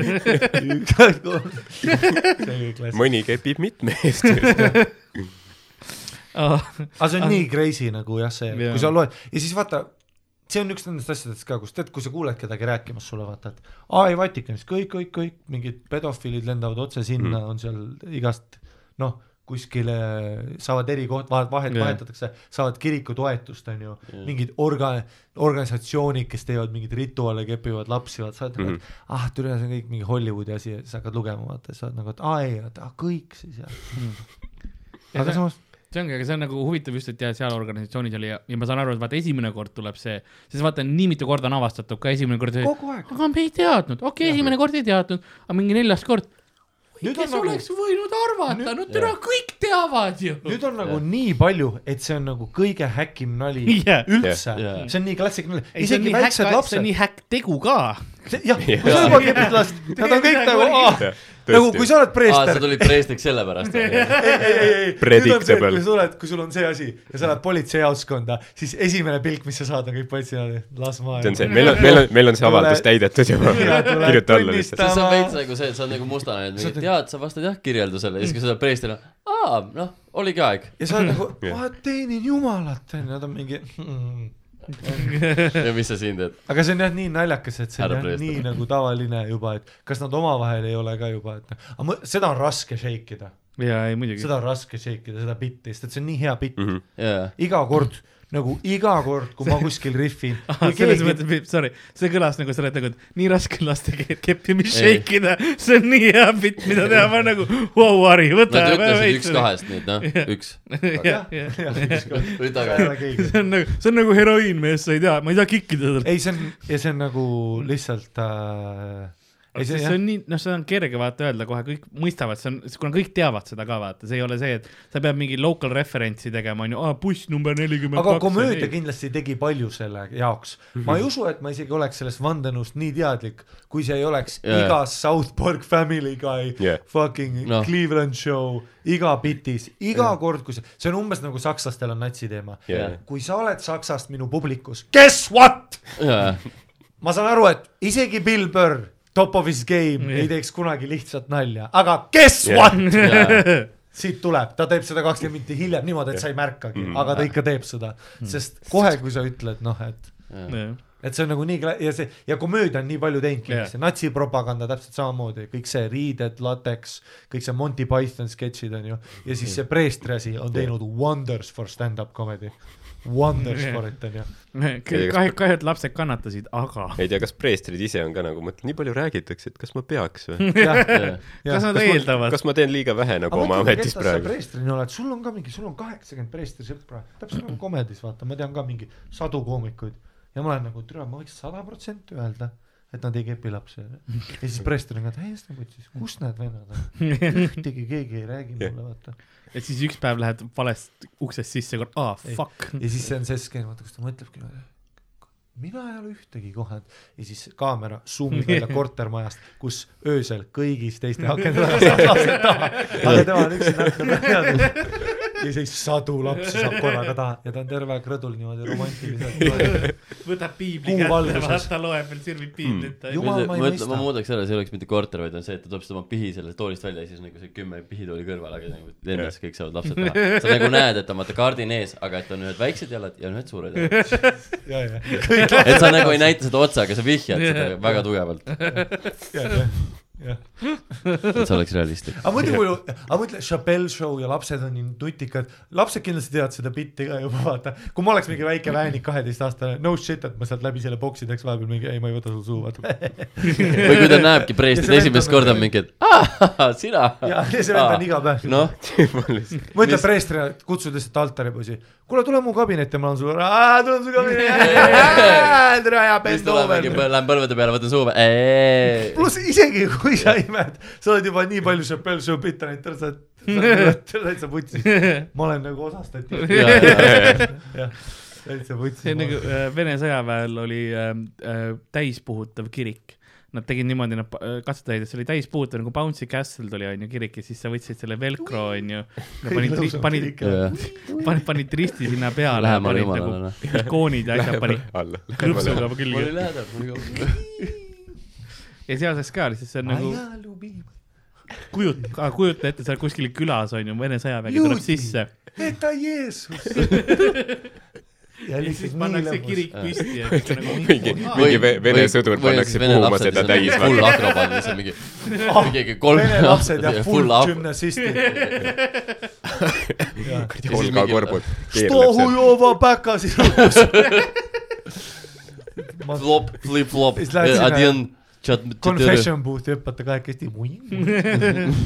B: see oli klassik .
E: mõni kepib mitme eest (laughs) just .
D: Oh.
B: aga see on nii crazy nagu jah , see ,
D: Jaa.
B: kui sa loed ja siis vaata , see on üks nendest asjadest ka , kus tead , kui sa kuuled kedagi rääkimas sulle vaata , et aa ei Vatikanis kõik , kõik , kõik mingid pedofiilid lendavad otse sinna mm. , on seal igast noh , kuskile saavad erikoht , vahet , vahet
D: Jaa.
B: vahetatakse , saavad kiriku toetust , on ju , mingid orga- , organisatsioonid , kes teevad mingeid rituaale , kepivad lapsi , vaata , sa oled nagu , et ah , türa , see on kõik mingi Hollywoodi asi ja siis hakkad lugema , vaata , sa oled nagu , et aa ei , vaata , kõik siis ja
D: Ja see-
B: Mhm. aga samas
D: see ongi , aga see on nagu huvitav just , et jah , seal organisatsioonis oli ja, ja ma saan aru , et vaata esimene kord tuleb see , siis vaata nii mitu korda on avastatud ka esimene kord ,
B: kogu aeg
D: aga me ei teadnud , okei okay, , esimene kord ei teadnud , aga mingi neljas kord ,
B: Nüüd
D: kes
B: on nagu-
D: oleks võinud arvata , no täna kõik teavad ju .
B: nüüd on nagu nii palju , et see on nagu kõige häkim nali (laughs)
D: Jah.
B: üldse
C: Jah. ,
B: see on nii klassikaline , isegi väiksed
D: see on
B: lapsed ,
D: nii häkk tegu ka ,
B: jah , sööbakepid (laughs) last , nad on kõik nagu , nagu kui sa oled
C: aa , sa
B: preester ,
C: tulid preesteks sellepärast .
B: (laughs) ei , ei , ei , ei , nüüd on see , et
E: Predictable.
B: kui sa oled , kui sul on see asi ja sa lähed politseijaoskonda , siis esimene pilk , mis sa saad , on kõik politseijaoskonda , las
E: see on
B: maailma .
E: see , (laughs) meil on , meil on , meil on see
B: Tule-
E: avaldus täidetud juba ,
B: tule
E: (laughs) kirjuta alla lihtsalt .
B: tunnista.
C: siis on veits nagu see , et sa oled nagu mustane , et mingi, tead , sa vastad jah kirjeldusele ja siis kui sa oled preester , aa , noh , oligi aeg .
B: ja sa oled nagu ,
E: Jah.
B: ma teenin jumalat , onju , nad on mingi hmm. .
C: ja mis sa siin teed ?
B: aga see on jah nii naljakas , et see on
C: Härra
B: jah
C: preester.
B: nii nagu tavaline juba , et kas nad omavahel ei ole ka juba , et noh , aga ma- seda on raske shake ida ,
D: ja ei muidugi .
B: seda on raske shake ida , seda bitti , sest et see on nii hea bitt mm ,
E: Mhm.
B: -hmm.
C: jaa ,
B: iga kord nagu iga kord , kui ma kuskil
D: (laughs)
B: rifin ,
D: Ah,
B: kui
D: selles
B: keegi (laughs)
D: mõttes , Peep , sorry , see kõlas nagu sa oled nagu , et nii raske on laste keelt keppi , mis
C: Ei.
D: shake ida , see on nii hea bitt , mida teha , ma olen nagu , vau , Harri , võta .
C: nad ütlesid üks . kahest nüüd noh , üks .
D: (laughs) jah , jah ,
C: tuli tagasi .
B: ei ,
D: see on nagu , see on nagu heroiin , mees , sa ei tea , ma ei saa kikkida seda .
B: see on ja see on nagu lihtsalt äh, . ei , see
D: see
B: jah ,
D: on nii , noh , seda on kerge vaata öelda kohe , kõik mõistavad , see on , kuna kõik teavad seda ka vaata , see ei ole see , et sa pead mingi local reference'i tegema , onju , aa , buss number nelikümmend
B: aga komöödia . kindlasti tegi palju selle jaoks . ma ei usu , et ma isegi oleks sellest vandenõust nii teadlik , kui see ei oleks
C: Jaa.
B: yeah. iga South Park Family Guy
E: Jah.
B: yeah. fucking no.
C: Noh.
B: Cleveland show , iga bitis , iga yeah. kord , kui see , see on umbes nagu sakslastel on natsiteema
E: Jah.
B: kui sa oled Saksast minu publikus , guess what ?
C: jaa ,
B: ma saan aru , et isegi Bill Burr , top of his game
D: Jah.
B: yeah. , ei teeks kunagi lihtsat nalja , aga guess yeah. what ?
D: (laughs)
C: jaa ,
B: siit tuleb , ta teeb seda kakskümmend minutit hiljem niimoodi , et sa ei märkagi mm , -hmm. aga ta ikka teeb seda , sest kohe , kui sa ütled , noh , et , et see on nagu nii kla- ja see ja komöödia on nii palju teinud
D: Jah.
B: kindlasti yeah. , natsipropaganda täpselt samamoodi , kõik see riided , lateks , kõik see Monty Python sketšid on ju , ja siis see preestri asi on teinud wonders for stand-up comedy . Wonders
D: Jah.
B: for it on ju ,
D: (laughs) kahju , kahju , et lapsed kannatasid , aga .
E: ei tea , kas preestrid ise on ka nagu , mõtlen , nii palju räägitakse , et kas ma peaks või ?
B: jah ,
C: jaa .
D: (laughs) kas nad eeldavad ?
E: kas ma teen liiga vähe nagu oma ametis praegu ?
B: preestrina oled , sul on ka mingi , sul on kaheksakümmend preestrisõpra , täpselt nagu komedis , vaata , ma tean ka mingi sadu koomikuid ja ma olen nagu , türa , ma võiks sada protsenti öelda , et nad ei kepi lapsi . ja siis preester on ka täiesti võtsis , kus need vennad on , ühtegi keegi ei räägi mulle , vaata .
D: ja siis üks päev lähed valest uksest sisse , aa ,
B: Ei.
D: fuck .
B: ja siis see on see skeem , vaata kus ta mõtlebki , mina ei ole ühtegi kohanud ja siis kaamera suumib välja kortermajast , kus öösel kõigis teiste akende taga saab lapsed taha , aga tema on üksinda akna peal ja siis sadu lapsi saab korraga taha ja ta on terve aeg rõdul niimoodi romantiliselt .
D: (laughs) võtab piibli
B: Kuu
D: kätte ,
B: valguses.
D: vaata loeb veel , sirvib
B: Ju-
D: piiblit mm. .
B: Jumal, ma ei
C: mõtle , ma
B: mõista.
C: muudaks ära , see ei oleks mitte korter , vaid on see , et ta toob seda oma pihi sellest toolist välja ja siis nagu see kümme pihitooli kõrval , aga nagu lennas kõik saavad lapsed taha . sa
B: (laughs)
C: nagu näed , et on vaata kaardin ees , aga et on ühed väiksed jalad ja on ühed suured
B: (laughs)
C: jalad .
B: ja , ja kõik
C: et sa nagu ei näita seda otsa , aga sa vihjad seda väga tugevalt ,
B: lapsed , jah .
C: et see oleks realistlik .
B: aga muidu , aga mõtle , Chappelle show ja lapsed on nii nutikad , lapsed kindlasti teavad seda bitti ka juba vaata , kui ma oleks mingi väike väänik kaheteistaastane , no shit , et ma sealt läbi selle boksi teeks vahepeal mingi , ei ma ei võta sul suhu vaata .
C: või kui ta näebki preestrit esimest korda
B: nagu-
C: mingi , et aa , sina .
B: (laughs) ja , ja see vend on iga päev no, ,
C: noh ,
B: ma ütlen preestrile , kutsud lihtsalt altaripoisi , kuule tule mu kabinetti , ma olen sulle , tulen su
C: (laughs)
B: kabinetti , tere ja
C: siis
B: bend
C: ta läheb
B: over
C: mingi , lähen põlvede peale , võtan suu peale ,
B: pluss isegi kui sa imed , sa oled juba nii palju Chappelle show bitte näinud , sa oled
C: (laughs)
B: sa oled täitsa vutsis , ma olen nagu osa
C: (laughs) Jaa,
B: statistikat . (laughs) jah , täitsa vutsis .
D: (laughs) see on nagu äh, Vene sõjaväel oli äh, äh, täispuhutav kirik . Nad tegid niimoodi , nad pa- äh, katsetasid , et see oli täispuhutav nagu Bouncy Castle tuli onju kirik ja siis sa võtsid selle velcro
C: (laughs)
D: onju . panid , panid ,
C: ee .
D: panid , panid risti sinna peale .
C: Lähemale jumalale, noh.
D: ikoonid ja asjad panid
B: (laughs)
E: alla .
D: krõpsuga
C: mul
D: külge
C: oli lähedal , mul oli kaugel .
D: ja sealses ka , sest see on nagu kujut- , kujuta ette , sa oled kuskil külas onju , Vene sõjavägi tuleb
B: Juudi.
D: sisse
B: Eta
D: (laughs)
B: Jeesus . ja
D: ja siis pannakse kirik püsti
B: (laughs)
D: ja kõik on nagu
E: mingi , mingi ve- vene sõdur pannakse puhuma seda täis .
C: full akrobaadis on mingi , mingi kolm
B: Ah, vene
C: (laughs)
B: lapsed ja full
C: up-
B: gümnasistid .
C: siis mingi-
E: hulgakorbud .
B: Stohujova päka sinu .
C: flop , flip-flop
B: Siis lähed , sinna
C: Adjan .
B: Confession booth'i hüppate kahekesti .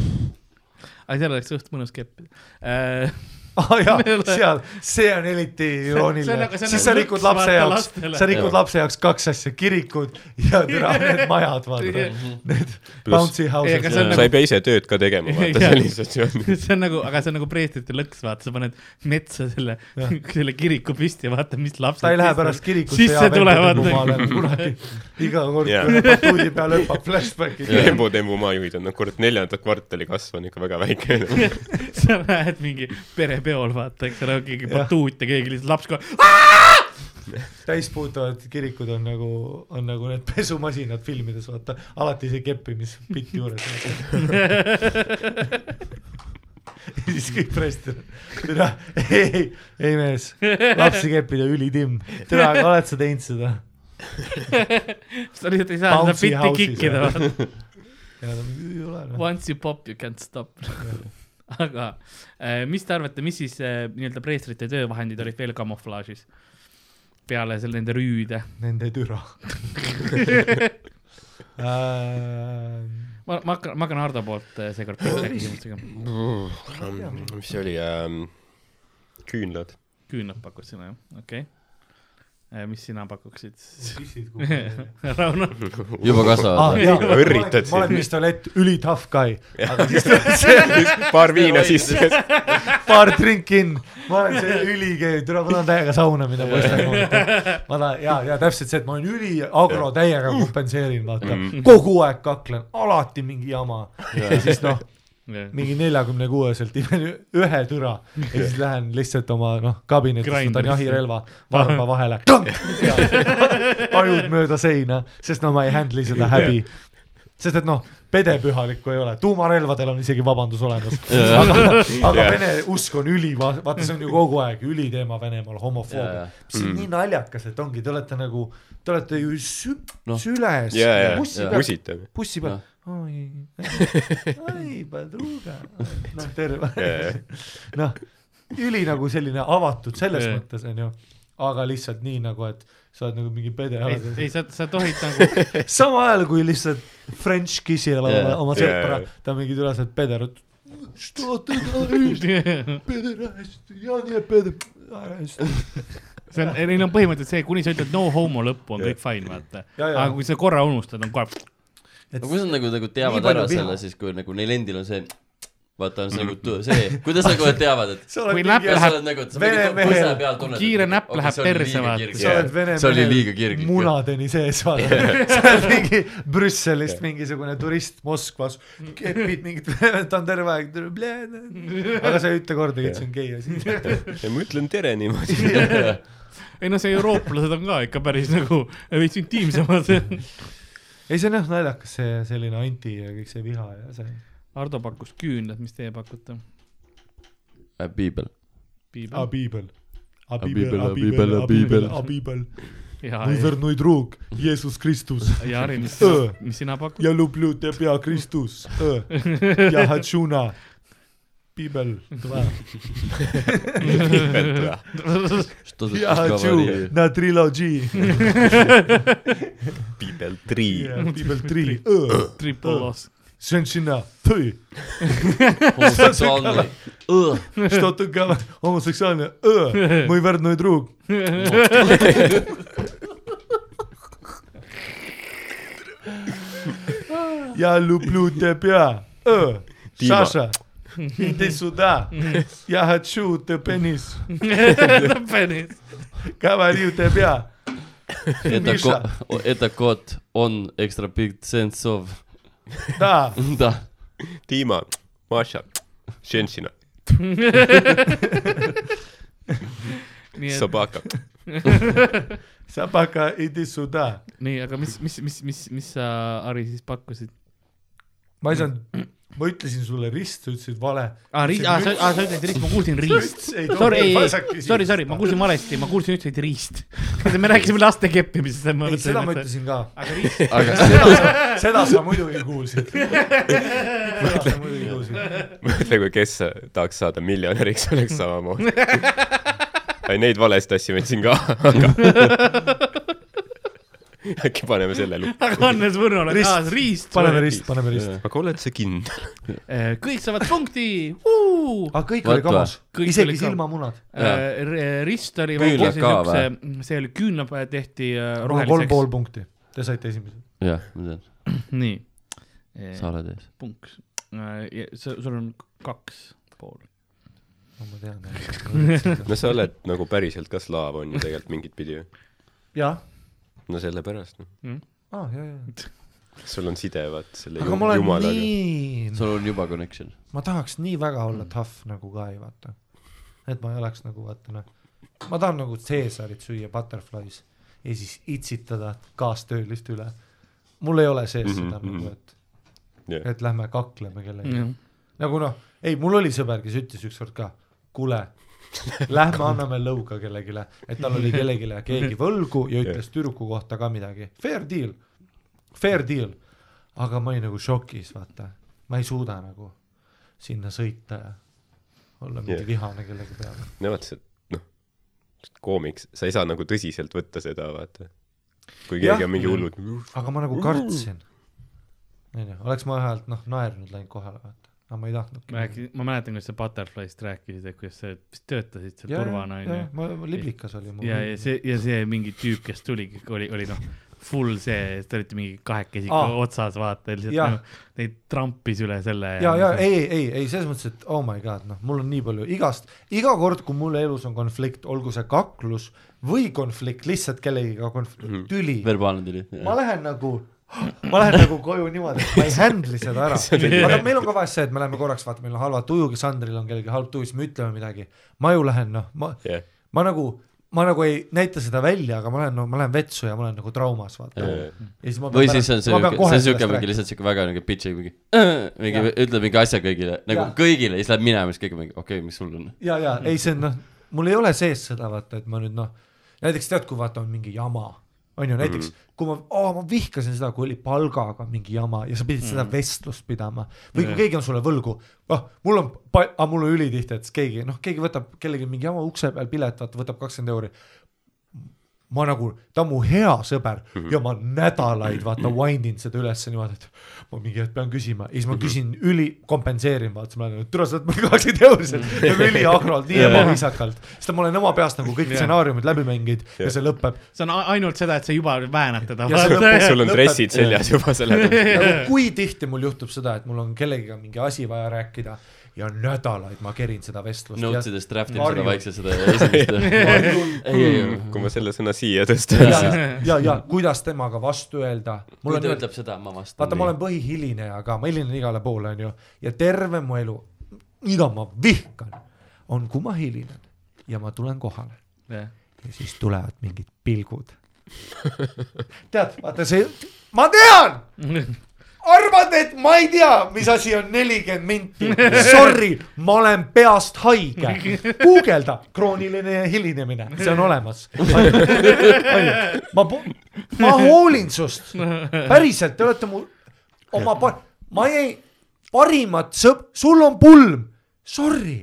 D: (laughs) aga seal oleks suht mõnus keppida .
B: aa Ah, jaa , seal , see on eriti irooniline
D: aga see , on
B: siis sa
D: nagu
B: rikud
D: lõks
B: lapse
D: vaata
B: jaoks ,
D: lastele.
B: sa rikud lapse jaoks kaks asja , kirikud
D: (laughs)
B: ja türa need majad , vaata ,
D: Mhm.
B: need bouncy
D: Ei, aga see on
B: house'id .
E: sa ei pea ise tööd ka tegema , vaata
D: Jaa.
E: sellises situatsioonis .
D: see on nagu , aga see on nagu preestrite lõks , vaata , sa paned metsa selle , (laughs) selle kiriku püsti ja vaata , mis lapsed .
B: ta ei lähe pärast kirikusse
D: sisse tulevad . nagu
B: kunagi , iga kord
E: Jaa.
B: yeah. , kui ta batuudi peal hüppab flashbacki .
E: Lembu Tembu maajuhid on , noh , kurat , neljanda kvartali kasv on ikka väga väike .
D: (laughs) sa lähed mingi perepeol , vaata , eks ole , keegi
B: Jah.
D: batuut ja keegi lihtsalt
B: (laughs)
D: laps kohe , (laughs)
B: täispuutavad kirikud on nagu , on nagu need pesumasinad filmides , vaata , alati see keppimispitt juures . ja siis kõik preester , türa , ei , ei mees , lapsi keppida ülitimm , türa , aga oled sa teinud seda ?
D: sa lihtsalt ei saa seda
B: Bouncy
D: bitti
B: house'is,
D: kikkida ,
B: jah.
D: vaata .
B: ja ta mingi ei ole noh ,
D: Once you pop , you can't stop . (laughs) aga eh, mis te arvate , mis siis eh, nii-öelda preestrite töövahendid olid veel kamuflaažis ? peale selle nende rüüde .
B: nende türa äh, .
D: ma , ma hakkan , ma hakkan Hardo poolt eh, seekord pihta küsimustega .
E: Um, mis see oli ähm, ? küünlad .
D: küünlad pakud sina , jah , okei okay. . mis sina pakuksid ?
B: pissid kuhugi .
D: (laughs) Rauno ,
C: juba
B: ah,
C: kasvavad .
B: jaa ,
E: Õrritad
B: ma olen
E: siin.
B: vist oled üli tough guy , aga siis
E: paar viina sisse .
B: paar drinki in , ma olen see ülikeel , tule ma tahan täiega sauna minna poistega . ma tahan ja , ja täpselt see , et ma olen üli agro täiega kompenseerin , vaata , kogu aeg kaklen , alati mingi jama ja siis noh , mingi neljakümne kuueselt imen ühe türa ja siis lähen lihtsalt oma noh , kabinetist võtan
D: Grinderisse.
B: jahirelva varba vahele , ajud mööda seina , sest no ma ei handle'i seda häbi sest et noh , pedepühalikku ei ole , tuumarelvadel on isegi vabandus olemas . aga, aga
E: Jah.
B: vene usk on üli , vaata , see on ju kogu aeg üliteema Venemaal , homofoobia
C: Jah. .
B: see on nii naljakas , et ongi , te olete nagu , te olete ju sü-
C: Noh.
B: no. , süles
E: ja , ja ,
B: bussi peal ,
E: usitav .
B: bussi peal
C: Noh. .
B: oi , oi ,
D: (laughs)
B: padruga , noh , terve
E: Jah, jah. ,
B: noh , üli nagu selline avatud selles
D: Jah.
B: mõttes on ju , aga lihtsalt nii nagu , et sa oled nagu mingi pede .
D: ei , ei sa , sa tohid nagu ,
B: samal ajal kui lihtsalt French Kissile yeah. oma,
C: Jaa.
B: oma sõpra
E: Jaa.
B: yeah. , ta mingi tülas , et peder , что ты
D: (laughs)
B: говоришь , peder , я не peder , ära hästi .
D: see on , neil on põhimõtteliselt see , kuni sa ütled no homo lõppu , on kõik fine , vaata .
B: Ja, ja.
D: aga kui sa korra unustad , on kohe ,
C: aga kuidas nad nagu , nagu teavad
B: palju
C: ära
B: viha.
C: selle siis , kui nagu neil endil on see , vaata , on see nagu tu- see , kuidas nad kohe teavad , et
B: sa
D: Kui
B: oled
D: näpp
B: mingi
C: ja
D: läheb-
C: sa oled nagu , et sa
B: Vene
C: mingi
B: mehel-
C: põsa peal tunned . nagu,
D: kiire näpp läheb perse, vaata.
B: sa oled
C: vaata .
B: vene
C: see oli
B: mehel
C: liiga kirglik.
B: munadeni sees
C: (laughs)
B: vaata , (laughs) sa oled mingi Brüsselist mingisugune turist Moskvas , kepid mingit , ta on terve aeg , aga sa ei ütle kordagi , et see on gei asi .
E: ja ma ütlen tere (laughs) niimoodi .
D: ei no see eurooplased on ka ikka päris nagu veits intiimsemad . (laughs)
B: ei , see on jah naljakas , see selline anti ja kõik see viha ja see .
D: Hardo pakkus küünlad , mis teie pakute ?
E: Äh,
C: piibel .
D: piibel .
B: Abibel .
F: Abibel, Abibel, Abibel.
B: Abibel.
D: ja ,
B: Мой верный друг, Иисус Христос. (laughs)
D: ja Harri , mis
B: Öö. ,
D: mis sina
B: (laughs)
D: pakud ?
B: Я люблю тебя, Христос. Э, Я хочу на Бибель 2. Я (laughs) хочу на трилогии.
E: Piibel trii .
B: Бибель 3. Э,
D: Triple loss .
B: Женщина, ты.
C: homoseksuaalne .
B: Что ты говоришь? Гомосексуальный. Э, Мой верный друг. Я люблю тебя. Э,
E: Дима.
B: Саша, иди сюда. Я хочу ты пенис.
D: (laughs) lõppenud .
B: Говорю тебя.
C: Это,
B: Миша.
C: ко- это кот, он extra big sense of , (laughs)
B: Да.
C: да .
E: Dima , Maša , Šenšina ,
D: nii et ,
E: Sobaka .
B: Собака, иди сюда.
D: nii , aga mis , mis , mis , mis , mis sa , Harri , siis pakkusid ?
B: ma ei saanud , ma ütlesin sulle rist , sa ütlesid vale .
D: aa , riist , aa , sa , aa , sa ütlesid riist , ma kuulsin riist . Sorry , ei , ei , sorry , sorry , ma . kuulsin valesti , ma kuulsin ühtegi riist . (laughs) me rääkisime laste keppimisest .
B: ei , seda ma . ütlesin ka ,
D: aga riist ,
C: aga
B: seda sa muidugi kuulsid . seda sa muidugi kuulsid .
E: mõtle , kui kes tahaks saada miljonäriks , oleks (laughs) samamoodi . (laughs) ei , neid valesid asju ma ütlesin ka , aga . äkki paneme selle lukku .
D: aga Hannes Võrnol on
B: Rist.
D: kaasas riist .
B: paneme rist , paneme rist .
E: aga oled sa kindel ?
D: kõik saavad punkti .
B: aga kõik
C: Vot
B: oli kamas
D: va. , Kõik oli
B: isegi
D: kamas.
B: silmamunad .
D: Äh, rist oli .
C: Küünlad ka
D: see oli küünlad tehti äh,
B: kolm
D: roheliseks
B: pool . punkti , te saite esimese .
C: jah , ma tean ,
D: nii .
C: sa oled ees .
D: punks . sul on kaks pool .
B: no ma tean .
E: no sa oled nagu päriselt ka slaav on ju tegelikult mingit pidi ju .
B: jah ,
E: no sellepärast noh ,
B: aa ah, , jaa , jaa .
E: sul on side vaata selle
B: aga ma
E: ju-
B: olen
E: jumalaga .
B: nii ,
C: sul on juba connection .
B: ma tahaks nii väga olla tough nagu ka ei vaata . et ma ei oleks nagu vaata noh , ma tahan nagu Caesarit süüa Butterflies ja siis itsitada kaastöölist üle . mul ei ole sees
E: Mhm,
B: seda
E: mhm.
B: nagu , et ,
E: jah ,
B: et lähme kakleme kellegagi .
D: jah ,
B: nagu noh , ei , mul oli sõber , kes ütles ükskord ka , kuule , lähme anname lõuga kellegile , et tal oli kellelegi keegi võlgu ja ütles tüdruku kohta ka midagi , fair deal , fair deal . aga ma olin nagu šokis , vaata , ma ei suuda nagu sinna sõita ja olla mingi
E: Jah.
B: yeah. vihane kellegi peale .
E: no vaata see , noh , koomiks , sa ei saa nagu tõsiselt võtta seda vaata . kui
B: Jah.
E: keegi on mingi hullult ,
B: aga ma nagu kartsin , onju , oleks ma ühelt noh naernud läinud kohale , vaata , aga ma ei
D: ma
B: tahtnudki .
D: rääkisin , ma mäletan , kuidas sa Butterflyst rääkisid , et kuidas sa vist töötasid seal turvana onju .
B: ma , liblikas oli mul .
D: ja , ja see ja see mingi tüüp , kes tuli , oli , oli noh , full see , te olite mingi kahekesi
B: Aa.
D: ah. otsas vaata , lihtsalt
B: Jah.
D: nagu, neid trampis üle selle .
B: ja , ja ei , ei , ei selles mõttes , et oh my god , noh , mul on nii palju igast , iga kord , kui mul elus on konflikt , olgu see kaklus või konflikt lihtsalt kellegiga konf- ,
C: Mhm.
B: tüli ,
C: verbaalne tüli .
B: ma lähen nagu , ma lähen nagu koju niimoodi , et ma ei handle'i seda
C: (laughs)
B: ära . aga noh, meil on ka vahest see , et me läheme korraks , vaata , meil on halva tujuga , Sandril on kellelgi halb tuju , siis me ütleme midagi . ma ju lähen noh , ma ,
E: jah ,
B: ma nagu , ma nagu ei näita seda välja , aga ma lähen , no ma lähen vetsu ja ma olen nagu traumas , vaata .
E: Jaa.
B: ja siis ma
C: või
B: pean
C: siis on
B: pärast-
C: see
B: ma pean
C: siuke ,
B: kohe
C: see on
B: sellest
C: siuke mingi
B: rääkima.
C: lihtsalt siuke väga niuke bitch mingi , (laughs) mingi
B: Jah.
C: ütleb mingi asja kõigile , nagu
B: Jah.
C: kõigile ja siis läheb minema , siis kõik on mingi okei okay, , mis sul on .
B: ja , ja ei , see on noh , mul ei ole sees seda vaata , et ma nüüd noh , näiteks tead , kui vaata on mingi jama , on ju , näiteks mm -hmm. kui ma oh, , ma vihkasin seda , kui oli palgaga mingi jama ja sa pidid mm -hmm. seda vestlust pidama või kui keegi on sulle võlgu , noh , mul on , aga mul on ülitihti , et siis keegi noh , keegi võtab kellelgi mingi jama ukse peal pilet , vaata võtab kakskümmend euri ma nagu , ta on mu hea sõber
C: Mhm.
B: ja ma nädalaid vaata wind in seda ülesse niimoodi , et ma mingi hetk pean küsima ja siis ma
C: Mhm.
B: küsin üli , kompenseerin , vaata siis ma olen , et türa sa oled mul kakskümmend euroliselt , üli agrolt ,
C: (laughs)
B: nii ebaviisakalt . sest ma olen oma peas nagu kõik stsenaariumid läbi mänginud ja see lõpeb
D: see on a- ainult seda , et sa juba väänad teda .
B: Ja see lõpus-
E: sul
D: (laughs)
E: on dressid seljas juba selle .
B: nagu kui tihti mul juhtub seda , et mul on kellegiga mingi asi vaja rääkida ja nädalaid ma kerin seda vestlust .
C: Notes idest draft ib
B: Varju.
C: seda vaikselt seda
B: (laughs)
C: esimest . ei , ei , ei .
E: Hmm, kui ma selle sõna siia tõstan ,
B: ja
E: siis ,
B: ja,
C: (laughs)
B: ja kuidas temaga vastu öelda .
C: kui ta ütleb seda , ma vastan .
B: vaata , ma olen põhihilineja ka , ma hilinen igale poole , onju , ja terve mu elu , mida ma vihkan , on , kui ma hilinen ja ma tulen kohale ja siis tulevad mingid pilgud . tead , vaata see , ma tean ,
D: (laughs)
B: arvad , et ma ei tea , mis asi on nelikümmend minti , sorry , ma olen peast haige . guugelda krooniline hilinemine , see on olemas . ma , ma hoolin sust , päriselt , te olete mu oma pa- , ma ei , parimat sõp- , sul on pulm , sorry ,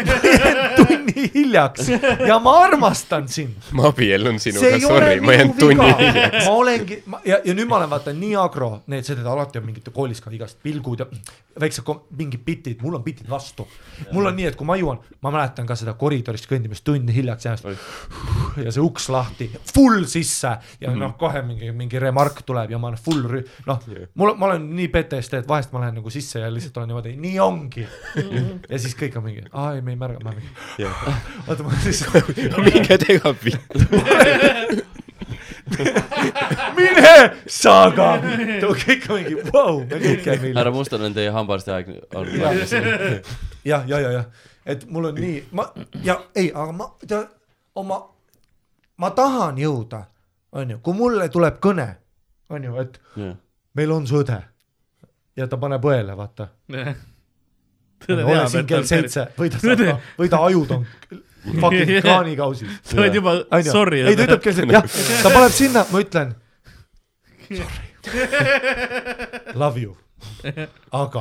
B: (laughs) tunni hiljaks ja ma armastan sind
E: ma abiellun
B: see
E: sinuga ,
B: ei ole
E: sorry ,
B: minu
E: ma jään tunni
B: viga
E: hiljaks .,
B: ma olengi , ja , ja nüüd ma olen vaata nii agro , need seda alati on mingite koolis ka igast pilgud ja väiksed kom- mingid bitid , mul on bitid vastu . mul on nii , et kui ma jõuan , ma mäletan ka seda koridorist kõndimist tunni hiljaks jäämist . ja see uks lahti , full sisse
E: Mhm.
B: ja noh , kohe mingi , mingi remark tuleb ja ma olen full rü- , noh , mul , ma olen nii PTSD , et vahest ma lähen nagu sisse ja lihtsalt olen niimoodi , nii ongi . ja siis kõik on mingi , aa ei , me ei märga , ma olen mingi , (laughs) oota ma siis (laughs)
E: minge tega pitt .
C: (laughs)
B: mine saga , (laughs) too kõik on mingi vau , me kõik jääme
C: härra
B: ilma .
C: Mustal on teie hambaarsti aeg on
B: jah , (laughs)
C: läbi .
B: ja , ja , ja, ja , et mul on nii , ma ja ei , aga ma tead oma , ma tahan jõuda , onju , kui mulle tuleb kõne , onju , et meil on su õde ja ta paneb õele , vaata .
D: (laughs)
B: ole siin kell . seitse või ta saab , või ta ajud on fucking kraanikausis .
D: sa oled juba ,
B: onju ,
D: sorry .
B: ei ta ütleb kell seitse , jah , ta paneb sinna , ma ütlen . Sorry , love you , aga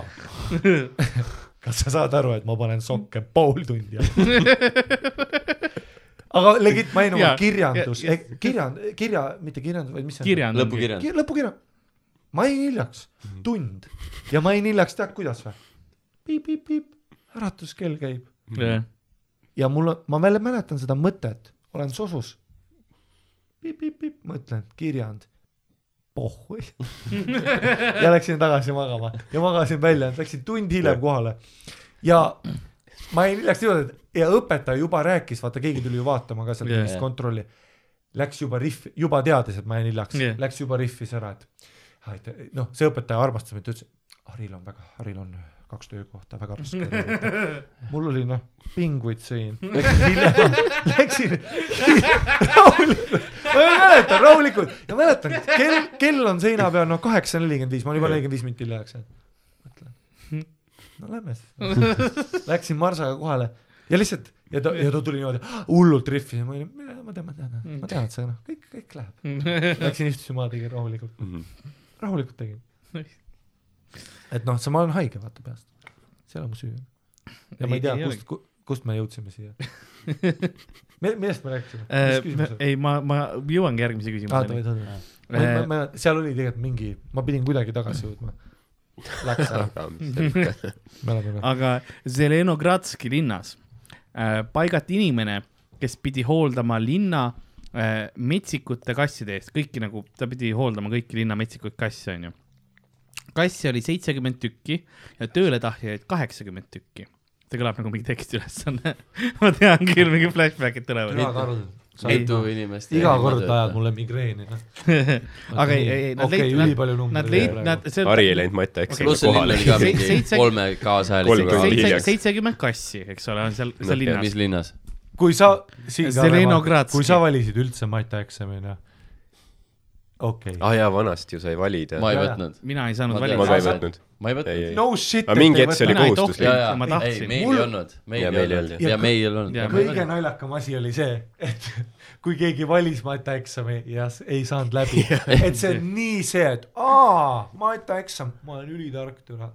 B: kas sa saad aru , et ma panen sokke pool tundi alla ? aga legit , ma jäin oma
D: Jaa.
B: kirjandus
D: Ja- ,
B: kirjand , kirja , mitte kirjandus , vaid mis see on ?
D: kirjand .
C: lõpukirjand .
B: Ki- lõpukirja . ma jäin hiljaks tund ja ma jäin hiljaks , tead kuidas või piip, ? piip-piip-piip , äratuskell käib ja mul on , ma veel mäletan seda mõtet , olen sosus piip, . piip-piip-piip , mõtlen , kirjand , pohhui . (laughs) ja läksin tagasi magama ja magasin välja , läksin tund hiljem kohale ja ma jäin hiljaks niimoodi , et ja õpetaja juba rääkis , vaata keegi tuli ju vaatama ka sealt
D: Jah.
B: yeah. kontrolli . Läks juba rihv , juba teadis , et ma jäin hiljaks
D: Jah.
B: yeah. , läks juba rihvis ära , et aitäh , noh , see õpetaja armastas mind , ta ütles , Haril on väga , Haril on kaks töökohta , väga raske . mul oli noh , pinguid sõin , läksin , läksin rahulikult , ma mäletan rahulikult ja mäletan , kell , kell on seina peal noh , kaheksa nelikümmend viis , ma olin juba nelikümmend viis minutit hiljaks jäänud . mõtlen , no lähme siis , läksin Marsaga kohale ja lihtsalt ja ta , ja ta tuli niimoodi hullult rihvi ja ma olin , ma tean , ma tean , ma tean , et see noh , kõik , kõik läheb . (laughs) Läksin istusin maha , tegin rahulikult , rahulikult tegin , et noh , ma olen haige vaata peast , see ei ole mu süü ja ma ei tea , kust , kust me jõudsime (laughs) siia me, . millest me rääkisime , mis küsimus oli ?
D: Äh,
B: Ah,
D: ei , ma , ma jõuangi järgmise
B: aa , davai ,
D: küsimuseni .
B: davai , davai . ma , seal oli tegelikult mingi , ma pidin kuidagi tagasi jõudma . Läks
E: (laughs)
B: ära , mäletan .
D: aga Zelenogradski linnas äh, paigati inimene , kes pidi hooldama linna äh, metsikute kasside eest , kõiki nagu , ta pidi hooldama kõiki linna metsikuid kasse , onju . kasse oli seitsekümmend tükki ja tööletahtjaid kaheksakümmend tükki . see kõlab nagu mingi tekstiülesanne . (laughs) ma tean küll , mingi flashback'id tulevad .
C: mitu inimest .
B: iga kord ajad . mulle migreeni , noh .
D: (laughs) aga ei , ei , nad
B: okei ,
D: leidsid ,
B: ülipalju
D: nad
B: numbreid
D: leidsid ,. nad , see
E: Harri ei läinud matjaeksamile
C: pluss see linn oli
E: kohale
C: ka
D: Se-
C: mingi
D: seitse-
C: kolme
E: Kolm
C: kaasajalisega
E: korda
C: linn .
D: seitse ,
E: hiljaks.
D: seitsekümmend kassi , eks ole , on seal , seal linnas
C: mis . linnas ?
B: kui sa , siin ka ,
D: Zelenogradski.
B: kui sa valisid üldse matjaeksami , noh . okei okay. .
E: aa Ah jaa , vanasti ju sai valida .
C: ma ei
B: Jaa.
C: võtnud .
D: mina ei saanud
C: Ma
D: valida
C: tean.
E: ma ka ei võtnud .
C: ma ei võtnud .
E: ei ,
B: no shit .
E: Aga mingi hetk see oli
D: Mina ei
E: kohustuslik.
C: ja ,
D: tohtinud , ma
C: ja , ei ,
D: tahtsin .
C: meil ei olnud , meil
E: Ja
C: ei
E: meil ei
C: olnud
E: olnud.
C: ja
B: Ja
C: meil ei olnud
D: ja .
C: (laughs)
B: kõige naljakam asi oli see , et (laughs) kui keegi valis matjaeksami ja s- ei saanud
E: (laughs)
B: läbi , et see on nii see , et aa , matjaeksam , ma olen ülitark türa .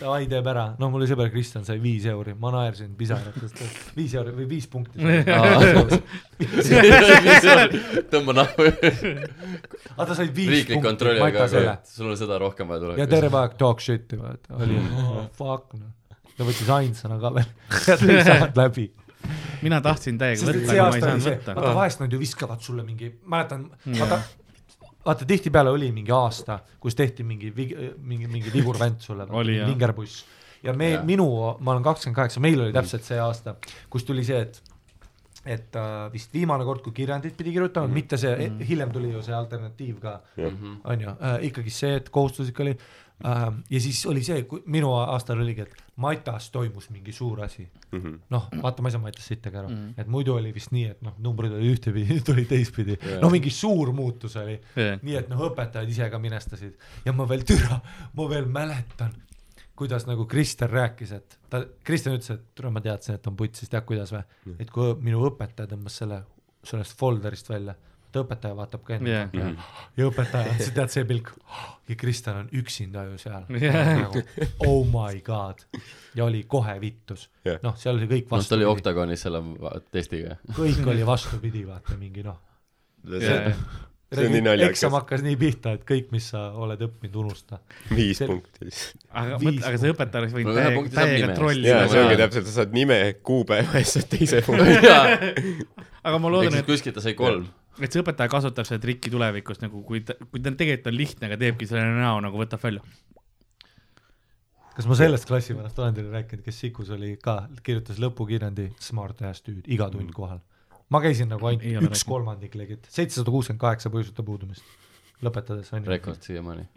B: Davai , teeb ära , no mul oli sõber Kristjan sai viis euri , ma naersin pisaratest , viis euri või viis punkti .
C: tõmba nahku ,
B: aga ta sai viis
C: riiklik
B: punkti
C: kontroll , aga
B: matjasele
C: sul on seda rohkem vaja
B: ja
C: tulla .
B: terve aeg talk shit'i vaata , oli oh, fuck noh , ta võttis ainsana ka veel , (laughs) ta ei saanud läbi
D: mina tahtsin täiega
B: sest et
D: võtta ,
B: see
D: aga ma ei
B: aasta oli
D: saanud
B: see ,
D: võtta . Mm.
B: vaata vahest nad ju viskavad sulle mingi , mäletan , vaata , vaata tihtipeale oli mingi aasta , kus tehti mingi , mingi , mingi vigurvänt sulle , noh,
D: Oli, jah.
B: vingerpuss . ja me
C: Jah. ,
B: minu , ma olen kakskümmend kaheksa , meil oli täpselt see aasta , kus tuli see , et et äh, vist viimane kord , kui kirjandit pidi kirjutama mm , -hmm. mitte see mm , -hmm. hiljem tuli ju see alternatiiv ka , on ju , ikkagi see , et kohustuslik oli äh, . ja siis oli see , minu aastal oligi , et Matas toimus mingi suur asi noh , vaata , ma ei saa Mattias sittagi aru mm , -hmm. et muidu oli vist nii , et noh , numbrid olid ühtepidi , (laughs) nüüd olid teistpidi yeah. , no mingi suur muutus oli
D: Jah.
B: yeah. , nii et noh , õpetajad ise ka minestasid ja ma veel türa , ma veel mäletan , kuidas nagu Kristjan rääkis , et ta , Kristjan ütles , et türa , ma teadsin , et on putt , siis tead kuidas või , et kui minu õpetaja tõmbas selle sellest folder'ist välja , ta õpetaja vaatab ka enda
D: Jah.
B: yeah. ja õpetaja , sa tead see pilk ja Kristjan on üksinda ju seal
D: Jah.
B: nagu oh my god ja oli kohe vittus
E: Jah.
B: noh , seal oli kõik
C: noh , ta oli
B: vastupidi ,
C: oktagonis selle va-
B: (laughs)
C: testiga .
B: kõik oli vastupidi , vaata mingi noh .
E: See on nii naljakas.
B: eksam hakkas nii pihta , et kõik , mis sa oled õppinud , unusta .
E: viis
B: See-
E: punkti siis .
D: aga
B: viis
D: mõtle , aga see õpetaja oleks võinud
C: No ühe
D: täiega
C: punkti saab
D: täiega
C: nime eest.
D: trollida
E: jaa ,
C: ma
E: see ongi
C: tean. .
E: täpselt , sa saad nime kuupäeva eest , saad
C: (laughs)
E: teise punkti .
D: aga ma
C: ehk
D: loodan ,
C: siis
D: et ,
C: kuskilt ta sai kolm .
D: et see õpetaja kasutab seda trikki tulevikus nagu , kui ta , kui ta tegelikult on lihtne , aga teebki selle näo nagu võtab välja .
B: kas ma sellest klassivennast olen teile rääkinud , kes Sikus oli ka , kirjutas lõpukirjandi Smart ass dude , iga tund kohal . ma käisin nagu
D: Mm. Ei
B: ainult
D: ole
B: üks
D: rääkinud.
B: kolmandik legit , seitsesada kuuskümmend kaheksa põhjuseta puudumist lõpetades on ju .
C: rekord siiamaani .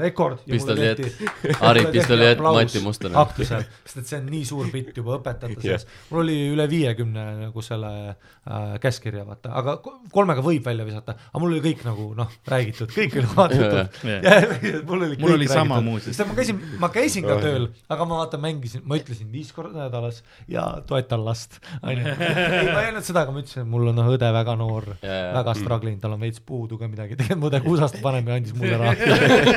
B: rekord .
C: Pistoliet.
B: (laughs)
C: Ari Pistoliet, Mati Mustonen.
B: aktusel , sest et see on nii suur bitt juba õpetajate seas . mul oli üle viiekümne nagu selle äh, käskkirja vaata , aga ko- kolmega võib välja visata , aga mul oli kõik nagu noh , räägitud , kõik oli
C: (laughs)
B: vaadatud .
D: Jajah.
B: mul oli
D: Mul oli sama muuseas.
B: sest et ma käisin , ma käisin ka tööl , aga ma vaata mängisin , ma ütlesin viis korda nädalas ja toetan last ,
C: (laughs)
B: onju . ei , ma ei öelnud seda , aga ma ütlesin , et mul on noh, õde väga noor
C: Jajah.
B: väga struggling , tal on veits puudu ka midagi , tegelikult mu õde USA-s aasta vanem ja andis mulle
C: (laughs)
B: raha .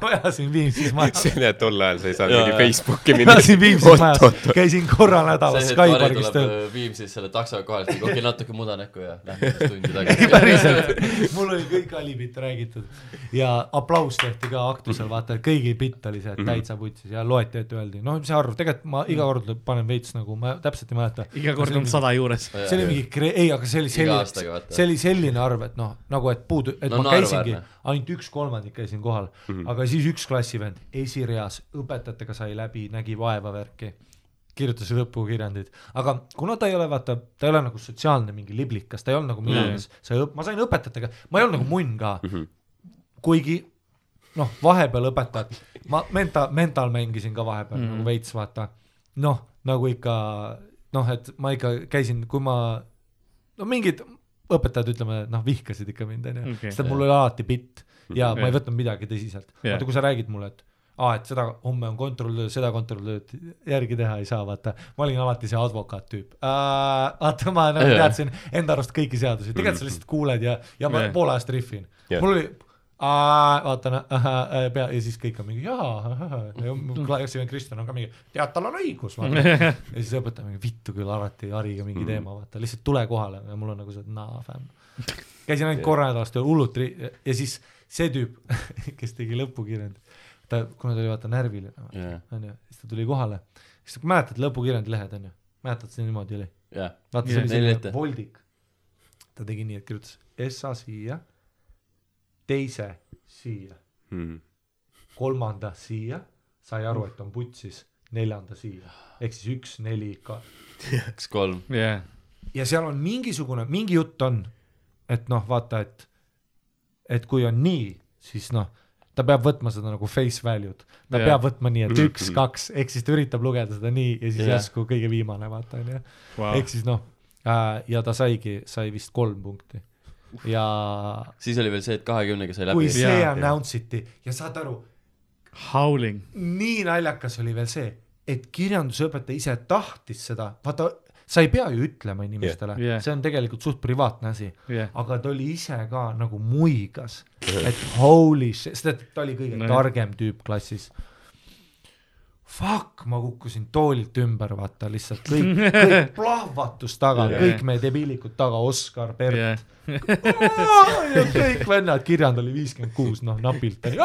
B: ma elasin Viimsis majas ,
E: see näed , tol ajal sa ei saanud
C: Jaa,
E: mingi
C: jaa.
E: Facebooki minna .
B: elasin Viimsis majas , käisin korra nädalas Skyparkis tööl .
C: tuleb äh, Viimsis selle taksoga kohale , siis okei , natuke muda näkku ja lähme
B: (laughs)
C: siis tundi tagasi .
B: päriselt , mul oli kõik alibit räägitud ja aplaus tehti ka aktusel , vaata , et kõigi bitt oli see ,
E: Mhm.
B: et täitsa putsis ja loeti , et öeldi , noh , mis see arv , tegelikult ma iga kord panen veits nagu , ma täpselt ei mäleta .
D: iga kord on sada juures .
B: see oli mingi kre- , ei , aga see oli
C: aastaga,
B: selline ,
C: vaata.
B: see oli selline arv , et noh , nagu et puudu , et no,
C: No
B: ma käisingi
C: naeruväärne. , Mhm.
B: ainult üks kolmandik käisin kohal mm , -hmm. aga siis üks klassivend esireas õpetajatega sai läbi , nägi vaeva värki , kirjutas lõpukirjandid , aga kuna ta ei ole , vaata , ta ei ole nagu sotsiaalne mingi liblikas , ta ei
C: Mhm.
B: olnud nagu minu meelest , sai õpp- , ma sain õpetajatega , ma ei olnud nagu munn ka mm , -hmm. kuigi noh , vahepeal õpetajad , ma menta- , mental mängisin ka vahepeal mm. nagu veits , vaata . noh , nagu ikka noh , et ma ikka käisin , kui ma , no mingid õpetajad , ütleme , noh , vihkasid ikka mind , onju ,
D: Okei.
B: sest et mul oli alati bitt ja ma
D: Jah.
B: ei võtnud midagi tõsiselt
D: Jah.
B: yeah. . vaata , kui sa räägid mulle , et aa , et seda homme on kontrolltöö , seda kontrolltööd järgi teha ei saa , vaata . ma olin alati see advokaat tüüp äh, . vaata , ma nagu
C: Jah.
B: teadsin enda arust kõiki seadusi , tegelikult sa lihtsalt kuuled ja , ja ma
D: Jah.
B: pool ajast rihvin
E: Jah.
B: yeah. . mul oli , vaatan äh, , äh, pea ja siis kõik on mingi jaa , klassiline Kristjan on ka mingi , tead , tal on õigus , vaata . ja siis õpetaja mingi vittu küll , alati hariga mingi teema , vaata , lihtsalt tule kohale ja mul on nagu see , naa , fänn . käisin ainult korra nädalas tööl , hullult ri- ja siis see tüüp , (laughs) kes tegi lõpukirjandi , ta , kuna ta oli vaata närviline ,
C: jah ,
B: onju , siis ta tuli kohale , siis mäletad lõpukirjandi lehed , onju , mäletad , see niimoodi oli
C: jah .
B: vaata ,
D: Jah,
B: see oli
C: neli
B: selline
C: ette.
B: voldik . ta tegi nii , et kirjutas SA siia , teise siia ,
C: Hmm.
B: kolmanda siia , sai aru , et on putsis , neljanda siia , ehk siis üks , neli ,
C: üks , kolm .
D: jah ,
B: ja seal on mingisugune , mingi jutt on , et noh , vaata , et , et kui on nii , siis noh , ta peab võtma seda nagu face value'd , ta
D: Jah.
B: yeah. peab võtma nii , et üks , kaks , ehk siis ta üritab lugeda seda nii ja siis
C: Mhm. Jah. Ah.
B: yeah. järsku kõige viimane , vaata onju
D: Vau.
B: ehk siis noh äh, , ja ta saigi , sai vist kolm punkti ja
C: siis oli veel see , et kahekümnega sai
B: kui
C: läbi .
B: see
D: Jaa.
B: announce iti ja saad aru ,
D: howling .
B: nii naljakas oli veel see , et kirjandusõpetaja ise tahtis seda , vaata , sa ei pea ju ütlema inimestele yeah. ,
D: Jah.
B: yeah. see on tegelikult suht privaatne asi
D: Jah.
B: aga ta oli ise ka nagu muigas , et holy shit , sest et ta oli kõige
D: No
B: no,
D: jah.
B: targem tüüp klassis . Fuck , ma kukkusin toolilt ümber , vaata lihtsalt kõik , (laughs) kõik plahvatus taga
D: Jah.
B: yeah. , kõik meie debiilikud taga , Oskar , Bert yeah.
D: jah ,
B: Ja kõik vennad , kirjand oli viiskümmend kuus , noh napilt oli .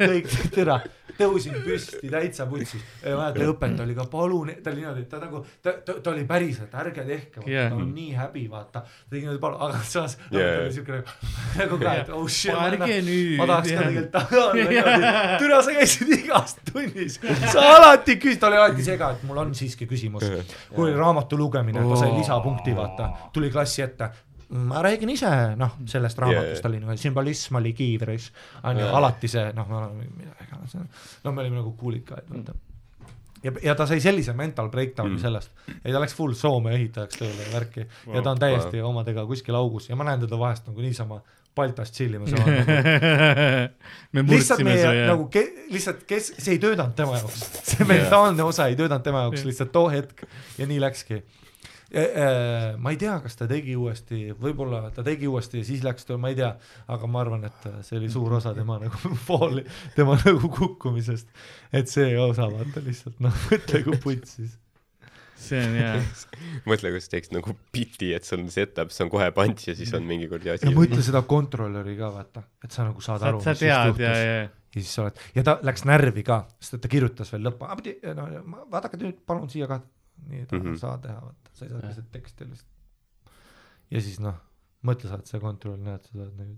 B: kõik türa , tõusin püsti , täitsa putsis . mäletan , õpetaja oli ka , palun , ta oli niimoodi , ta nagu , ta, ta , ta oli päriselt , ärge tehke ,
D: Jah.
B: ta on nii häbi , vaata . ta tegi niimoodi , palun , aga samas
E: Jah.
B: õpetaja oli siukene nagu ka , et oh shit , ma,
D: Ärge
B: annan-
D: nüüd,
B: ma tahaks
D: jah.
B: ka tegelikult taga olla niimoodi . türa , sa käisid igas tunnis , sa alati küsid , ta oli alati sega , et mul on siiski küsimus . kui oli raamatu lugemine , ta sai lisapunkti , vaata , tuli klassi ette ma räägin ise , noh , sellest raamatust
E: Jajah.
B: oli nagu sümbolism oli kiivris , on ju , alati see , noh , me oleme , mida iganes , no me olime nagu kuulikad , vaata . ja , ja ta sai sellise mental breakdown'i sellest ja ta läks full Soome ehitajaks tööle ja värki ja ta on täiesti omadega kuskil augus ja ma näen teda vahest nagu niisama paltas tšillimas .
D: (laughs) me
B: lihtsalt
D: murdsime
B: meie
D: su
B: see,
D: jah
B: nagu , ke, lihtsalt kes , see ei töötanud tema
D: (laughs)
B: jaoks , see mentaalne osa ei töötanud tema jaoks lihtsalt too hetk ja nii läkski . ma ei tea , kas ta tegi uuesti , võib-olla ta tegi uuesti ja siis läks ta , ma ei tea , aga ma arvan , et see oli suur osa tema nagu (laughs) fooli , tema nagu kukkumisest . et see osa vaata lihtsalt noh , (laughs) mõtle kui putsis .
D: see on jah ,
E: mõtle , kuidas teeks nagu biti , et sul on setup , see on kohe punch ja siis on mingi kuradi
B: ja
E: asi .
B: mõtle seda kontrolöri ka vaata , et sa nagu saad
D: sa
B: aru ,
D: sa
B: mis just
D: tead ja ,
B: juhtus
D: ja ,
B: ja siis sa oled , ja ta läks närvi ka , sest et ta kirjutas veel lõppu , no ma- vaadake nüüd palun siia ka , nii ta mm -hmm.
E: Mhm.
B: ei saa teha , vaata , sa ei saa lihtsalt teksti lihtsalt . ja siis noh , mõtle , sa oled see kontroll , näed , sa oled nagu ,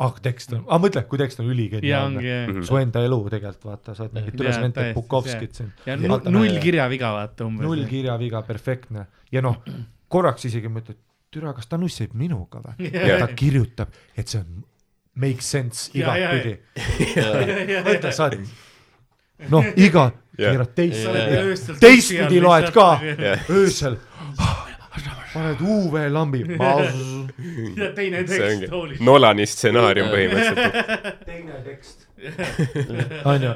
B: ah tekst on , ah mõtle , kui tekst on
D: ja ongi
B: üligeniaalne ,
D: jah .
B: su enda elu tegelikult vaata , sa oled mingit
D: Jaa,
B: üles näinud
D: täiesti,
B: Bukovskit siin ,
D: ja
E: Vaata,
D: nu- null kirjaviga vaata umbes .
B: null
D: (laughs)
B: kirjaviga , perfektne ja noh , korraks isegi mõtled , türa , kas ta nussib minuga või ,
E: Jah.
B: ta kirjutab , et see on make sense
D: Jaa, jaa,
B: igatpidi
D: kirjaviga .
B: mõtle , sa oled , noh , iga ,
E: Jah.
B: keerad
C: Jah.
B: teist , teistpidi loed ka
E: Jah.
B: öösel , paned UV-lambi ,
D: ja teine
E: see
D: tekst
E: ongi
D: toolis .
E: Nolani stsenaarium põhimõtteliselt .
B: teine tekst , onju ,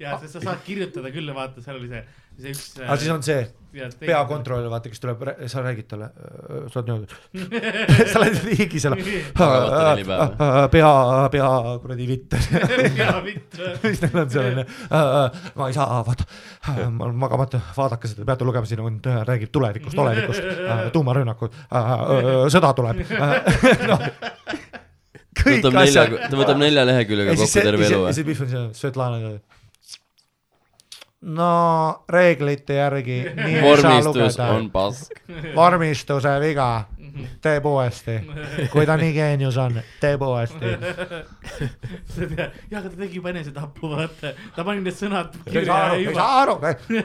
D: ja sa, sa saad kirjutada küll ja vaata , seal oli see , see üks .
B: aga siis on see
D: (laughs) peakontor .
B: peakontrolör , vaata , kes tuleb , sa räägid talle , sa oled niimoodi , (laughs) sa oled ligi seal ,
C: vaata neli päeva.
B: pea , Äh, pea kuradi vitt on ju
D: jaa , vitt .
B: siis (laughs) neil on selline , ma ei saa , vaata , ma olen magamata , vaadake seda , peate lugema , siin on , räägib tulevikust , olevikust , tuumarünnakud , sõda tuleb . (laughs) noh ,
C: ta
B: kõik
C: võtab nelja
B: asjad .,
C: ta võtab nelja leheküljega
B: ja siis
C: kokku
B: see ,
C: terve elu
B: ja
C: või ?
B: siis Pihv on seal , Svetlana . no reeglite järgi nii ei saa
C: vormistus
B: lugeda
C: on , pask .
B: vormistuse viga , teeb uuesti , kui ta nii geenius on , teeb uuesti .
D: jah , aga ta tegi juba enesetapu , vaata , ta pani need sõnad
B: ei saa
D: kirja
B: aru , ei
D: juba .
B: saa aru ,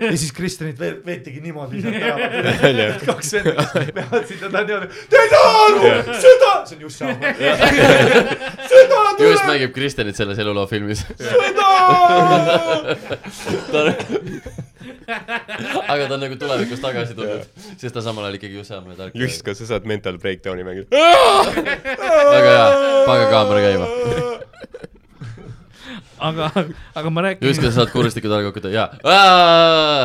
B: ja siis Kristjanit veel veetigi niimoodi sealt ära , (laughs) kaks venda , kes
C: (laughs)
B: peavad sinna , ta on niimoodi , te ei saa aru , sõda , see on just sama , sõda
C: just
B: tuleb ,
C: mängib Kristjanit selles eluloo filmis . (laughs)
B: sõda ,
C: aga ta on nagu tulevikus tagasi tulnud , sest ta samal ajal ikkagi Jussamäe tark .
E: just , kas sa saad mental breakdown'i mängida ?
C: väga hea , pange kaamera käima .
D: aga , aga ma
C: just ,
D: rääkisin ,
C: kas sa saad kuristiku taga kokku teha , jaa .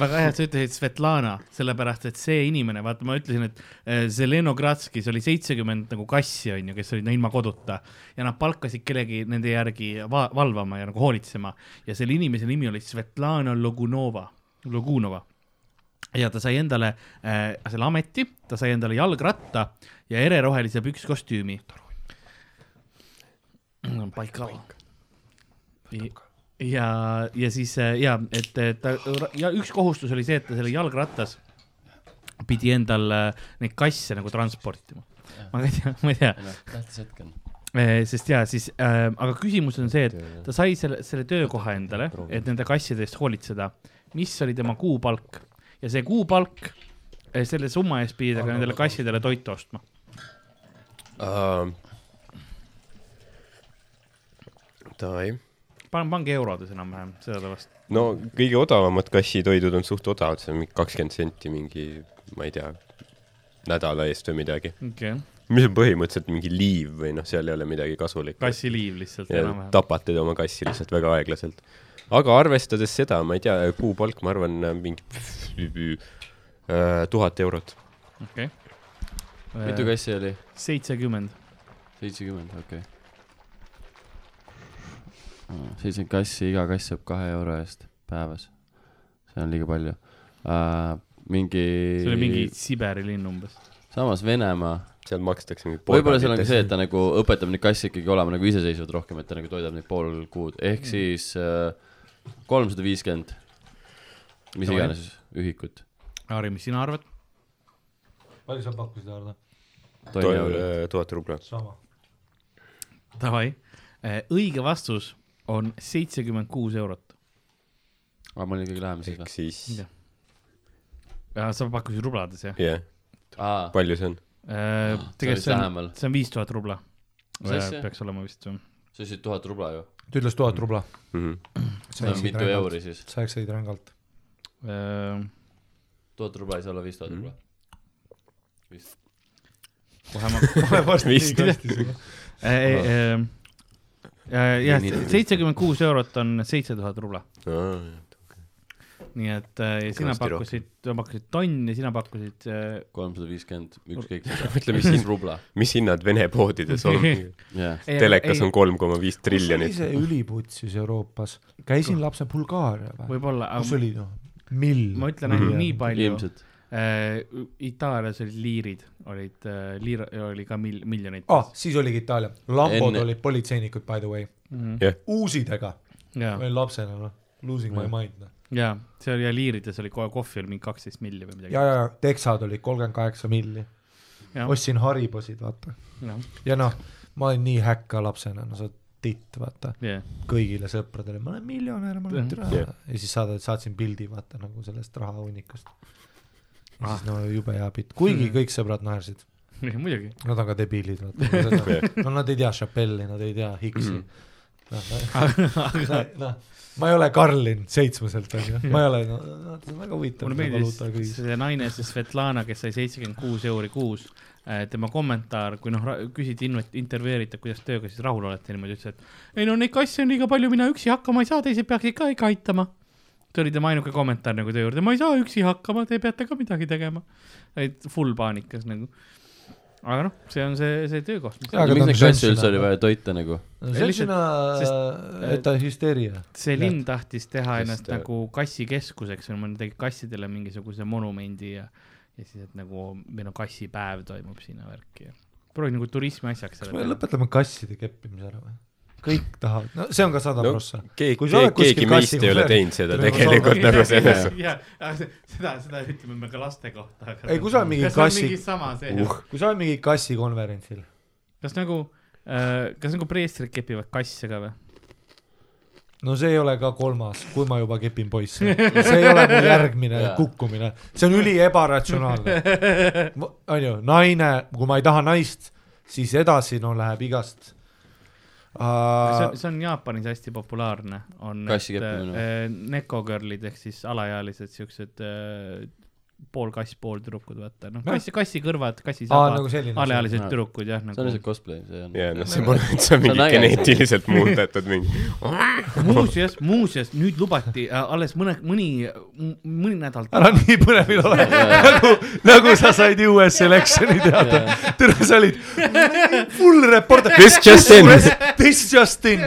D: väga hea , et sa ütlesid Svetlana , sellepärast et see inimene , vaata , ma ütlesin , et eh, Zelenogradskis oli seitsekümmend nagu kassi , onju , kes olid no ilma koduta ja nad palkasid kellegi nende järgi va valvama ja nagu hoolitsema ja selle inimese nimi oli Svetlana Logunova , Logunova ja ta sai endale äh, selle ameti , ta sai endale jalgratta ja ererohelise pükskostüümi . paika . ja , ja siis äh, ja , et äh, ta ja üks kohustus oli see , et ta selle jalgrattas pidi endal äh, neid kasse nagu transportima . ma ei tea , ma ei tea ,
C: Noh. tähtis hetk on .
D: sest ja siis äh, , aga küsimus on see , et ta sai selle , selle töökoha endale , et nende kasside eest hoolitseda . mis oli tema kuupalk ja see kuupalk , selle summa eest pidi ta ka nendele kassidele toitu ostma .
E: Tai .
D: pange , pange eurodes enam-vähem sellepärast .
E: no kõige odavamad kassitoidud on suht odavad , see on mingi kakskümmend senti mingi , ma ei tea , nädala eest või midagi .
D: okei okay. ,
E: mis on põhimõtteliselt mingi liiv või noh , seal ei ole midagi kasulikku .
D: kassiliiv lihtsalt
E: ja
D: enam-vähem .
E: tapate te oma kassi lihtsalt väga aeglaselt . aga arvestades seda , ma ei tea , kuupalk , ma arvan , mingi tuhat eurot .
D: okei
C: mitu
D: okay. .
C: kassi oli ?
D: Äh, seitsekümmend .
C: seitsekümmend , okei . seitsekümmend kassi , iga kass saab kahe euro eest päevas . see on liiga palju uh, . mingi .
D: see oli mingi Siberi linn umbes .
C: samas Venemaa
E: seal makstakse mingi
C: võib-olla seal on ka see , et ta nagu õpetab neid kasse ikkagi olema nagu iseseisvad rohkem , et ta nagu toidab neid pool kuud , ehk
D: Mm.
C: siis äh, kolmsada viiskümmend , mis
D: Davai.
C: iganes ühikut .
D: Harri , mis sina arvad ?
B: (laughs) palju sa pakkusid , Ardo ?
C: tonni euro .
E: tuhat rubla .
B: sama .
D: Davai , õige vastus on seitsekümmend kuus eurot .
C: aa , ma olin ikkagi lähemal siis
E: ehk
C: või ?
E: siis ,
D: Äh, sa pakkusid rublades jah ?
E: jah ,
C: aa ,
E: palju see on ?
D: Äh, tegelikult see on
C: lähemal. ,
D: see on viis tuhat rubla .
C: Mis asja?
D: peaks olema vist või ?
C: sa ütlesid tuhat rubla ju ,
B: ta ütles tuhat rubla .
E: Mhm.
C: see on mitu euri siis ,
B: sa eksid
C: (laughs)
B: rängalt .
D: Äh,
C: tuhat rubla ei saa olla viis tuhat rubla .
D: kohe ma ,
B: kohe varsti
E: Vist.
B: nii kasti sulle .
D: äh, jah
C: Nii, nii, , nii.
D: seitsekümmend kuus eurot on seitse tuhat rubla , nii et äh, ja sina
E: Kõvasti
D: pakkusid , pakkusid tonn ja sina pakkusid äh,
C: kolmsada viiskümmend , ükskõik (laughs) mida
E: Mõtle, (laughs) mis . siin-
C: rubla ,
E: mis hinnad Vene poodides on ?
C: jah .
D: ei,
E: telekas
D: ei,
E: on kolm koma viis
B: oli
E: triljonit .
B: see üliputsis Euroopas , käisin lapse Bulgaaria või ?
D: võib-olla ,
B: kus
D: aga
B: oli noh , mill ?
D: ma ütlen ainult
C: Mhm.
D: nii palju ,
C: ilmselt .
D: Itaalias olid liirid , olid äh, , liir oli ka mil- , miljonites
B: ah , siis oligi Itaalia , lambod
C: Enne-
B: olid politseinikud by the way ,
D: Mhm.
B: uusidega ,
D: ja ,
B: ma olin lapsena noh , losing my mind noh .
D: ja see oli ja liirides oli kohe kohvi oli mingi kaksteist milli või midagi .
B: ja , ja teksad olid kolmkümmend kaheksa milli ,
D: Jah.
B: ostsin haribosid , vaata .
D: jah ,
B: ja noh , ma olin nii häkka lapsena , no sa oled titt , vaata ,
D: jah ,
B: kõigile sõpradele , ma olen miljonär , ma olen
D: Jah.
B: türa
E: Jah.
B: ja siis saad , saatsin pildi , vaata nagu sellest rahahunnikust . ja siis no jube hea pilt , kuigi kõik sõbrad naersid ,
D: muidugi .
B: nad on ka debiilid , vaata . no nad ei tea Chappelle'i , nad ei tea Higgs'i , (laughs) noh , ma ei ole Karlin seitsmeselt , onju , ma ei ole , noh , see on väga huvitav .
D: mulle meeldis see naine , see Svetlana , kes sai seitsekümmend kuus euri kuus , tema kommentaar , kui noh , küsiti , intervjueeriti , et kuidas tööga siis rahul olete , niimoodi ütles , et ei no neid kasse on liiga palju , mina üksi hakkama ei saa , teised peaksid ka ikka aitama . see oli tema ainuke kommentaar nagu töö juurde , ma ei saa üksi hakkama , te peate ka midagi tegema . et full paanikas nagu . aga noh , see on see , see töökoht .
B: Jaa, aga
C: miks
B: ta on
C: neid kasse
B: žensina.
C: üldse oli vaja toita nagu ?
B: see on sina , ta on hüsteeria .
D: see linn tahtis teha
E: Sest,
D: ennast
E: äh,
D: nagu kassikeskuseks , ma tegin kassidele mingisuguse monumendi ja , ja siis , et nagu meil on kassipäev toimub sinna värki ja proovi nagu turismi asjaks
B: kas me . lõpetame kasside keppimise ära või ? kõik tahavad , no see on ka sada
E: No,
B: prossa .
E: keegi , keegi meist ei ole teinud seda tegelikult nagu selles .
D: jah , seda , seda ütleme me ka laste kohta .
B: Ei, kui sa oled mingi kassi-
D: mingi sama see uh. ,
B: kui sa oled mingi kassikonverentsil ,
D: kas nagu äh, , kas nagu preestrid kepivad kasse ka või ?
B: no see ei ole ka kolmas , kui ma juba kepin poisse . see ei ole mu järgmine
C: Jaa.
B: kukkumine , see on üli ebaratsionaalne . onju , naine , kui ma ei taha naist , siis edasi no läheb igast uh, .
D: see on Jaapanis hästi populaarne , on
C: Kassi keppimine või?
D: äh, nekogirlid ehk siis alaealised siuksed äh, pool kass , pool tüdrukud , vaata noh ,
B: Jah.
D: kassi , kassi kõrvad , kassi
B: Aa,
D: saba
B: nagu selline asi.
D: alaealised
C: Jaa.
D: tüdrukud jah ,
C: see on
D: nagu
C: lihtsalt cosplay , see on .
E: ja noh , (laughs) see pole üldse mingi
C: äge.
E: geneetiliselt muudetud mingi .
D: muuseas , muuseas nüüd lubati äh, alles mõne , mõni , mõni nädal
B: ära nii põlevil ole , (laughs) nagu , nagu sa said US election'i teada . tere , sa olid full reporter .
E: This just in.
B: (laughs) This just in .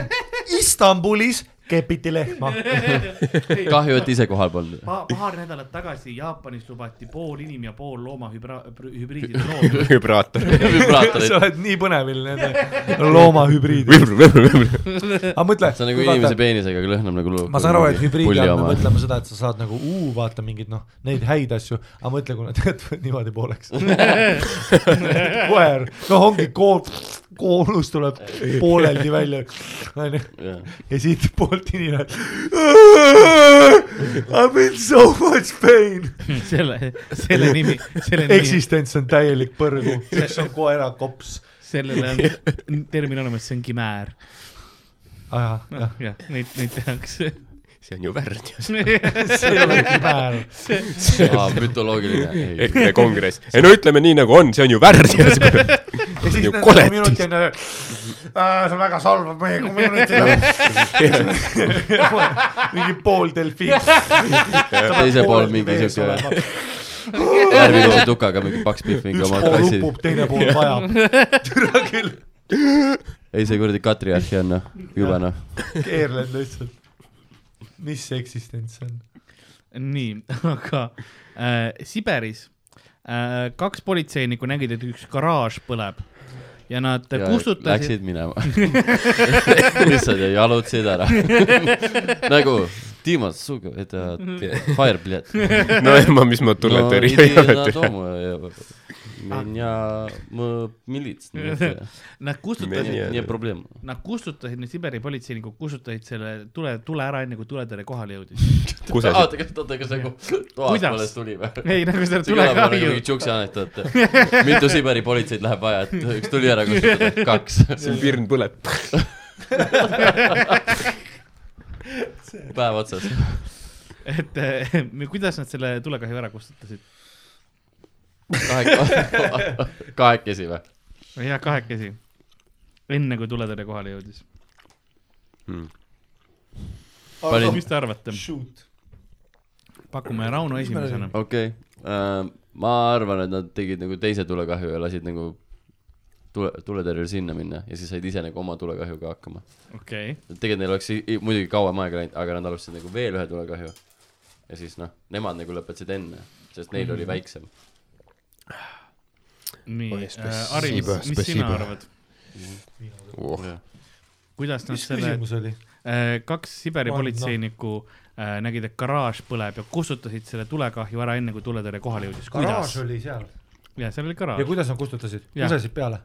B: Istanbulis kepiti lehma .
C: kahju , et ise kohal
B: (laughs)
C: polnud .
D: pa, paar nädalat tagasi Jaapanis lubati pool inim- ja pool looma hübra- , hübriidid looma .
E: vibraator .
B: sa
C: vibraatorid ,
B: oled nii põnevil nende loomahübriidi . aga mõtle .
C: see on nagu inimese . peenisega , aga lõhnab nagu .
B: ma saan aru , et hübriidi all me .
C: (laughs)
B: mõtleme seda , et sa saad nagu uu , vaata mingeid noh , neid häid asju , aga mõtle , kui nad jätavad (laughs) niimoodi pooleks . koer , noh ongi kool , koolus tuleb pooleldi välja , onju . ja siit poolt inimene . I m in so much pain .
D: (laughs) selle , selle nimi , selle nimi ,
B: eksistents on täielik põrgu , üks on koera kops .
D: sellele on termin olemas , see on kimäär .
B: see
D: Ah, jah , neid , neid tehakse .
E: see on ju värdjus .
B: (laughs) ei ole kimäär .
C: aa , mütoloogiline .
B: (laughs)
E: EKRE kongress . ei no ütleme nii nagu on , see on ju värdjus . (laughs)
B: ja siis
E: Ju
B: nende
E: koletis.
B: community on , see väga solvab meie (laughs) nagu. community'd . mingi pool (laughs) delfiin .
C: teise pool mingi siuke värvilise tukaga mingi paks pihv mingi
B: üks
C: oma
B: pool
C: klassi .
B: upub , teine pool (laughs) vajab . türa küll ,
C: ei , see kuradi katriarhi on noh , jube noh .
B: keerled lihtsalt . mis see eksistents on ?
D: nii , aga äh, Siberis äh, kaks politseinikku nägid , et üks garaaž põleb ja nad
C: ja
D: kustutasid ,
C: läksid minema . (laughs) lihtsalt ja jalutasid
D: (laughs)
C: ära . nagu Timo , suga , et äh,
D: Mhm.
C: fire pilet .
D: (laughs)
E: no ema , mis ma tunnetari ei olnud .
D: Ah.
C: Меня мы
D: (laughs)
C: милиция.
D: nad
E: Meni-
D: kustutasid ,
C: Не проблема.
D: nad kustutasid , need Siberi politseinikud kustutasid selle tule , tule ära , enne kui tuletõrje kohale jõudis .
C: (laughs)
E: kus sa
C: oota , kas , oota , kas nagu (laughs) toas
D: Kuidas?
C: pole tuli
D: (laughs)
C: või ?
D: ei , nagu seda
C: see kõlab nagu
D: tulekahju
C: mingi , tšuksi anekdoot , et mitu Siberi politseid läheb vaja , et üks tuli ära
D: (laughs)
C: kustutada , kaks .
E: siin pirn põleb .
C: päev otsas .
D: et äh, kuidas nad selle tulekahju ära kustutasid .
C: kahekesi (laughs) või ?
D: jah , kahekesi , enne kui tuletõrje kohale jõudis .
C: Panin-
D: mis te arvate ,
B: Shoot .
D: pakume Rauno esimesena .
C: okei okay. , ma arvan , et nad tegid nagu teise tulekahju ja lasid nagu tule , tuletõrjel sinna minna ja siis said ise nagu oma tulekahjuga hakkama .
D: okei okay. ,
C: tegelikult neil oleks i- i- muidugi kauem aega läinud , aga nad alustasid nagu veel ühe tulekahju . ja siis noh , nemad nagu lõpetasid enne , sest neil oli väiksem .
D: nii
E: Oi, ,
D: Ari ,
E: spasiba,
D: mis sina
E: spasiba.
D: arvad ,
E: oh. .
D: kuidas nad
B: mis
D: selle
B: küsimus noh. oli ?
D: Äh, kaks Siberi
B: Vanno.
D: politseinikku äh, nägid , et garaaž põleb ja kustutasid selle tulekahju ära , enne kui tuletõrje kohale jõudis . kuidas
B: garaaž ? oli seal
D: ja seal oli
B: ja
D: garaaž .
B: kuidas nad kustutasid ,
D: Jah.
B: lasesid peale ?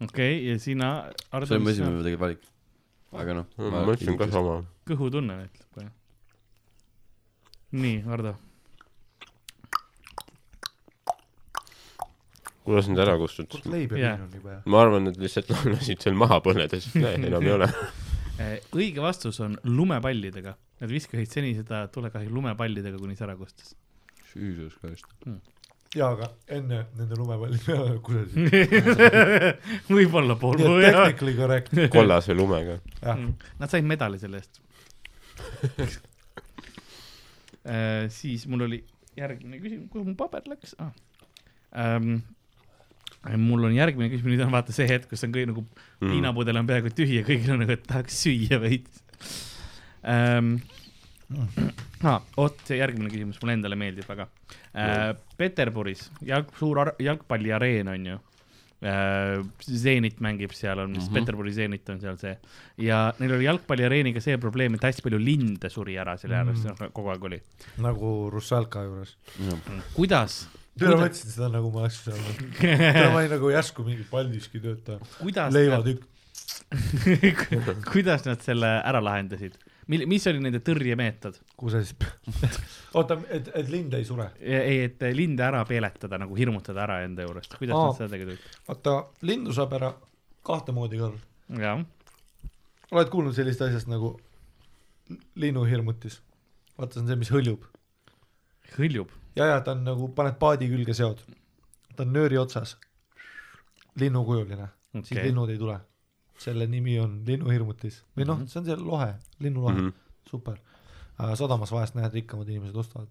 D: okei , ja sina
C: see
D: arvad ,
C: oli mu
D: mis on
C: esimene tegelikult valik . aga noh ,
E: Mhm, ma mõtlesin ka sama .
D: kõhutunne ütleb . nii , Hardo ,
E: kuidas nad ära kustutasid ?
B: kurt leibi
D: Jah.
B: on juba ja .
E: (laughs) ma arvan , et lihtsalt lasid seal maha põledes , enam ei ole .
D: Äh, õige vastus on lumepallidega . Nad viskasid seni seda tulekahju lumepallidega , kuni see ära kustus . (laughs)
F: Jesus Christ .
B: jaa , aga enne nende lumepallide , (laughs) kuidas siis ,
D: võib-olla pool
B: nii et
D: või
B: technically correct ,
E: kollase lumega .
B: jah .
D: Ah, Nad said medali selle eest Äh, siis mul oli järgmine küsimus , kuhu mu paber läks ah. ? Ähm, mul on järgmine küsimus , nüüd on vaata see hetk , kus on kõik nagu
E: Mhm.
D: mm. piinapudel on peaaegu tühi ja kõigil on nagu , et tahaks süüa veits ähm, . Ah, oot , see järgmine küsimus mulle endale meeldib väga äh, . Peterburis jalg, suur ar- jalgpalliareen on ju äh, . Zenit mängib seal , on , mis mm -hmm. Peterburi Zenit on seal see ja neil oli jalgpalliareeniga see probleem , et hästi palju linde suri ära selle ääres mm. , kogu aeg oli .
B: nagu Russalka juures .
D: Mm. kuidas ,
B: täna ma mõtlesin seda , nagu ma oleks seal (laughs) olnud . täna ma olin nagu järsku mingi Paldiski töötaja .
D: kuidas ,
B: leivatükk .
D: (laughs) kuidas nad selle ära lahendasid ? mil- , mis oli nende tõrjemeetod ?
B: kuhu sa siis , (laughs) oota , et , et lind ei sure .
D: ei , et linde ära peeletada , nagu hirmutada ära enda juurest , kuidas
B: Aa.
D: nad seda tegid ?
B: vaata , lindu saab ära kahte moodi korral .
D: jah ,
B: oled kuulnud sellisest asjast nagu linnuhirmutis ? vaata , see on see , mis hõljub .
D: hõljub .
B: ja , ja ta on nagu , paned paadi külge , seod . ta on nööri otsas . linnukujuline okay. , siis
D: Okei.
B: linnud ei tule . selle nimi on linnuhirmutis või noh , see on see lohe , linnulohe mm ,
E: Mhm.
B: -hmm. super . sadamas vahest näed , rikkamad inimesed ostavad .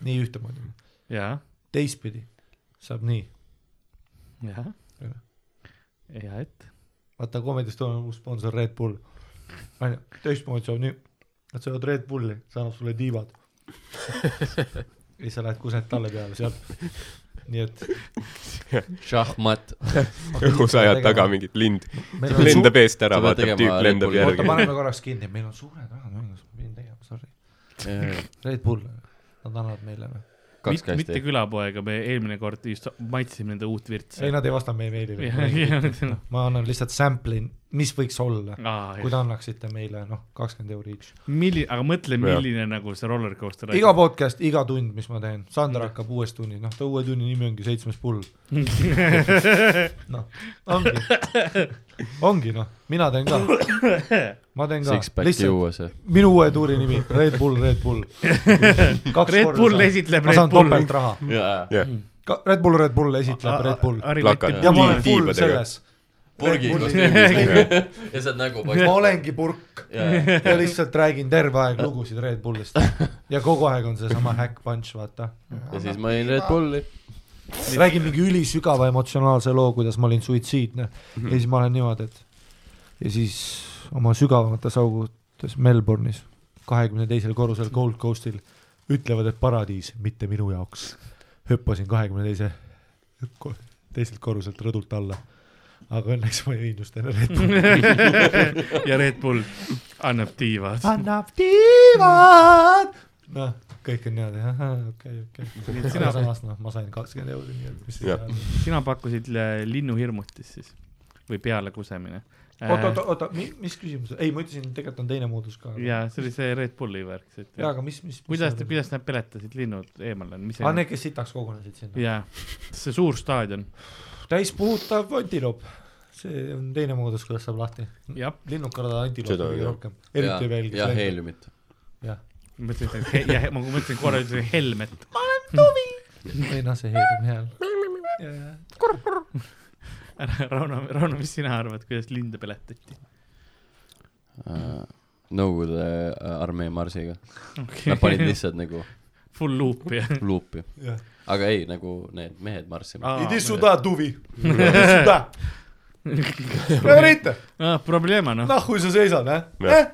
B: nii ühtemoodi ,
D: jah ,
B: teistpidi saab nii .
D: jah , ja et
B: vaata , Comedy Estonia on uus sponsor Red Bull . onju , teistmoodi saab nii , nad söövad Red Bulli , see annab sulle
E: (laughs)
B: tiibad . ja siis sa lähed kuselt talle peale sealt . nii et .
C: šahmat ,
E: õhus ajad taga mingit lind ,
B: meil on suur-
E: lendab eest ära ,
C: seda
E: vaatab
C: tegema
E: tüüp
C: Red
E: lendab
C: Bulli.
B: oota ,
E: järgi .
B: paneme korraks kinni , meil on suured rahad mängus , ma pidin tegema , sorry . Red Bull , nad annavad meile noh. või ?
C: kaks
D: mitte, mitte
C: kasti .
D: külapoega , me eelmine kord just maitsime nende uut virtsi
B: ei ,. nad ei vasta meie meilile .
D: (laughs) jah ,
B: ma annan lihtsalt sample'i , mis võiks olla , kui
D: jah .
B: te annaksite meile noh , kakskümmend euri each .
D: milline , aga mõtle ,
E: Jah.
D: milline nagu see roller coaster .
B: iga podcast , iga tund , mis ma teen , Sander hakkab uues tunnis , noh , ta uue tunni nimi ongi seitsmes
D: (laughs)
B: pull . noh , ongi , ongi noh , mina teen
D: (laughs)
B: ka , ma teen ka ,
C: Sixpacki
B: lihtsalt
C: juues .
B: minu uue tuuri nimi , Red Bull , Red
D: (laughs)
B: Bull .
D: Red Bull esitleb
B: ma
D: Red
B: saan
D: Bulli .
B: topeltraha ,
E: jah , (laughs)
B: Red Bull , Red Bull esitleb Red Bull
E: Plakad.
B: ja ma olen
E: Tiib-
B: full
E: tiibadega.
B: selles ,
C: purgi
B: Red Bulli- (laughs)
C: ja saad nagu nägu
B: ma
C: (laughs) paista .
B: olengi purk ja lihtsalt räägin terve aeg lugusid Red Bullist ja kogu aeg on seesama Hack Punch , vaata
C: ja siis ma jõin Red Bulli .
B: räägin mingi ülisügava emotsionaalse loo , kuidas ma olin suitsiidne ja siis ma olen niimoodi , et ja siis oma sügavamates augutes Melbourne'is kahekümne teisel korrusel Gold Coastil ütlevad , et paradiis , mitte minu jaoks . hüppasin kahekümne teise , teiselt korruselt rõdult alla . aga õnneks ma jõin just enne Red Bulli .
D: ja Red Bull annab tiivad .
B: annab tiivad . noh , kõik on niimoodi , okei , okei . sina samas , noh , ma sain kakskümmend euri , nii et mis
E: Jah.
B: siis .
D: sina pakkusid le- linnuhirmutist siis või pealekusemine ?
B: oota , oota , oota , mis küsimus , ei , ma ütlesin , tegelikult on teine moodus ka .
D: ja Äh, see oli see Red Bulli värk , et
B: jaa , aga mis , mis .
D: kuidas , kuidas nad peletasid linnud eemale , mis
B: aa , need , kes sitaks kogunesid sinna .
D: jaa , see suur staadion ,
B: täispuhutav antiloop , see on teine moodus , kuidas saab lahti .
D: jah ,
B: linnud kardavad antiloopi
E: Seda
B: kõige
E: jah.
B: rohkem ,
C: ja
B: eriti veel ,
C: ja
B: kes lendab .
C: heeliumit .
B: jah ,
D: ma mõtlesin , et he- ja he- ma mõtlesin korra , ütlesin Helmet ,
B: ei noh , see heelib hääl .
D: Rauno , Rauno , mis sina arvad , kuidas linde peletati ?
C: Nõukogude äh, armee marsiga . Nad panid lihtsalt nagu
D: Full loop'i jah ?
C: luupi ,
B: jah .
C: aga ei nagu need mehed marssima .
B: Иди сюда, дуви . Иди
D: (laughs)
B: сюда. Говорите,
D: probleem on , noh .
B: нахуй sa seisad , eh ?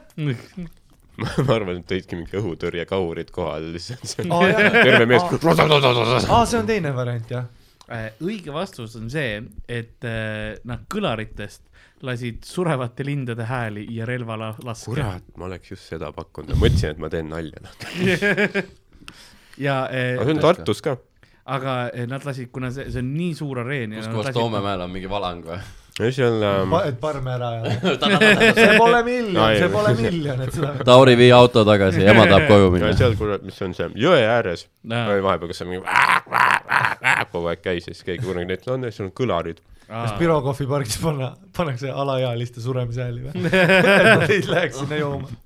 E: ma arvan , et tõidki mingi õhutõrjekahurid kohale lihtsalt .
B: aa , jah .
E: terve mees .
B: aa , Ah, see on teine variant , jah .
D: Äh, õige vastus on see , et äh, nad kõlaritest lasid surevate lindade hääli ja relva la- laske .
E: kurat , ma oleks just seda pakkunud , ma mõtlesin , et ma teen nalja .
D: ja
E: aga see
D: äh,
E: on Tartus ka .
D: aga äh, nad lasid , kuna see , see on nii suur areen .
C: kus kohas Toomemäel on mingi valang või ?
E: seal ähm,
B: et parme ära (laughs) ajada . see pole miljon , see pole miljon , et seda .
C: Tauri , vii auto tagasi , ema tahab koju
E: ja
C: minna .
E: seal , kurat , mis on see jõe ääres ,
D: Jaa.
E: oli vahepeal , kas see mingi kogu aeg käis ja siis keegi kunagi näitas , on , sul on kõlarid .
B: kas Piro kohvipargis panna , pannakse alaealiste suremise hääli (laughs) või ? et nad ei läheks sinna jooma . (laughs)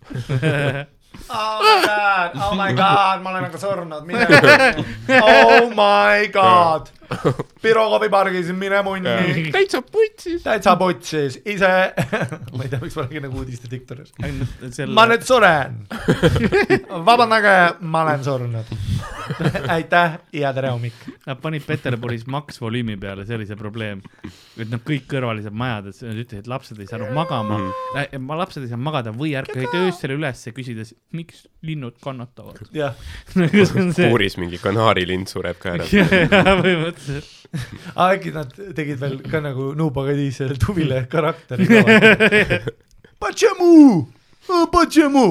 B: Oh my god , oh my god , ma olen nagu surnud , (laughs) mine . Oh my god , Piro kohvipargis , mine munni .
E: täitsa putsis .
B: täitsa putsis , ise . (laughs) ma ei tea , miks ma räägin nagu uudiste diktoris .
D: selle...
B: ma nüüd suren . vabandage , ma olen surnud . aitäh ja tere hommik .
D: Nad panid Peterburis maks volüümi peale , see oli see probleem . et noh , kõik kõrvalised majades nad ütlesid , lapsed ei saanud magama mm. . ma lapsed ei saanud magada või ärkasid öösel ülesse küsides , miks linnud kannatavad . (laughs) Nagu
B: jah ,
D: puuri .
E: puuris mingi kanaarilind sureb ka ära .
D: põhimõtteliselt .
B: äkki nad tegid veel ka nagu Nubagadi selle tuvile karakteri . Почему ? Почему ?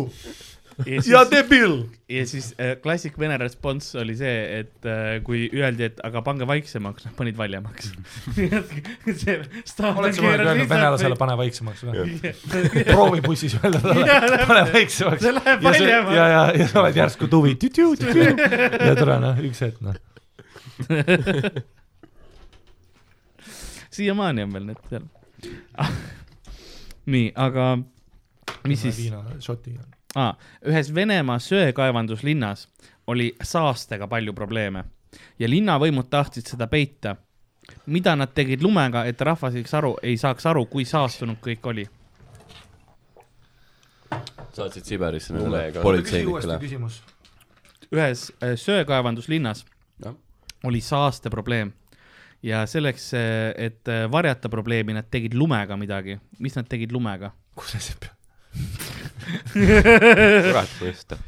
D: ja
B: Я дебил .
D: ja siis äh, klassik vene respons oli see , et äh, kui öeldi , et aga pange vaiksemaks , nad panid valjemaks (laughs)
B: oled sa mõelnud öelnud venelasele , pane vaiksemaks või ? (laughs) proovi bussis öelda
D: (laughs)
B: talle , pane vaiksemaks .
D: See läheb valjemaks.
B: ja , ja , ja sa oled järsku tuvi . ja tore noh , üks hetk noh .
D: siiamaani on veel need seal . nii , aga mis siis ,
B: viina šoti .
D: ah, ühes Venemaa söekaevanduslinnas oli saastega palju probleeme ja linnavõimud tahtsid seda peita . mida nad tegid lumega , et rahvas ei saaks aru , ei saaks aru , kui saastunud kõik oli ?
C: saatsid Siberisse nagu
E: Lumega.
C: nendele
B: küsi uuesti
C: politseinikele .
B: küsimus .
D: ühes äh, söekaevanduslinnas
C: Jah.
D: oli saasteprobleem ja selleks , et äh, varjata probleemi , nad tegid lumega midagi . mis nad tegid lumega ?
B: kus see sepp ?
E: kurat , mõistad .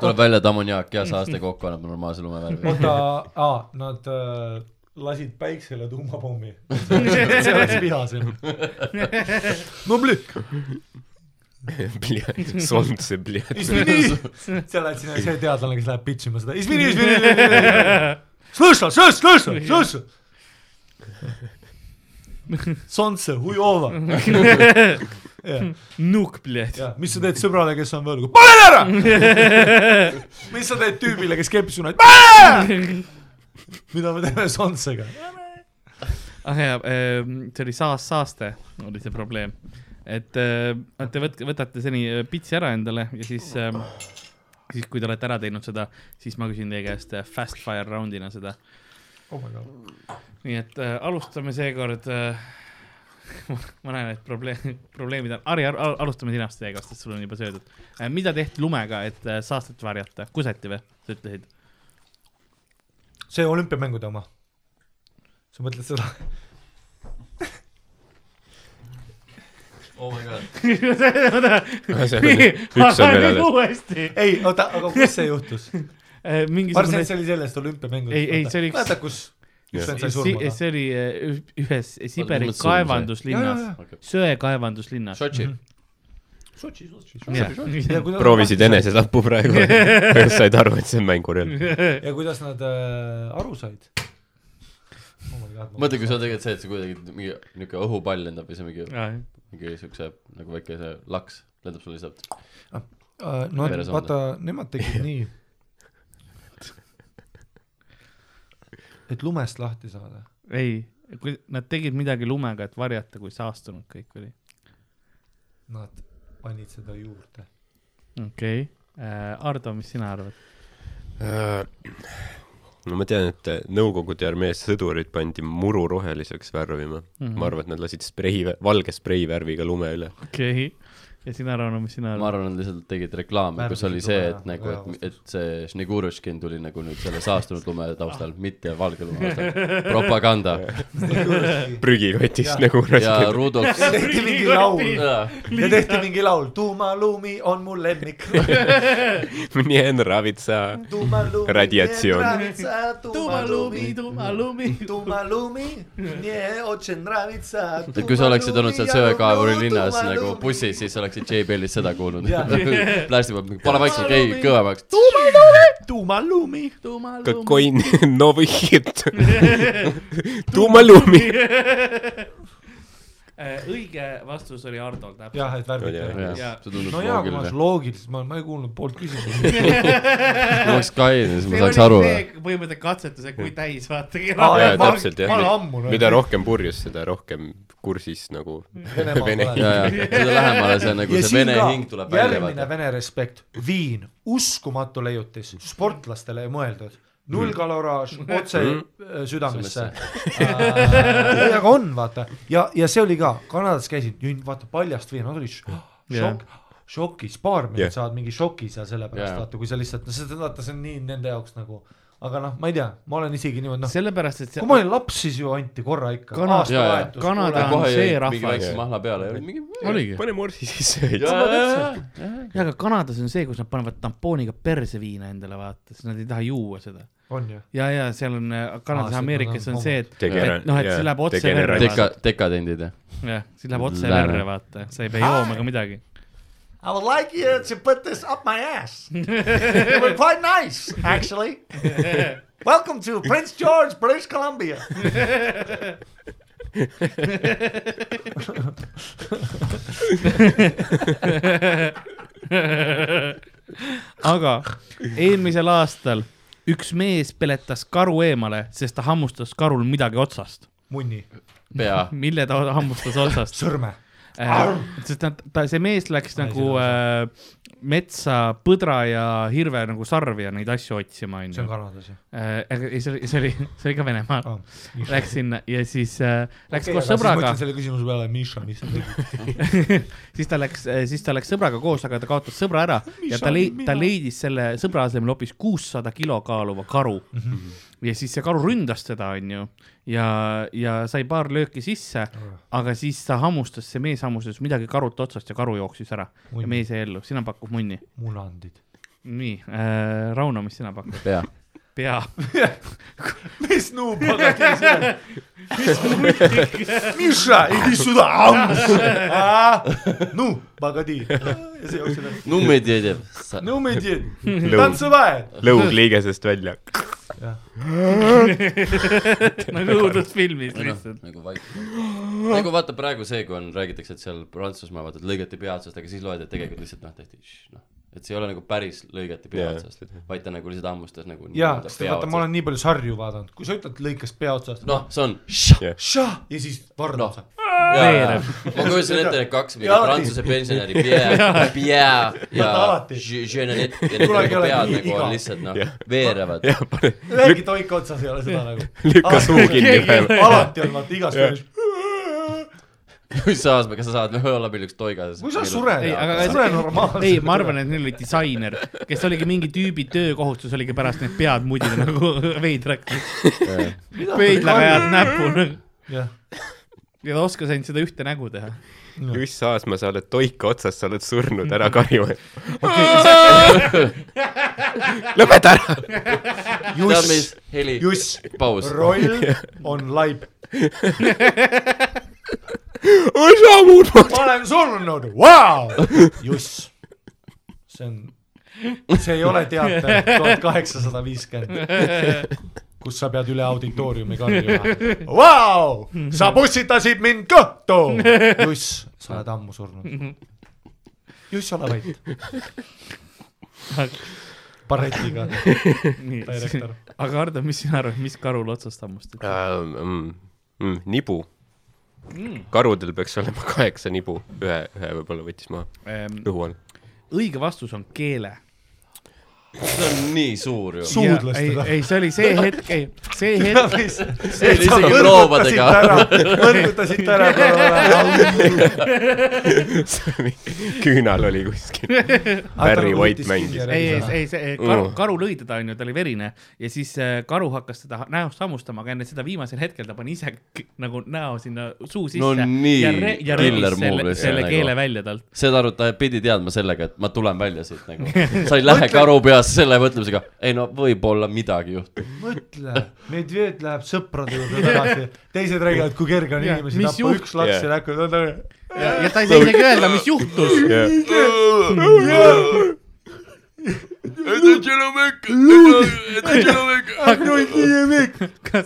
C: tuleb välja , et ammoniaak ja saaste kokku annab normaalse lumevärvi .
B: oota , aa , nad äh, lasid päiksele tuumapommi . (laughs) see oleks vihasem . no blik ,
E: (laughs) Solnse ,
B: (laughs)
E: bljat .
B: izvini . seal läheb sinna see teadlane , kes läheb pitch ima seda . (laughs) Izvini , izvini . Слышал , слышал , слышал , слышал . Солнце , хуёво .
D: nukk , bled .
B: mis sa teed sõbrale , kes on võlgu ? panen ära . mis sa teed tüübile , kes keppi suunab ? panen ära . mida me teeme Solnsega ?
D: ah jaa , see oli saas , saaste oli see probleem . et äh, te võt- , võtate seni äh, pitsi ära endale ja siis äh, , siis kui te olete ära teinud seda , siis ma küsin teie käest äh, fast fire round'ina seda .
B: oh my god .
D: nii et äh, alustame seekord äh, . (laughs) ma näen , et probleem , probleemid on , Harri , alustame sinast seekord , sest sul on juba söödud äh, . mida tehti lumega , et äh, saastet varjata , kuseti või , sa ütlesid ?
B: see olümpiamängude oma . sa mõtled seda ?
C: oh my god .
E: üks on veel alles .
D: uuesti .
B: ei , oota , aga kus see juhtus ? ma arvasin ,
D: Ehm, mingisugune
B: et see oli sellest olümpiamängudest .
D: Ei, ei, see oli üks-
B: vaata , kus
E: Jah.
B: üks vend sai surma
D: Si- . see oli eh, üh- ühes Siberi
C: mõtlesin,
D: kaevanduslinnas ,
C: okei.
D: söekaevanduslinnas .
C: Sotši ,
D: (laughs)
E: proovisid . enesetapu praegu . (laughs) said aru , et see on mängurelv .
B: ja kuidas nad äh, aru said oh ?
C: mõtle , kui see on tegelikult see , et sa kuidagi mingi niuke õhupall lendab või see mingi , mingi siukse nagu väike see laks lendab sulle lihtsalt .
B: Äh, no
C: veresoonde.
B: vaata , nemad tegid nii . et lumest lahti saada .
D: ei , kui nad tegid midagi lumega , et varjata , kui saastunud kõik oli .
B: Nad panid seda juurde .
D: okei okay. , Ardo , mis sina arvad ?
E: Äh, no ma tean , et äh, Nõukogude armee sõdurid pandi muru roheliseks värvima . ma arvan , et nad lasid sprei , valge spreivärviga lume üle .
D: okei okay. , ja sina , Rauno , mis sina
C: ma
D: arvad ?
C: arvan , nad lihtsalt tegid reklaame , kus oli see , et nagu , et , et see Sneguruskin tuli nagu nüüd selle saastunud lume taustal , mitte valge lume taustal . propaganda
E: prügikotist
B: Jah.
E: nagu
C: ja
E: raske .
C: Rudolf
B: ja . tehti mingi laul
C: jaa ,
B: ja tehti mingi laul , tuumalumi on mu lemmik .
E: (laughs) nii on ravitsa .
B: tuumalumi .
E: Radiatsioon. .
B: tuumalumi ,
D: tuumalumi .
B: tuumalumi , nie otsin ravitsa .
C: et kui sa oleksid olnud seal söekaevuri linnas nagu . bussis , siis oleksid J-Bellis seda kuulnud
B: Jah. .
C: (laughs) plasti peab , pane vaikselt , ei , kõvemaks .
B: tuumalumi .
D: (laughs)
E: Какой
B: (laughs)
E: новый хит . Тумалуми .
D: Eh, õige vastus oli Hardol
B: jah , et värvid
E: Oli,
B: ja,
E: jah.
D: Jaa.
F: see tundus
B: no jaa , kui ma oleks
F: loogiline .
B: loogiliselt , ma , ma ei kuulnud poolt
E: (laughs)
B: küsimust .
C: ma oleks Kain , siis ma
D: see
C: saaks aru
D: oli . see põhimõtteliselt katsetus , et kui täis vaata
B: Aa,
D: kella
B: jah.
E: jaa ,
B: ma-
E: täpselt
B: ma olen
E: jah .
B: ammu näinud. Mm.
E: mida rohkem purjus , seda rohkem kursis nagu
B: Venemaa
E: Vene
B: tuleb.
C: ja , ja seda lähemale see nagu see vene hing tuleb välja
B: järgmine
C: vaata .
B: Vene respekt , viin , uskumatu leiutis , sportlastele ei mõeldud ,
C: Mm.
B: null kaloraaž otse äh, südamesse . (laughs) aga on , vaata , ja , ja see oli ka , Kanadas käisid , vaata paljast viina , nad olid
C: (gasps)
B: š-
D: Jah.
B: šokk , šokis , baarmenid
E: Jah.
B: yeah. saavad mingi šoki seal selle pärast
C: Jah.
B: yeah. , vaata , kui sa lihtsalt , no see , vaata , see on nii nende jaoks nagu , aga noh , ma ei tea , ma olen isegi niimoodi , noh ,
D: sellepärast , et see
B: kui ma olin laps , siis ju anti korra ikka .
D: Kana-
C: jaa, jaa.
D: Kanada on
C: kohe
D: see
C: jäi mingi
D: rahvas ,
C: väikse mahla peale ja oli mingi .
D: oligi .
E: Mm. pane morsi sisse .
D: jaa , aga Kanadas on see , kus nad panevad tampooniga perse viina endale , vaata , sest nad ei taha juua seda .
B: on ju ,
D: ja , ja seal on äh, Kanadas
B: Aa,
D: ja
B: see-
D: Ameerikas on
B: no,
D: see , et ,
E: Degener-
D: et noh , et
E: jaa,
D: see läheb otse
E: degenerat-
D: verre ,
C: Deka
D: vaata .,
C: dekadendid jah .
D: jah , see läheb otse
C: Lääne.
D: verre , vaata , sa ei pea jooma ega midagi . (laughs)
G: I would like you to put this up my ass. it would be quite nice, actually. Welcome to Prince George, British Columbia.
D: aga eelmisel aastal üks mees peletas karu eemale , sest ta hammustas karul midagi otsast .
B: munni ,
C: pea .
D: mille ta hammustas
B: (laughs)
D: otsast ?
B: sõrme ,
D: sest nad , ta , see mees läks nagu äh, metsa põdra ja hirve nagu sarvi ja neid asju otsima ,
B: see on
D: onju .
B: Kanadas ju .
D: ei , Eh, see oli , see oli , see oli ka Venemaal .
B: Ah, Miša.
D: Läks sinna ja siis äh, läks
B: Okei, aga
D: koos
B: siis
D: sõbraga
B: mõtlen , selle küsimuse peale , Miša , mis sa
D: (laughs)
B: tegid ?
D: siis ta läks , siis ta läks sõbraga koos , aga ta kaotas sõbra ära ja ta lei- , ta leidis selle sõbra asemel hoopis kuussada kilo kaaluva karu mm . -hmm. ja siis see karu ründas teda , onju , ja , ja sai paar lööki sisse , aga siis ta hammustas , see mees hammustas midagi karut otsast ja karu jooksis ära .
B: Munni.
D: ja mees jäi ellu , sina pakud munni .
B: munandid .
D: nii äh, , Rauno , mis sina
C: (laughs)
D: pakud ?
C: pea .
D: pea . (laughs)
B: mis (laughs) nuupaga tee see on ?
D: Nagu
B: Miša , иди
G: Ah.
B: сюда . Ну,
G: (laughs)
B: погоди .
C: nummeid ei tea .
B: Ну, мы дед , танцевай .
E: lõug liigesest välja .
D: nagu õudusfilmis lihtsalt .
C: nagu vaikselt . nagu vaata praegu see , kui on , räägitakse , et seal Prantsusmaa vaata , et lõigati pea otsast , aga siis loed , et tegelikult lihtsalt noh , tehti šš, noh , et see ei ole nagu päris lõigati pea
E: Jaa.
C: otsast , vaid ta nagu lihtsalt hammustas nagu
B: jaa ,
C: nii-öelda
B: sest
C: pea
B: vaata , ma
C: otsast.
B: olen nii palju sarju vaadanud , kui sa ütled , lõikas pea otsast .
C: noh , see on
B: Šah ja siis varna
D: Noh.
B: otsa .
C: Jaa, ma kujutasin ette need kaks mingi
B: Ja alati.
C: prantsuse pensionäri , Pierre , Pierre ja
B: alati.
C: Je- Jeanette ja need
B: Kunagi ei
C: nagu
B: ole
C: pead
B: nii
C: nagu on
B: igav.
C: lihtsalt noh , veerevad .
E: jah , pane ,
B: ühegi toika otsas ei ole seda nagu .
E: lükka suu kinni päev .
B: alati on vaata igas filmis .
C: kui sa , kas sa saad noh, olla meil üks toigas ?
B: kui sa sured
D: ei , aga ,
B: sure normaalselt .
D: ei , ma arvan , et neil oli disainer , kes oligi mingi tüübi töökohustus oligi pärast need pead mudida nagu (laughs) veidrak , pöidlaga ajad näpuna
B: jah ,
D: ja ta oskas ainult seda ühte nägu teha .
E: Juss Aasma , sa oled toika otsas , sa oled surnud , ära
D: (laughs)
E: karju . (laughs) lõpeta ära .
C: tead , mis
B: Juss ,
C: heli ,
B: Juss ,
C: paus .
B: roll on laip .
E: osa muud poolt .
B: ma olen surnud , vau . Juss , see on , see ei ole teater tuhat kaheksasada viiskümmend , kus sa pead üle auditooriumi karjuma . vau , sa pussitasid mind kõhtu . Juss , sa oled ammu surnud . Juss , ole vait . baretiga , direktor .
D: aga Hardo , mis sina arvad , mis karul otsast hammustati ?
E: Äh, mm, nibu . karudel peaks olema kaheksa nibu , ühe , ühe võib-olla võttis maha rõhu (laughs) all .
D: Ehm, õige vastus on keele .
C: see on nii suur ju .
D: ei
B: suudlastega ,.
D: ei , see oli see hetk , ei , see hetk ,
B: (laughs) see
C: oli isegi proovadega. .
B: (laughs) mõrgutasite ära korra .
E: küünal oli kuskil . Barry White mängis.
D: ei , ei , ei , see karu , karu lõi teda , onju , ta oli verine ja siis äh, karu hakkas teda näost hammustama , aga enne seda viimasel hetkel ta pani ise k- nagu näo sinna suu sisse .
C: No nii,
D: ja re- ja
C: killer
D: remis selle ,
C: move lihtsalt
D: selle
C: nagu.
D: keele välja talt .
C: seda arvab , ta pidi teadma sellega , et ma tulen välja siit (laughs) nagu . sa ei lähe karu peast selle mõtlemisega , ei no võib-olla midagi juhtub .
B: mõtle , Medved läheb sõprade juurde
D: (laughs)
B: tagasi , teised räägivad , kui kerge on
D: Jah,
B: inimesi
D: mis
B: tappa ,
D: juht-
B: üks laks ei
E: Jah.
B: näkku , ta on nagu
D: ja , ja ta ei saa isegi öelda , mis juhtus . (laughs)
E: (laughs)
D: kas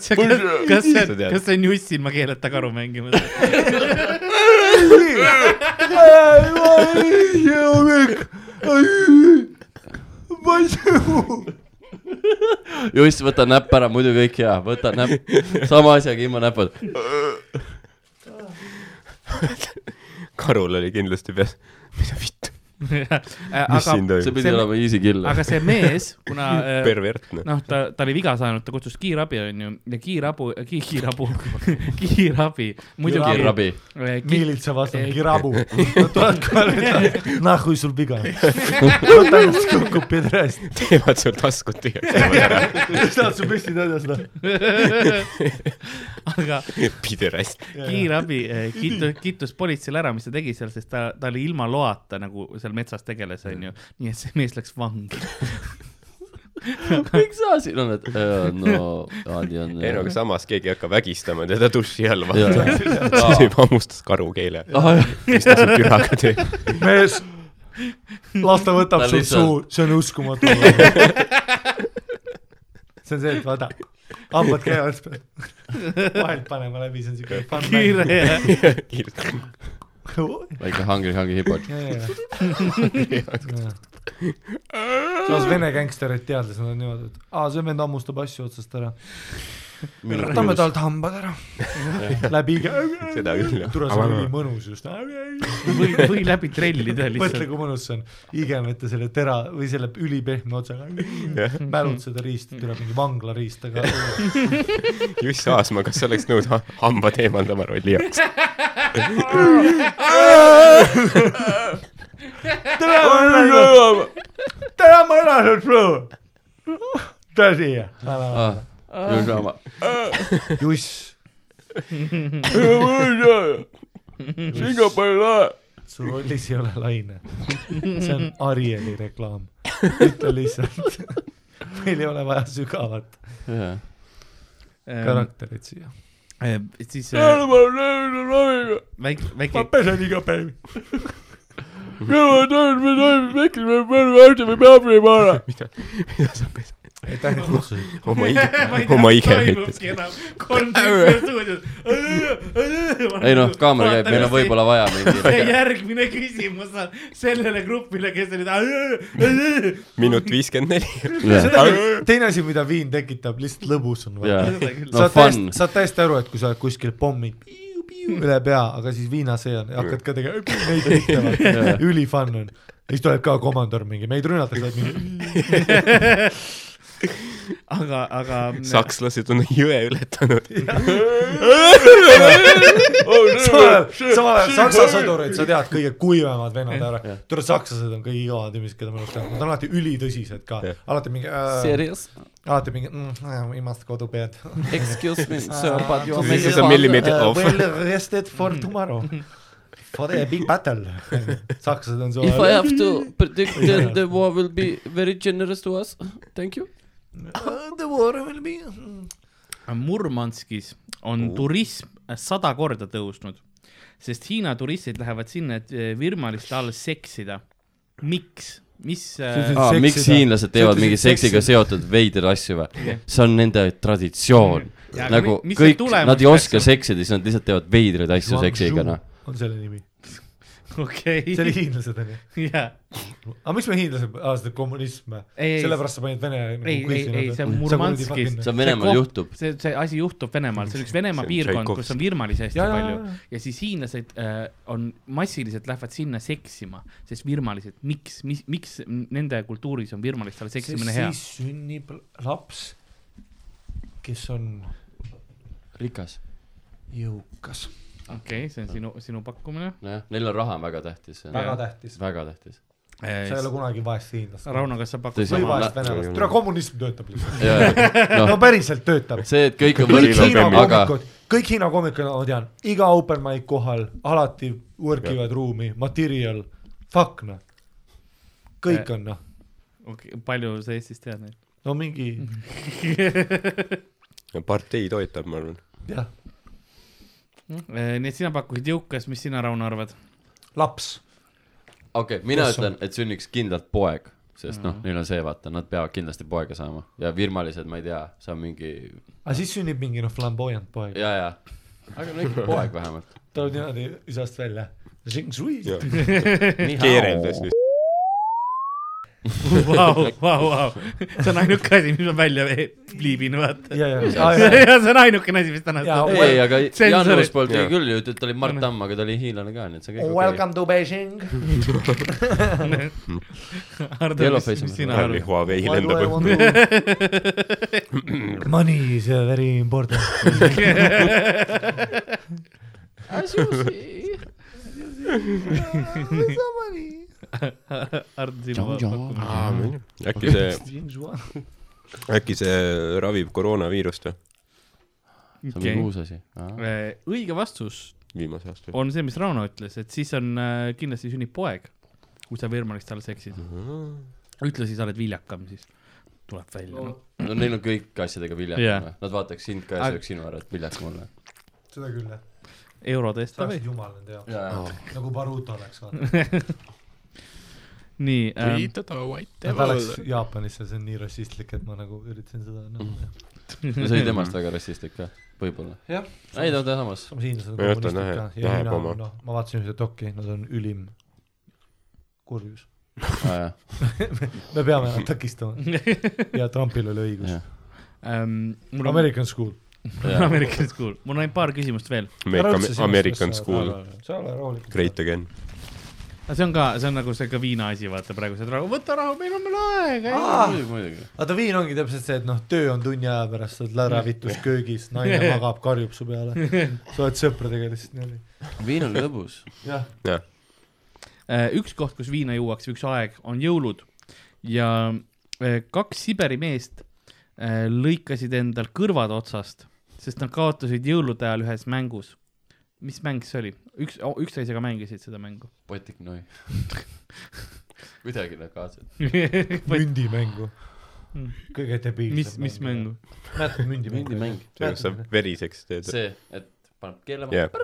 D: see , kas see , kas see on Juss ilma keeleta karu mängimas ?
C: just , võta näpp ära , muidu kõik hea , võta näpp , sama asjaga ilma näpata .
E: Karul oli kindlasti peas , mida vittu , mis siin
D: äh, aga ,
C: see
E: toimub ,
C: pidi
D: See-
C: olema easy kill .
D: aga see mees , kuna äh,
E: pervertne .
D: noh , ta , ta oli viga saanud , ta kutsus kiirabi , onju , ja kiirabu ki, , kiirabu , (laughs) kiirabi , muidugi
C: kirrabi .
D: eh, ki,
B: miilitsa vastab , mingi
D: (laughs)
B: rabu . tuled kohe , nahhu sul viga . võta ennast kukub pidrest ,
E: teevad sul taskud tühjaks ,
B: saad su püstid hädas , noh .
D: (laughs) aga
E: piderast .
D: kiirabi eh, kiitus , kiitus politseile ära , mis ta tegi seal , sest ta , ta oli ilma loata nagu seal metsas tegeles , onju , nii et see mees läks vangi .
C: miks sa siin oled ? no , Adi on . äh,
E: ei no aga samas keegi ei hakka vägistama teda duši all , vaata . (laughs) siis
C: jah ,
E: juba hammustas karu keele ,
C: Ah, jah .
E: mis ta siin küraga (laughs) teeb .
B: mees , las ta võtab
C: Ta
B: sul
C: lihtsalt-
B: suu , see on
E: (laughs)
B: uskumatu . see on see , et vaata , hambad käivad peal , vahelt panema läbi , see on siuke fun mäng .
D: (laughs) kiire ja
C: väike hungry , hungry hip-hop .
B: samas vene gängsterid teadlased on niimoodi , et aa , see vend hammustab asju otsast ära . võtame talt hambad ära . läbi ,
E: seda küll jah .
B: tule see on nii mõnus just . mõtle ,
D: või , või läbi trellida lihtsalt .
B: kui mõnus see on , igemete selle tera või selle ülipehme otsaga . mälud seda riista , tuleb mingi vanglariist , aga
E: Juss Aasma , kas sa oleks nõus ha- hambad eemaldama rolli jaoks ?
B: tere , ma elan , tere , ma elan sul suur . tule siia .
C: Ah,
B: Juss ,
C: Singapur lae .
B: su rollis ei ole laine . see on Arieli reklaam . ütle lihtsalt . meil ei ole vaja sügavat karakterit siia .
D: Ehm, siis äh, väike , väike ,
B: pesen iga päev . aitäh , et kutsusid .
E: oma ige , oma ige ütles .
C: ei noh , kaamera käib , meil on . võib-olla vaja
D: (laughs) see
C: mingi .
D: järgmine küsimus on sellele grupile , kes olid . seda
E: minut viiskümmend
B: (laughs)
E: neli .
B: teine asi , mida viin tekitab , lihtsalt lõbus on .
C: jaa ,
D: küll .
C: no
B: saad
C: fun
B: täiesti ,. saad täiesti aru , et kui sa oled kuskil pommid piiu, piiu, üle pea , aga siis viina see on , hakkad ka tegema , neid
C: (laughs)
B: ründavad , üli fun on . ja siis tuleb ka komandör mingi , meid rünnatakse , et mingi ,
D: aga , aga .
E: sakslased on jõe ületanud .
B: samal ajal , samal ajal saksa sõdurid , sa tead , kõige kuivemad vennad ära , tule sakslased on kõige igavad inimesed , keda ma oleks teadnud , nad on alati ülitõsised ka , alati mingi äh, ,
H: Serious?
B: alati mingi mm, , viimast
C: (laughs)
B: kodupead .
H: Excuse me, sir, but you are
E: This is
H: making
E: a
H: fun.
E: millimeter off .
B: Well rested for tomorrow , for a big
C: (laughs)
B: battle . sakslased on
H: If
B: sulle
H: I have
D: (laughs)
H: to predict that the war will be very generous to us, thank you.
B: The war will be
D: Äh, Murmanskis on
B: Oh.
D: turism äh, sada korda tõusnud , sest Hiina turistid lähevad sinna , et eh, virmaliste all seksida . miks , mis ? äh,
B: See-
C: Ah, miks
B: seksida.
C: hiinlased teevad
B: Sa
C: mingi
B: ütlesid
C: seksiga seotud veider asju või ? see on nende traditsioon .
D: Ja, aga
C: nagu
D: mi- mis see
C: kõik ,
D: tulemus
C: nad ei oska
D: peaks
C: seksida , siis nad lihtsalt teevad veidraid asju
B: Guangzhou
C: seksiga , noh .
B: on selle nimi , see oli
D: (laughs) okei ,
B: hiinlased onju ,
D: jaa .
B: aga miks me hiinlased , aa seda kommunism ,
D: Ei, ei.
B: sellepärast sa panid vene nagu
D: Ei, ei, ei, see on Murmanskis.
C: see on Venemaal
D: koht-
C: juhtub .
D: see , see asi juhtub Venemaal , see on üks Venemaa
E: See on
D: piirkond , kus
E: Tšaikovski.
D: on virmalisi hästi
B: Ja,
D: ja,
B: ja,
D: palju
B: ja,
D: ja,
B: ja.
D: ja siis hiinlased äh, on massiliselt lähevad sinna seksima , sest virmalised , miks , mis , miks nende kultuuris on virmalistele seksimine hea ?
B: siis sünnib laps , kes on
C: rikas .
B: jõukas ,
D: okei , see on sinu , sinu pakkumine
C: nojah , neil on raha väga tähtis .
B: väga tähtis ,
C: väga tähtis .
B: sa ei ole kunagi vaest hiinlast
D: Rauno , kas sa pakud
C: Tõsi.
B: või
C: Ma-
D: sama ?
B: vaest venelast , tule kommunism töötab lihtsalt , no
D: (laughs)
C: noh ,
B: päriselt töötab ,
C: see , et kõik on
B: kõik Hiina
C: võrdsed , aga
B: koomikud , kõik Hiina koomikud , ma tean , iga open mic kohal alati work ivad ruumi , materjal , fuck noh , kõik on noh ,
D: Okay, palju sa Eestis tead neid ?
B: no mingi
G: Mhm.
E: partei toetab , ma arvan .
B: jah ,
C: Hm?
D: Eh, nii et sina pakkusid jõukas , mis sina , Rauno , arvad ?
B: laps
C: okei okay, , mina
B: Kus on?
C: ütlen , et sünniks kindlalt poeg , sest noh , neil on see , vaata , nad peavad kindlasti poega saama ja virmalised , ma ei tea , see on mingi
B: aga siis sünnib mingi noh , flamboyant poeg .
C: ja , ja aga no ikka poeg (laughs) vähemalt .
B: tuleb niimoodi isast välja .
E: keereldes nüüd .
D: vau , vau , vau , see on ainuke asi , mis ma välja vee- pliibin , vaata .
B: ja , Ah, ja ,
D: see on ainukene asi , mis täna .
B: ja .
C: ei , aga
D: Sensorid.
C: Jaanus poolt
E: Jaa.
C: oli küll ju , ta oli Mart Tamm , aga ta oli hiinlane ka , nii et see on kõik okei .
G: Welcome to Beijing .
D: Hardo , mis
C: Yellowface on
D: mis sina
E: Harli
D: arvad ?
E: Huawei
G: Why do I
E: lendab
G: want to
B: Money is uh, very important .
H: As you see.
D: Hardo , sina pakumine .
E: õhku . äkki see , äkki see ravib koroonaviirust või ?
C: see on mingi uus asi .
D: Eh, õige vastus
E: viimase aasta
D: on see , mis Rauno ütles , et siis on äh, kindlasti sünnib poeg , kui sa Virmanist all seksid . ütle siis , sa oled viljakam , siis tuleb välja no. .
C: no neil on kõik asjadega
D: Jaa.
C: viljakad , nad vaataks sind ka ja
D: Aga-
C: sööks sinu ära , et viljaka mulle .
B: seda küll , jah .
D: eurode eest
B: see
D: või
B: oleks ? jumal nende jaoks .
C: jaa ,
B: nagu Baruto oleks , vaata .
D: nii ähm, ,
F: teda White
B: ta läks Jaapanisse , see on nii rassistlik , et ma nagu üritasin seda
E: Mhm.
B: nagu .
C: see oli temast väga rassistlik ka , võib-olla . jah . ei , ta on ta samas .
B: hiinlased on
E: Ma ei võta,
B: kommunistid ka
E: nähe-
B: ja
E: näeb
B: Hiina
E: oma.
B: on , noh , ma vaatasin ühte dokki , nad on ülim kurjus .
C: (laughs)
B: me
E: (laughs)
B: peame nad
G: (laughs)
B: takistama . ja Trumpil oli õigus
C: Jah. .
D: ähm, mul (laughs) on
B: American School .
D: American School , mul on ainult paar küsimust veel .
E: Ameerika , American School ,.
B: sa ole rahulik .
E: Great Again .
D: see on ka , see on nagu see ka viina asi , vaata praegu see rahu , võta rahu , meil on veel aega .
C: muidugi , muidugi .
B: vaata viin ongi täpselt see , et noh , töö on tunni aja pärast , sa oled läravitus köögis ,
D: (laughs)
B: naine magab , karjub su peale . sa oled sõpradega lihtsalt niimoodi .
C: viin on lõbus .
B: jah ,
E: jah ,
D: Äh, üks koht , kus viina juuakse , üks aeg on jõulud ja äh, kaks Siberi meest äh, lõikasid endal kõrvad otsast , sest nad kaotasid jõulude ajal ühes mängus . mis mäng see oli ? üks , üksteisega mängisid seda mängu . (laughs)
C: Botik Noi . (laughs) kuidagi nad kaasavad .
B: mündimängu
D: Mm. .
B: kõige debiilsem .
D: mis , mis ? mängu ?
B: mäletad mündimängu ?
C: mingi mäng .
E: see , kus sa veriseks teed .
C: see , et paneb keelama .
E: jah .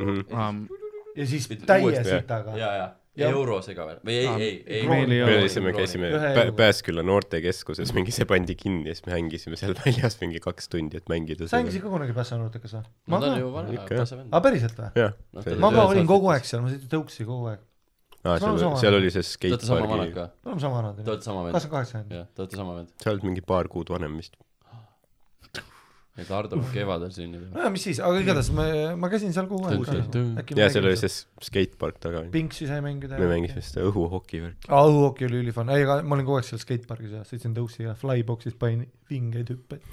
E: Mhm.
B: ja siis
C: Ütle
B: täie
C: uuesti,
E: jah.
B: sitaga .
C: ja , ja ,
B: Ja-
C: ja eurosega veel või ei
D: Aa, ,
C: ei , ei .
D: meil ei
E: me
D: ole.
E: lihtsalt me käisime
B: Ühe
E: Pä-
B: euroga.
E: Pääsküla noortekeskuses , mingi see pandi kinni ja siis me hängisime seal väljas mingi kaks tundi , et mängida
B: sa hängisid ka kunagi Pässanurtekas või ?
C: no
B: ma
C: ta
B: ka
C: oli . ju vana
E: Ikka, , jah.
C: tase vend
B: aa ,. päriselt või ?
E: jah
C: No, ,
E: see
B: ma
E: oli ,
B: ka
C: Ühes
B: olin kogu
C: aastates.
B: aeg seal , ma sõitsin tõuksi kogu aeg . ma olen
E: seal
B: sama- ,
E: seal oli see
C: Te olete sama vanad
E: skatepargi ,
C: ka ?
B: me oleme sama vanad
C: Te . olete sama vend ?
B: kakskümmend kaheksa on ju .
C: jah , te olete sama vend .
E: sa oled mingi paar kuud vanem vist .
C: et Hardo peab kevadel sünnima .
B: nojah , mis siis , aga igatahes ma , ma käisin seal kogu aeg ka .
E: ja seal oli see skatepark taga .
B: Pinksi sai mängida .
E: me mängime seda õhuhoki värki .
B: aa , õhuhoki oli ülifann , ei , aga ma olin kogu aeg seal skatepargis ja sõitsin tõuksiga , flybox'is panin vingeid
E: (laughs)
B: hüppeid .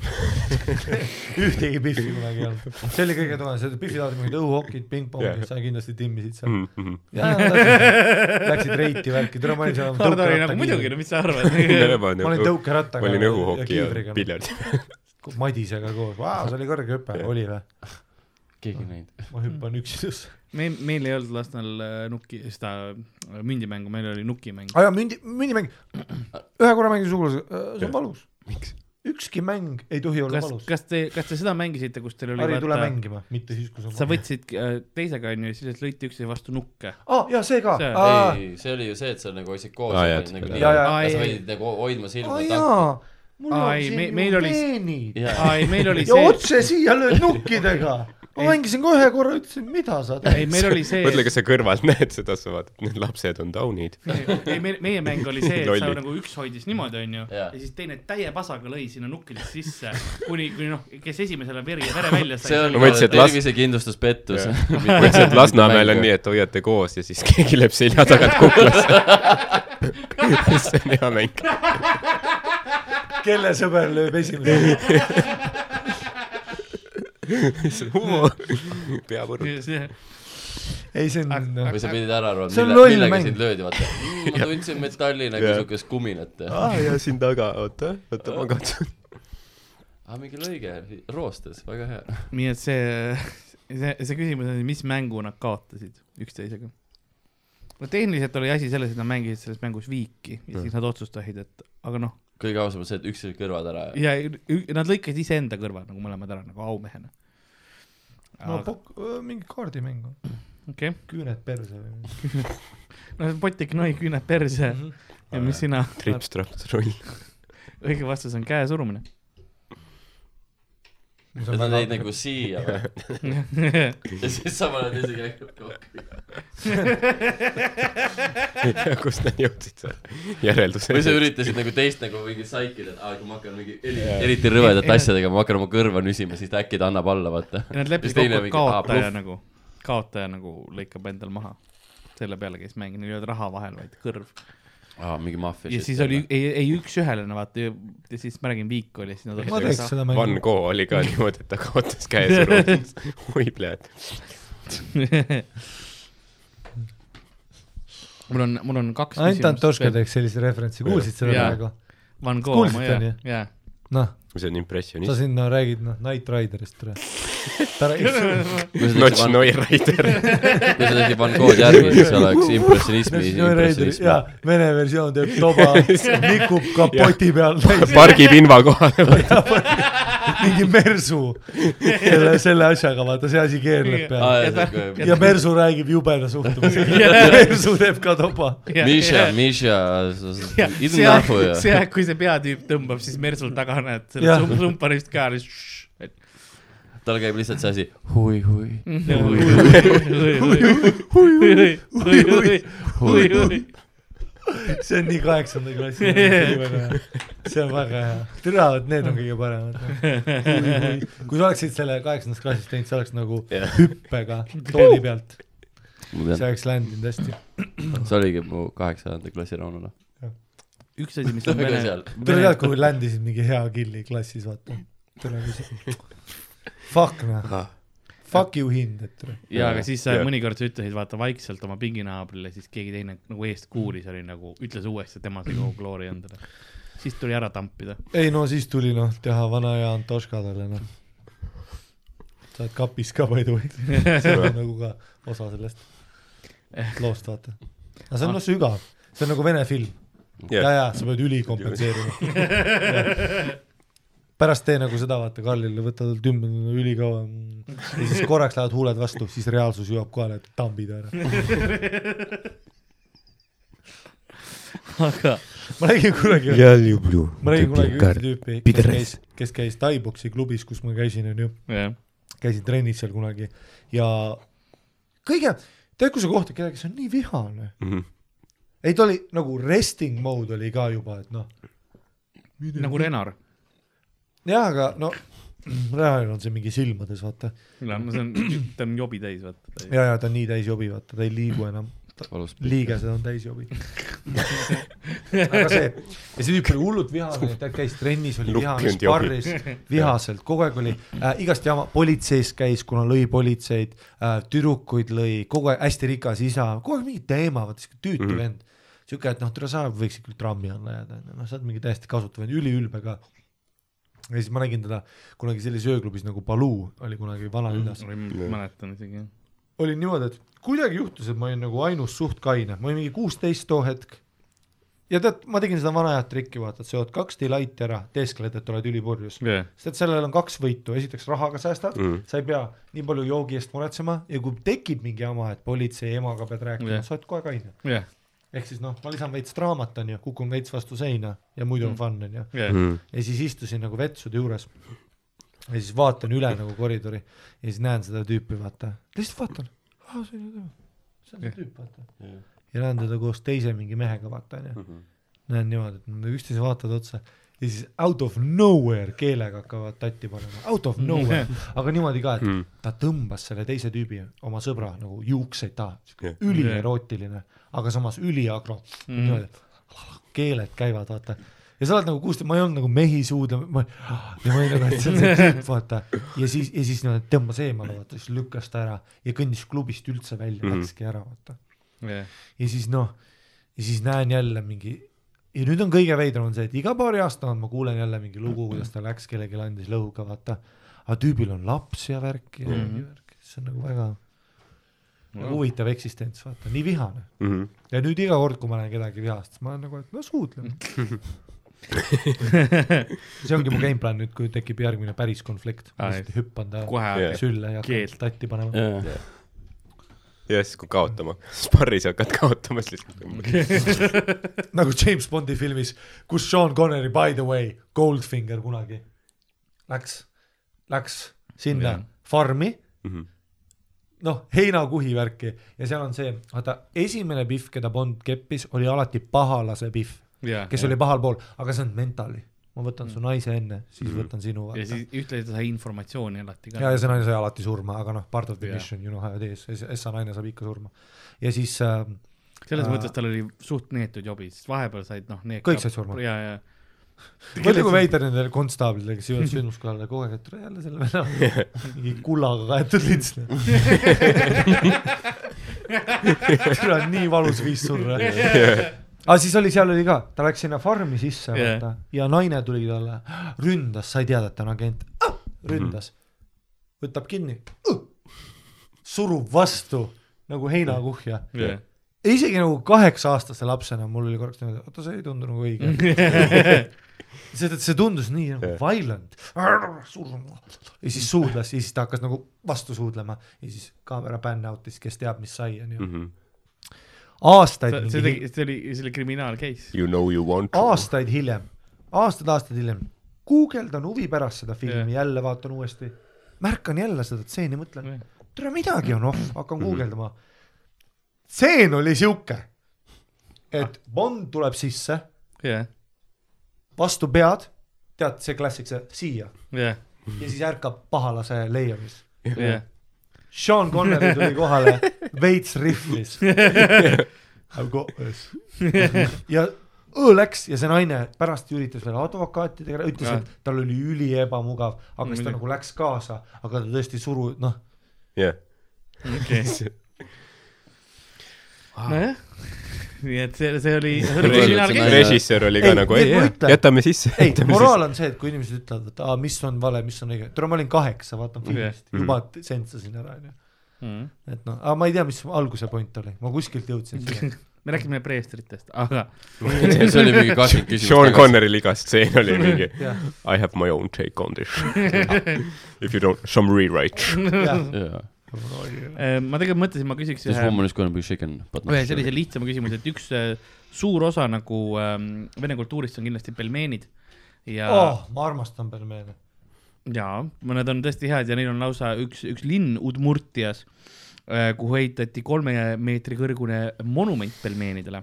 B: ühtegi pihvi kunagi ei olnud , see oli kõige toredam , see pihvi tahavad mingid õhuhokid , pingpongid , sa kindlasti timmisid
E: Mm.
B: seal .
E: Mhm,
B: jaa , läksid reiti värki , tule
D: (laughs)
B: ma olin
E: (laughs)
B: seal .
D: Hardo oli nagu muidugi , no mis sa arvad ?
B: ma olin
E: ma
B: tõukerattaga .
E: olin õhuhoki ja . piljardi .
B: Madisega koos , vau , see oli kõrge hüpe ,
E: Jah. Mm.
B: oli või ?
C: keegi ei näinud .
B: ma hüppan üksindusse .
D: meil , meil ei olnud lastel äh, nuki , seda äh, mündimängu , meil oli nukimäng .
B: aa jaa , mündi , mündimäng , ühe korra mängisin sugulasega , see on valus .
E: miks ?
B: ükski mäng ei tohi olla
D: kas ,
B: valus .
D: kas te , kas te seda mängisite , kus teil oli
B: Harri , tule mängima , mitte siis , kui sa
D: sa võtsid äh, teisega onju ja siis lõite üksteise vastu nukke .
B: aa , Ah, jaa , see ka .
D: See-
B: aa ,
C: ei , see oli ju see , et sa nagu hoidsid koos
E: Aa, jah, .
C: nagu
E: seda-
C: nii ,
B: Jaa, jaa.
C: sa
D: Ai,
C: pidid nagu hoidma silma
B: jaa . mul on
D: Aa, ei, me-
B: siin
D: meil
B: ju
D: oli-
B: peenid ja
C: jaa ,
D: aa ei , meil oli see ,
B: otse siia lööd nukkidega . ma
D: Ei.
B: mängisin ka ühe korra , ütlesin , mida sa
D: ei
B: teed .
D: meil oli see ,
E: mõtle , kas sa kõrvalt näed seda , sa vaatad , need lapsed on down'id .
D: (laughs) ei meil , meie mäng oli see , et sa
E: Lolli.
D: nagu üks hoidis niimoodi onju ja
C: Jaa.
D: siis teine täie pasaga lõi sinna nukkidest sisse kuni , kuni noh , kes esimesele veri ja vere välja sai
C: see . on
E: Ma mõtlesin, et las-
C: tervisekindlustuspettus . (laughs)
E: mõtlesin , et Lasnamäel on nii , et hoiate koos ja siis keegi lööb selja tagant kuklasse . see on hea mäng .
B: kelle sõber lööb esimene ?
E: humor . pea põrut .
B: ei , see on ,
D: Aga-
B: noh ,
C: või sa pidid ära arvama ,
B: See on
C: mille ,
B: loll
C: millega
B: mäng.
C: sind löödi , vaata . ma tundsin metalli nagu
E: Jaa.
C: siukest kuminat .
E: aa , ja siin taga , oota , oota , ma katsun .
C: aa , Ah, mingi lõige , roostes , väga hea .
D: nii et see , see , see küsimus on , mis mängu nad kaotasid üksteisega ? no tehniliselt oli asi selles , et nad mängisid selles mängus viiki ja siis nad otsustasid , et aga noh ,
C: kõige ausam on see , et üksteise kõrvad ära .
D: ja ü- nad lõikasid iseenda kõrvad nagu mõlemad ära nagu aumehena .
B: no
D: okei
B: pok- , mingi kaardimäng ,
D: okay. ,
B: küüned perse või midagi .
D: no Botik Noi küüned perse
B: Mhm.
D: mm -hmm. ja mis sina ,
E: trips-traps roll .
D: õige vastus on käesurumine .
C: sa tõid nagu siia või ? ja siis sa paned isegi ainult kokku .
E: kust nad jõudsid selle järelduseni ?
C: või sa üritasid nagu teist nagu mingi saikida , et aa , kui ma hakkan mingi eri , eriti rõvedate asjadega , ma hakkan oma kõrva nüsima , siis ta äkki ta annab alla , vaata .
D: ja nad leppisid kokku , et kaotaja . nagu , kaotaja nagu lõikab endal maha . selle peale käis mäng , neil ei olnud raha vahel , vaid kõrv .
C: aa , mingi maffia .
D: ja siis oli , ei , ei üks-ühele , no vaata , ja siis ma räägin , viik oli , siis nad
B: ma
D: otsustasid
B: teeks
D: sa-
B: seda
E: Van
B: mängu .
E: Gogh oli ka niimoodi , et ta kaotas käe sõrmes . oi , pljat .
D: (laughs) mul on , mul on kaks
B: ainult Antoška
D: veel.
B: teeks sellise referentsi , kuulsid seda
D: Jaa.
B: praegu ?
D: Van Gogh ,
B: Kuulsite,
D: jaa
B: onju? ,
D: jaa .
B: noh ,
E: see on
B: sa
E: impressionist .
B: sinna räägid , noh , Knight Riderist ,
D: (laughs)
B: tere . ta (laughs) räägib ,
E: Notch Neurider .
C: kui sa teeksid Van Goghi järgi , siis oleks impressionismi , impressionismi .
B: jaa , vene versioon teeb toba , nikub kapoti peal täis
E: pargib inva kohale .
B: mingi mersu selle , selle asjaga , vaata see asi keerleb
C: Ah,
B: peal . ja
C: Miša ,
B: mersu räägib jubeda suhtumisega , mersu teeb ka toba .
C: Miša ,
D: Ja, see
C: idun
D: aeg
C: näpu , ju .
D: see aeg , kui see peatüüp tõmbab , siis Mersul taga näed selle
B: Jah.
D: sump- sumparist ka , et
C: tal käib lihtsalt see asi hui , hui ,
D: Mhm.
B: see on nii kaheksanda klassi inimene . see on väga hea , türa , vot need on kõige paremad . kui sa oleksid selle kaheksandast klassist teinud , see oleks nagu hüppega tooli pealt ,
C: ma
B: see
C: tean ,
B: oleks landinud hästi .
C: see oligi mu kaheksanda klassi Rauno noh .
D: üks asi , mis on
C: aga
D: vene ,
C: seal ,
B: tule tead , kui landisid mingi hea killi klassis , vaata . tule küsi . Fuck noh , fuck you hind , et tule .
D: jaa , aga siis sa
E: Jah.
D: mõnikord sa ütlesid vaata vaikselt oma pinginaabrile , siis keegi teine nagu eest kuulis , oli nagu , ütles uuesti , tema sai kogu kloori endale . siis tuli ära tampida .
B: ei no siis tuli noh , teha vana hea Antoškadele noh . sa oled kapis ka by the way , see on nagu ka osa sellest loost vaata . aga see on noh sügav , see on nagu vene film yeah. , ja , ja sa pead ülikompenseerima . pärast tee nagu seda vaata Karlile , võta talt ümber ülikaua mm, ja siis korraks lähevad huuled vastu , siis reaalsus jõuab kohale , et tambid ära .
D: aga
B: ma nägin kunagi ,
E: я люблю
B: ma nägin kunagi ühte
E: Карл
B: tüüpi , kes
E: Pidres.
B: käis , kes käis Taiboksi klubis , kus ma käisin , onju
D: jah ,
B: käisin trennis seal kunagi ja kõige , tead , kui sa kohtad kedagi , kes on nii vihane ,
E: Mhm.
B: ei ta oli nagu resting mode oli ka juba , et noh ,
D: nagu Renar .
B: jaa , aga no (clears throat) reaalne on see mingi silmades , vaata .
D: see on , ta on jobi täis , vaata .
B: ja , ja ta on nii täis jobi , vaata , ta ei liigu enam ,
C: valus .
B: liigesed on täis jobi . aga see , ja see tüüp oli hullult vihane , ta käis trennis , oli vihane ,
E: Lukkinud jobi.
B: sparris , vihaselt , kogu aeg oli äh, igast jama , politseis käis , kuna lõi politseid äh, , tüdrukuid lõi , kogu aeg hästi rikas isa , kogu aeg mingi teema , vaata siuke tüütu mm. vend . siuke , et noh , tere sa võiksid küll trammi alla jääda , onju , noh , sa oled mingi täiesti kasutu vend , üliülbe ka . ja siis ma nägin teda kunagi sellises ööklubis nagu Baloo oli kunagi Vana-Linnas mm. ,
D: mäletan isegi .
B: oli niimoodi , et kuidagi juhtus , et ma olin nagu ainus suht kaine , ma olin mingi kuusteist too hetk . ja tead , ma tegin seda vana head trikki , vaata , et seod kaks delighti ära , teeskled , et oled ülipurjus . sest et sellel on kaks võitu , esiteks rahaga säästad mm.
E: Mm. ,
B: sa ei pea nii palju joogi eest muretsema ja kui tekib mingi jama , et politsei emaga pead rääkima
D: Jah.
B: yeah. , sa oled kohe kaine .
D: jah ,
B: ehk siis noh , ma lisan veits draamat onju , kukun veits vastu seina ja muidu on
D: Mm.
B: fun onju .
D: jah ,
E: Mhm.
B: ja siis istusin nagu vetsude juures . ja siis vaatan üle nagu koridori ja siis näen seda tüüpi , vaata , lihtsalt vaatan , aa see on ju tema , see on see tüüp , vaata . ja näen teda koos teise mingi mehega , vaata onju . näen niimoodi , et nad üksteise vaatavad otsa ja siis out of nowhere keelega hakkavad tatti panema , out of nowhere , aga niimoodi ka , et
E: Mm.
B: ta tõmbas selle teise tüübi , oma sõbra nagu juukseid taha , siuke
E: Jah.
B: ülierootiline , aga samas üliagro mm. , niimoodi , keeled käivad , vaata . ja sa oled nagu kuulsid , ma ei olnud nagu mehisuud ja ma , ja ma olin nagu , et see on see tüüp , vaata . ja siis , ja siis niimoodi tõmbas eemale , vaata , siis lükkas ta ära ja kõndis klubist üldse välja mm. ,
E: Mhm.
B: läkski ära , vaata
D: jah .
B: ja siis noh , ja siis näen jälle mingi ja nüüd on kõige veidram on see , et iga paari aasta tagant ma kuulen jälle mingi lugu , kuidas ta läks , kellelegi andis lõuga , vaata . aga tüübil on laps ja värk ja mm -hmm. värk , see on nagu väga no. huvitav eksistents , vaata , nii vihane .
E: Mhm.
B: ja nüüd iga kord , kui ma näen kedagi vihast , siis ma olen nagu , et no
D: (laughs)
B: suudleme . see ongi mu game plan nüüd , kui tekib järgmine päris konflikt , ma
D: Aa,
B: lihtsalt hüppan ta
D: kohe
E: Jah.
B: sülle ja hakkan
D: Keelt.
B: tatti panema .
E: ja siis , kui kaotama , sparris hakkad kaotama , siis lihtsalt
B: nagu James Bondi filmis , kus Sean Connery , by the way , Goldfinger kunagi läks läks sinna
D: Jah.
B: farmi
E: Mhm.
B: noh , heinakuhi värki ja seal on see , vaata esimene pihv , keda Bond keppis , oli alati pahalase pihv ,
D: ja ,
B: kes oli pahal pool , aga see on mentali . ma võtan su naise enne , siis võtan sinu
D: Mm. ja
B: vaata .
D: siis ühtlasi ta sai informatsiooni alati
B: ja ,
D: ka .
B: ja see naine sai alati surma , aga noh , part of the
D: Jah.
B: mission you know how it is , essa naine saab ikka surma . ja siis äh,
D: selles
B: Aa.
D: mõttes tal oli suht neetud jobid , sest vahepeal said noh , need
B: Kõik said surma.
D: ja , ja
B: mõtle , kui veider nendele konstaablidele , kes jõuavad sündmuskohale kogu aeg , et tule jälle selle venna , mingi kullaga kaetud lints . kurat , nii valus viis surra . aga siis oli , seal oli ka , ta läks sinna farmi sisse
D: Jah.
B: vaata ja naine tuli talle , ründas , sai teada , et ta on agent , ründas , võtab kinni , surub vastu nagu heinakuhja .
D: Jah.
B: isegi nagu kaheksa-aastase lapsena mul oli korraks niimoodi , oota , see ei tundu nagu õige .
D: (laughs)
B: see , see tundus nii nagu yeah. violent , ja siis suudles ja siis ta hakkas nagu vastu suudlema ja siis kaamera pan out'is , kes teab , mis sai , onju .
E: Mhm.
B: aastaid
D: Mm. see , see
B: mingi ,
D: tegi , see oli , see oli kriminaal case .
E: You know you want to .
B: aastaid hiljem , aastad-aastad hiljem , guugeldan huvi pärast seda filmi yeah. , jälle vaatan uuesti , märkan jälle seda stseeni , mõtlen
D: Jah. ,
B: tere , midagi on off , hakkan guugeldama . stseen oli sihuke , et Bond tuleb sisse ,
D: jah ,
B: vastu pead , tead see klassik , see siia
D: jah ,
B: ja siis ärkab pahalase leiumis
D: jah .
B: Sean Connery tuli kohale veits rihvlis . (laughs) ja öö läks ja see naine pärast üritas veel advokaatidega , ütles ,
D: Jah.
B: et tal oli üli ebamugav , aga siis ta
D: Muidugi.
B: nagu läks kaasa , aga ta tõesti suru- , noh ,
E: jah ,
D: okei . nojah , nii et see , see oli , see oli
C: Režiim-
D: kriminaal case .
E: režissöör oli ka
B: Ei,
E: nagu ,
B: nii et
E: ei
B: ma , ütlen-
E: jätame sisse .
B: ei , moraal on see , et kui inimesed ütlevad , et aa , mis on vale , mis on õige , tule ma olin kaheksa , vaatan filmist ,
E: Mhm.
B: juba t- sentsasin ära , onju . et noh , aga ma ei tea , mis alguse point oli , ma kuskilt jõudsin sinna .
D: me räägime preestritest , aga
C: see oli mingi kakskümmend küsimus .
E: Sean . Connery'l iga stseen oli mingi
B: jah ,
E: I have my own take on this If you don't , some rewrite .
B: jah .
C: Yeah.
D: eh, ma tegelikult mõtlesin , ma küsiks
C: This
D: ühe ,
C: woman is gonna be shaken but not
D: ühe
C: sure.
D: sellise lihtsama küsimuse , et üks eh, suur osa nagu ähm, vene kultuurist on kindlasti pelmeenid ja oh. ,
B: oh , ma armastan pelmeene .
D: ja mõned on tõesti head ja neil on lausa üks , üks linn Udmurtias , kuhu ehitati kolme meetri kõrgune monument pelmeenidele .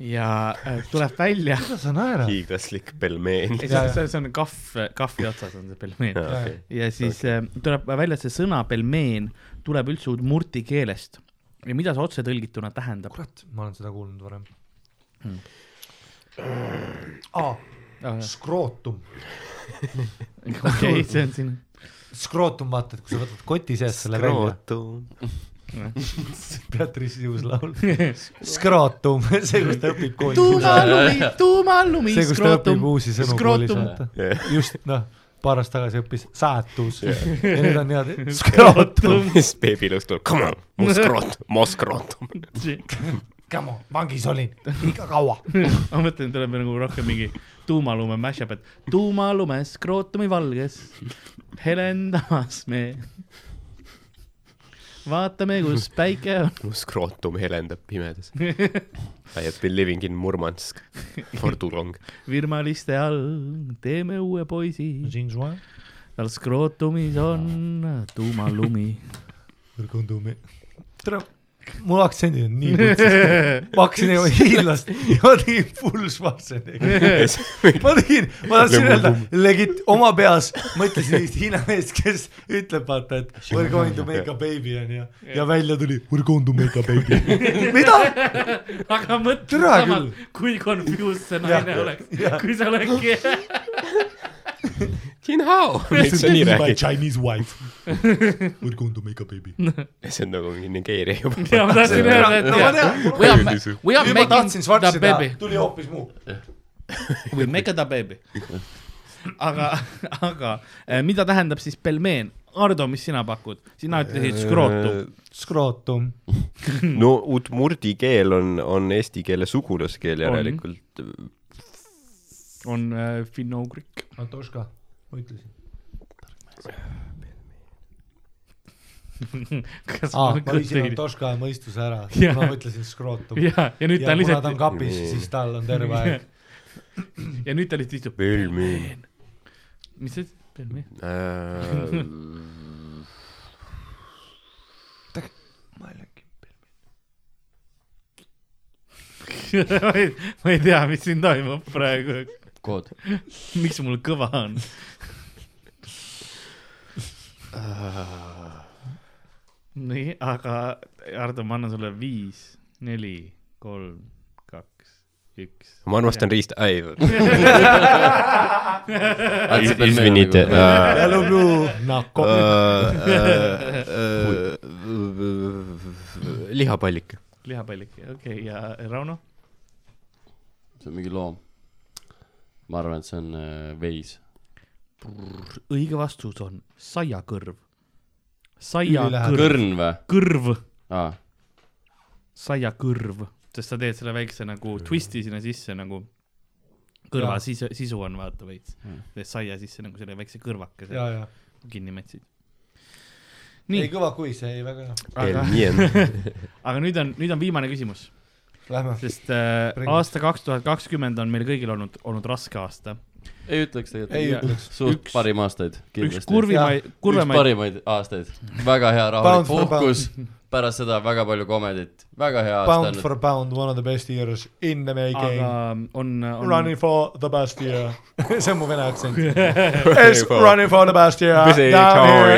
D: ja eh, tuleb
B: (laughs)
D: välja ,
B: mida sa naerad ?
E: hiiglaslik pelmeen .
D: see
B: Jaa, jaa.
D: see on kahv , kahvli otsas on see pelmeen .
E: okei ,
D: ja siis okay. tuleb välja , et see sõna pelmeen tuleb üldse udmurti keelest ja mida see otsetõlgituna tähendab ?
B: kurat , ma olen seda kuulnud varem Hmm. aa ,
D: Ah,
B: skrootum ,
D: okei , see on siin , (laughs)
B: skrootum , vaata , et kui sa võtad koti seest selle välja , Beatrice Hughes laul , skrootum , see , kus ta õpib koolis ,
D: tuumalumi , tuumalumi ,
B: see , kus ta õpib
D: skrootum ,
B: uusi sõnu koolis ,
D: skrootum ,
B: vaata ,
E: jah ,
B: just noh , paar aastat tagasi õppis saatus ja nüüd on (laughs) niimoodi skrootum ,
E: (laughs) siis beebilõhk tuleb , come on , Moskrot , Moskrot .
B: come on , vangis olin liiga kaua ,
D: ma mõtlen , tuleb nagu rohkem mingi tuumalume mash-up , et tuumalume skrootumi valges helendamas me . vaatame , kus päike on .
E: (laughs) mu skrootum helendab
B: (laughs)
E: pimedas . I have been living in Murmansk for too long .
D: virmaliste all teeme uue poisi , tal skrootumis on
B: (laughs)
D: tuumalumi
B: tere , mul aktsendid on nii kutsus , ma hakkasin nagu hiidlast ja ma tegin full Schwarzeneggi .
E: (laughs)
B: (laughs) ma tegin , ma tahtsin öelda legit oma peas , mõtlesin sellist hiina meest , kes ütleb vaata , et we are going to make a baby onju ja välja tuli we are going to make a baby . mida ?
D: aga mõtle
B: Türa küll. ,
D: samas kui confused see
B: Jah,
D: naine oleks
B: jah. ,
D: kui sa (laughs) olekski
E: Jinhao , miks sa nii
F: My
E: räägid ?
F: Chinese wife. We're going to make a baby.
E: see on nagu mingi Nigeeria juba .
D: ja ma tahtsin öelda , et
B: no ma
D: jah ,
B: tean ,
H: We are,
E: Crazy.
H: we are
B: juba
H: making
B: tahtsin
H: the
B: Schwarzeneggi
H: baby
B: teha ,. tuli hoopis muu .
D: we make the baby . aga , aga eh, mida tähendab siis pelmeen ? Ardo , mis sina pakud ? sina
E: Eh,
D: ütlesid skrootum .
B: skrootum ,
E: Äh, no udmurdi keel on , on eesti keele sugulaskeel järelikult .
D: on eh, finno-ugrik .
B: Antoška , ma ütlesin .
D: (laughs) kas
B: aa ,
D: ma
B: ma viisin
D: kõigil ?
B: Antoška mõistuse ära ,
D: Jah.
B: ma mõtlesin skrootum . ja
D: ja , ja nüüd ta on
B: kuna ta on
D: lihtsalt ,
B: kapis , siis tal on terve aeg
D: ja nüüd ta lihtsalt istub ,
E: pelmeen .
D: mis see , Tell me .
E: Äh,
B: ma ei läinud kimpi .
D: (laughs) ma ei tea , mis siin toimub praegu ,
C: kood .
D: (laughs) miks mul kõva on . Äh. nii , aga Ardo , ma annan sulle viis , neli , kolm , kaks , üks .
E: ma armastan riista ,
B: (laughs)
E: ei . Äh,
B: Hello Blue , Nako .
E: äh, lihapallik .
D: lihapallike , okei okay, , ja Rauno ?
C: see on mingi loom . ma arvan , et see on äh, veis .
D: õige vastus on saiakõrv . saiakõrv ,
C: kõrn või ?
D: kõrv ,
C: aa ,
D: saiakõrv , sest sa teed selle väikse nagu twisti sinna sisse nagu kõrva
B: Jaa.
D: sisu , sisu on vaata veits , teed saia sisse nagu selle väikse kõrvakese
B: ja , ja .
D: kinni mätsid .
B: ei
D: nii ,
B: kõva kui see , ei väga hea .
D: aga , aga nüüd on , nüüd on viimane küsimus ,
B: Lähme .
D: sest äh,
B: Bring it.
D: aasta kaks tuhat kakskümmend on meil kõigil olnud , olnud raske aasta .
C: ei ütleks
B: ei
C: tegelikult .
B: ütleks .
C: suht
D: Üks-
C: parim aastaid ,
D: üks
C: kindlasti .
D: kurvimaid ,
C: üks
D: kurvemaid ,
C: parimaid aastaid , väga hea
B: Pound
C: rahulik
B: for
C: puhkus , pärast seda väga palju komedit , väga hea aasta
B: Pound
C: olnud .
B: for pound , one of the best years in the making
D: aga
B: aga... .
D: on, on
B: Running for the best year . see on mu vene aktsent . (laughs) It's running for the best year .
E: Busy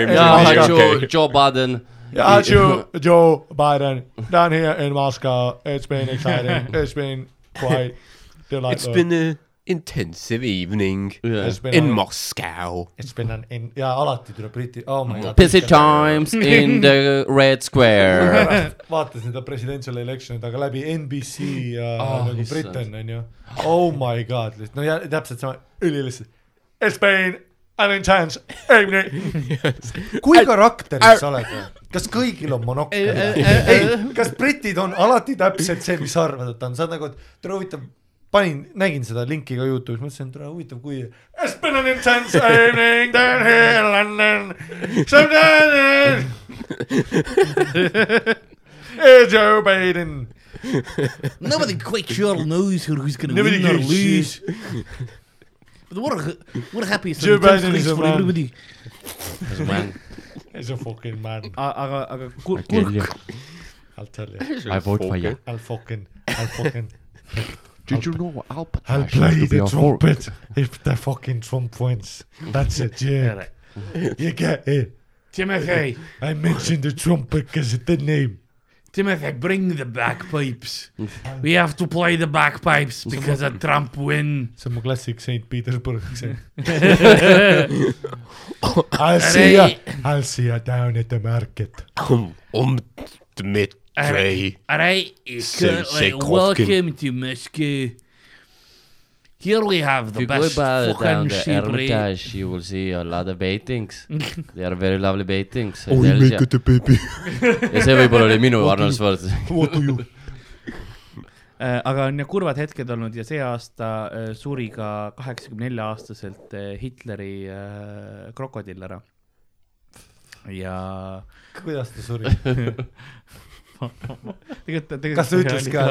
E: time.
C: ja
E: Jaa,
C: Hatšu
E: okei. ,
C: Joe Biden .
B: Yeah, you, Joe Biden, down here in Moscow. It's been exciting. It's been quite
E: It's
B: delightful.
E: been a intensive evening
B: It's been
E: in
B: a-
E: Moscow .
B: It's been an in- jaa , alati tuleb Briti , oh my god .
C: Busy . times in the red
B: (laughs)
C: square .
B: vaatasin seda presidential election'it , aga läbi NBC ja
C: Ah,
B: oh, nagu
C: issand.
B: Britain onju . Oh my god , no ja täpselt sama , ülilihtne . It's been an intense evening . kui karakteriks sa oled ? kas kõigil on monokkel ? ei , kas britid on alati täpselt see , mis sa arvad , et on , sa oled nagu , et tere huvitav , panin , nägin seda linki ka Youtube'is , mõtlesin , et tere huvitav , kui . It's been an intense evening down here in London . Sometimes it's Joe Biden .
D: Nobody quite sure knows who- who's gonna
B: Nobody
D: win or
B: gives
D: lose. But we're, we're happy. it's
B: Joe
D: an intense
B: Biden is
D: race
B: a
D: for
B: man.
D: everybody.
B: It's a fucking man ,
D: A- aga , aga kur- kurk ,
C: I
B: I'll tell you ,
C: vote for you .
B: I'll fucking , I'll fucking .
H: (laughs) Did you know Alpha
B: I'll play the trumpet if the fucking Trump wins . That's it , yeah . You get it .
D: Timothy ,
B: I mentioned the trumpet because it didn't name .
D: Timothy , bring the bagpipes . We have to play the bagpipes because a Trump win .
B: see on mu klassik St Petersburg aktsent I will see ya , I will see ya down at the market .
E: Um Dmitri .
D: Alright, it's currently
E: Sikorkin.
D: welcome to Moscow. Here we have the
C: If you go
D: best
C: by down
D: fucking
C: the
D: sheep raid.
C: Hermitage , you will see a lot of paintings . They are very lovely paintings .
F: We make
C: ja
F: it a
C: (laughs)
F: baby .
C: see võib-olla oli minu Arnold Schwarzenegger .
F: What do you
D: Äh, aga on ja kurvad hetked olnud ja see aasta äh, suri ka kaheksakümne nelja aastaselt äh, Hitleri äh, krokodill ära . ja . (laughs)
B: kuidas ta suri ? Kas ta ütles ka- ?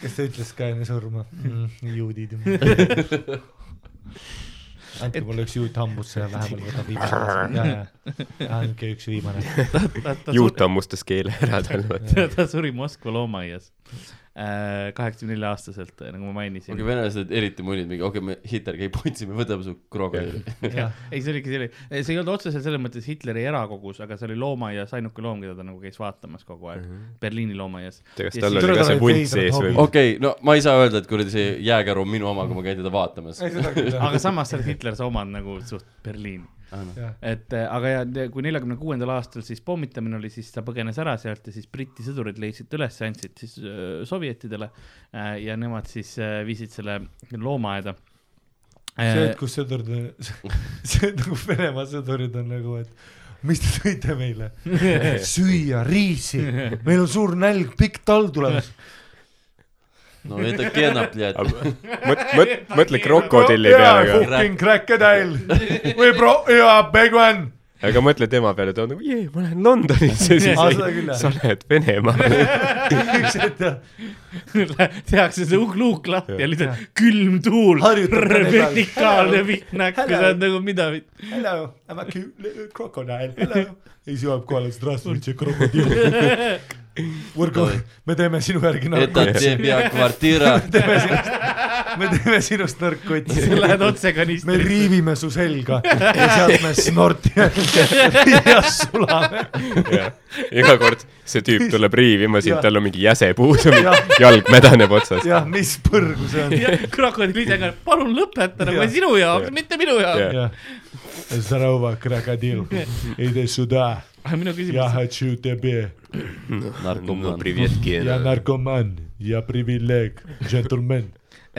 B: kes ta ütles ka enne surma mm, ? (laughs) juudid . andke mulle üks juut hambusse ja vähemalt võtab viimane . andke üks viimane .
E: juut hammustas keele ära tal .
D: ta suri (laughs) Moskva loomaaias kaheksakümne nelja aastaselt , nagu ma mainisin
C: okei , venelased eriti mullid mingi , okei , me Hitler käib otsi , me võtame su krokodilli .
D: ei , see oligi , see oli , see ei olnud otseselt selles mõttes Hitleri erakogus , aga see oli loomaaias ainuke loom , keda ta nagu käis vaatamas kogu aeg
B: Mhm.
D: mm , -hmm. Berliini
B: (laughs)
D: loomaaias .
E: kas
D: Ja
E: tal
D: siis-
E: oli ka see
B: Tüdruk-
E: vunt sees või
B: Tüdruk- ?
C: okei , no ma ei saa öelda , et kuradi see jääkäru on minu oma , kui ma käin teda vaatamas .
D: aga samas seal Hitler sa omad nagu suht Berliini .
C: Ah, noh.
D: et eh, aga ja te- kui neljakümne kuuendal aastal siis pommitamine oli , siis ta põgenes ära sealt ja siis Briti sõdurid leidsid ta üles , andsid siis öö, sovjetidele äh, ja nemad siis äh, viisid selle Äh, loomaaeda .
B: see ,
D: (laughs)
B: et kus sõdurid on , (laughs) see nagu Venemaa sõdurid on nagu , et mis te tõite (laughs) meile ? süüa , riisi , meil on suur nälg , pikk talv tulemas .
C: no это кенап , tead .
E: mõtle , mõtle krokodilli peale ka .
B: fucking crocodile , we brought you a big one , (laughs)
E: aga mõtle tema peale , ta on nagu , jee , ma lähen Londonisse , siis
B: Aa,
E: ei
B: seda küll, , jah.
E: sa lähed
B: (laughs)
E: Venemaale .
D: tehakse see uk- luuk lahti ja lihtsalt külm tuul ,
B: Harjutab vene peal.
D: (laughs) vertikaalne vihm näkku , sa oled nagu mida ,
B: Hello , I m a cute little crocodile , hello .
F: ja siis jõuab kohale , здравствуйте ,
B: (laughs)
F: krokodill .
B: Urgo , me teeme sinu järgi narko ,
C: Этот тебе квартира.
D: (laughs)
B: me teeme sinust (laughs) narkoti .
D: sa lähed otse
B: (laughs) me
D: kanistrisse .
B: riivime su selga ja sealt me snortime (laughs) ja sulame .
E: iga kord see tüüp tuleb riivima sind ,
B: Jah.
E: tal on mingi jäse puudu
B: Jah. ,
E: jalg mädaneb otsast .
B: jah , mis põrgu see on .
D: ja krokodill ise ka , palun lõpeta nagu
B: Jah.
D: sinu jaoks , mitte minu jaoks .
B: jah . Здорово , крокодил . Иди сюда .
D: (laughs) aga minu
B: Я
D: küsimus ,
B: хочу тебе .
E: no
C: Наркоман.
E: privetki
B: Я . наркоман . Я привилег . Джентльмен .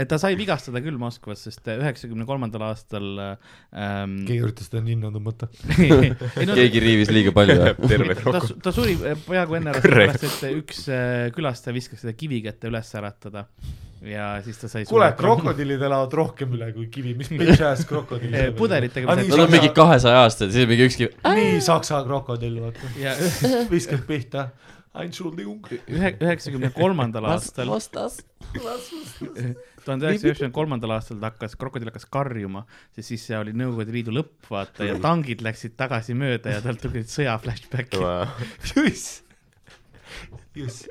D: ta sai vigastada küll Moskvas , sest üheksakümne kolmandal aastal ähm,
B: keegi üritas teda ninna tõmmata .
D: ei no
C: (laughs) keegi riivis liiga
D: (laughs)
C: palju .
E: terve
D: ta
E: krokodill .
D: su- ta suri eh, peaaegu enne ära ,
E: Kõrrega.
D: sellepärast et üks eh, külastaja viskas seda kivi kätte üles äratada ja siis ta sai .
B: kuule , krokodillid elavad rohkem üle kui kivi , mis bitch ass krokodill
D: Eh, pudelitega
B: Ah,
D: visati-
C: Nad on mingi kahesaja aastased , siis mingi ükski ,
B: nii saksa krokodill , vaata ,
D: ja
B: viskab pihta . Entschuldigung .
D: ühe , üheksakümne kolmandal aastal ,
H: vastas , vastas .
D: tuhande üheksasaja üheksakümne kolmandal aastal ta hakkas , krokodill hakkas karjuma , sest siis see oli Nõukogude Liidu lõpp , vaata , ja tangid läksid tagasi mööda ja talt tulid sõja flashback'id .
B: Juss . Juss .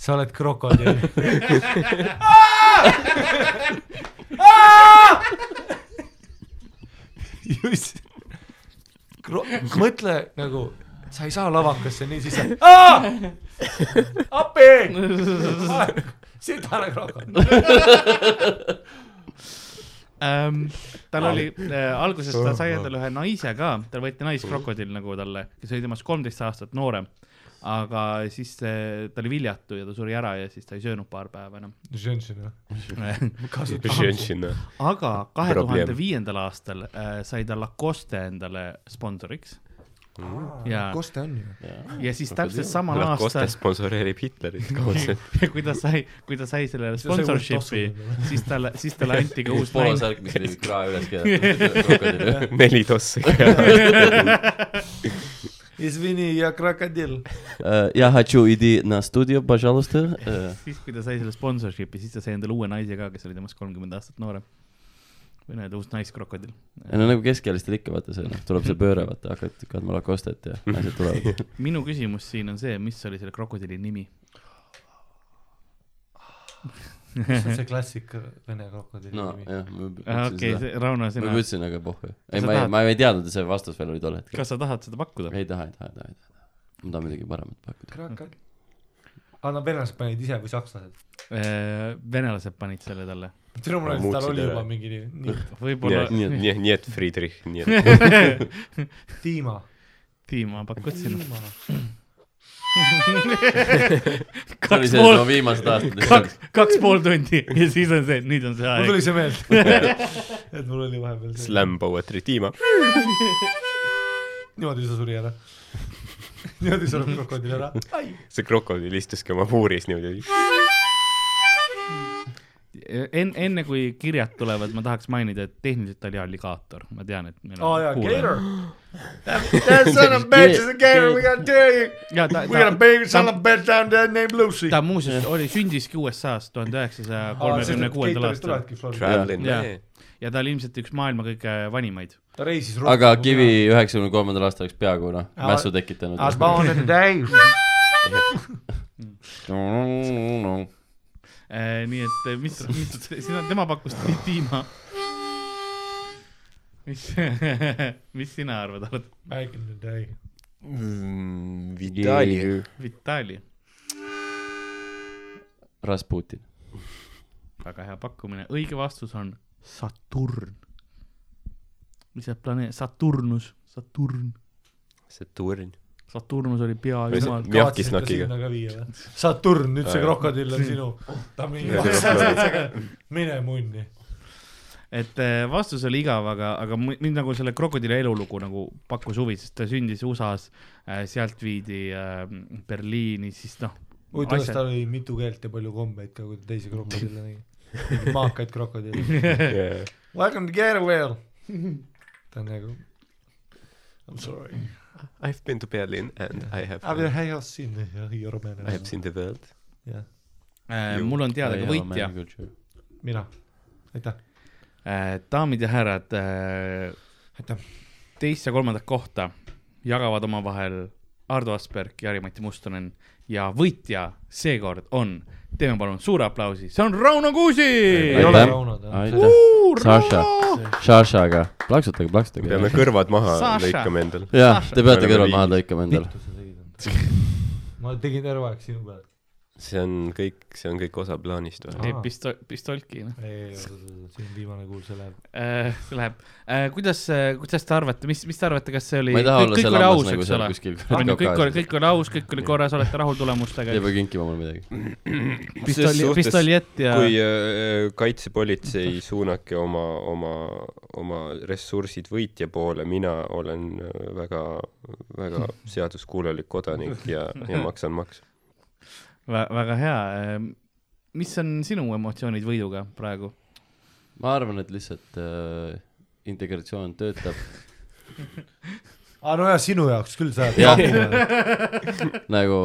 B: sa oled krokodill . Juss . mõtle nagu , sa ei saa lavakasse nii sisse . appi ,
D: (laughs)
B: sitane krokodill .
D: ähm, . tal oli äh, , alguses ta sai endale ühe naise ka , tal võeti naiskrokodil nagu talle , kes oli temast kolmteist aastat noorem . aga siis äh, ta oli viljatu ja ta suri ära ja siis ta ei söönud paar päeva enam . aga kahe tuhande
E: Probleem.
D: viiendal aastal äh, sai ta Lacoste endale sponsoriks . ja ,
B: kus ta on ju ?
D: ja siis täpselt samal
E: Lacoste
D: aastal ,
E: sponsoreerib Hitlerit kaudselt .
D: (laughs) kui ta sai , kui ta sai selle
B: sai uus tossu
D: sponsorship'i , siis talle , siis talle anti
C: (laughs)
D: ka uus naine . (laughs)
C: poolosärk , mis riivib krae üles (laughs) keerata .
E: neli tossi . (laughs)
B: Izvini ja krokodill .
C: Я хочу иди на studio , Eh, пожалуйста .
D: siis , kui ta sai selle sponsorship'i , siis ta sai endale uue naise ka , kes oli temast kolmkümmend aastat noorem . või no , uus naiskrokodil .
C: no nagu keskealistel ikka vaata see , noh , tuleb see pööre , vaata , hakkad kandma lakostet ja asjad
D: (laughs)
C: tulevad .
D: minu küsimus siin on see , mis oli selle krokodilli nimi ?
B: see on see klassik vene krokodilli
C: no
B: nimi.
C: jah , ma juba
D: Ah, okei ,
C: ütlesin seda .
D: Rauno ,
C: ma
D: sina
C: juba , ütlesin , aga pohhu . ei ,
D: sa
C: ma ei ,
D: tahad-
C: ma ei teadnud , et see vastus veel oli tol hetkel .
D: kas sa tahad seda pakkuda ?
C: ei taha , ei taha , ei taha , ei taha . ma tahan midagi paremat pakkuda .
B: Krakad . aga no venelased panid ise või sakslased ?
D: Äh, venelased panid selle talle .
B: tere , mul oli , tal
E: Muutsid
B: oli
E: ära.
B: juba mingi nii- nii ,
D: võib-olla
E: nii et , nii et , nii et Friedrich , nii et .
B: Dima .
D: Tiima pakud sinna .
C: see oli
D: kaks
C: see , no
D: pool ,
C: viimased aastad
D: kaks ., kaks pool tundi ja siis on see , nüüd on see
B: mul tuli
D: aeg .
B: see meelde , et mul oli vahepeal see ,
E: Slam poetry tiima .
B: niimoodi sa suri ära . niimoodi sureb krokodill ära .
E: see krokodill istuski oma puuris niimoodi .
D: enne , Äh, enne kui kirjad tulevad , ma tahaks mainida , et tehniliselt oli alligaator , ma tean , et meil
B: aa jaa , Gator . (laughs)
G: That son of a bitch is a gator. We gotta tell you.
D: ja ta ,
G: We got a
D: ta ,
G: baby son of a bitch down there named Lucy.
D: ta muuseas oli , sündiski USA-s tuhande üheksasaja kolmekümne kuuendal aastal
E: Traveling
D: Jah.
E: man.
D: ja ta oli ilmselt üks maailma kõige vanimaid .
B: ta reisis
C: aga kivi . üheksakümne kolmandal aastal oleks peaaegu noh ,
B: Aa.
C: mässu tekitanud .
G: I was born in the day.
B: (laughs)
D: nii et eh, mis , mis , sina , tema pakkus ti- tiima . mis , (laughs) mis sina arvad , oled
B: Back in the day .
E: Mm, Vitali .
D: Vitali ,
C: Rasputin .
D: väga hea pakkumine , õige vastus on Saturn . mis see planeet , Saturnus , Saturn ,
E: Saturn .
D: Saturnus oli
E: Või see-
D: peajumal .
E: Mjahkisnakiga.
B: Saturn , nüüd see
E: Aa, jah.
B: krokodill on sinu . ta
E: (laughs)
B: mingi
E: Ja see
B: mine munni .
D: et eh, vastus oli igav , aga , aga mu- mind nagu selle krokodilli elulugu nagu pakkus huvi , sest ta sündis USA-s , äh, sealt viidi eh, Berliini , siis noh .
B: huvitav , kas tal oli mitu keelt ja palju kombeid ka , kui ta teisi (laughs) krokodille nägi . mingeid maakaid krokodille .
E: jah ,
B: (laughs) Welcome to Gatorville . ta on nagu I m sorry .
E: I have been to Berlin and I have
B: I will have seen uh, your man .
E: I have seen the world .
B: jah ,
D: Äh, mul on teada ka nagu võitja .
B: mina , aitäh .
D: Äh, daamid ja härrad äh,
B: Aitäh. ,
D: teist ja kolmandat kohta jagavad omavahel Ardo Asperg , Jari-Mati Mustonen ja võitja seekord on , teeme palun suure aplausi , see on Rauno Kuusi .
B: ei ole
C: Aitäh.
B: raunad ,
C: aitäh , Saša , Sašaga , plaksutage , plaksutage .
E: peame kõrvad maha
D: Saša.
E: lõikama endal .
C: jah , te peate
E: oleme
C: kõrvad maha
E: viis.
C: lõikama endale .
B: ma tegin terve aeg sinu pealt .
E: see on kõik , see on kõik osa plaanist või ?
D: teeb pistol- , pistolki , noh .
B: ei , see on viimane kuul , see läheb .
D: see Äh, läheb , kuidas , kuidas te arvate , mis , mis te arvate , kas see oli ?
C: ma ei taha olla seal lammas nagu seal
D: kuskil .
C: kuskil .
D: on ju , kõik oli , kõik oli aus , kõik oli korras , olete rahul tulemustega
C: Te ei . pea kinkima mulle midagi .
D: pistoli , pistoljett ja .
E: kui äh, kaitsepolitsei (laughs) suunake oma , oma , oma ressursid võitja poole , mina olen äh, väga , (laughs) väga seaduskuulelik kodanik ja , ja maksan makse .
D: Vä- väga hea . mis on sinu emotsioonid võiduga
B: (laughs)
D: praegu ?
C: ma arvan , et lihtsalt äh, integratsioon töötab
B: aa , nojah , Ah, sinu jaoks küll sa
C: Jah.
B: oled .
C: nagu ,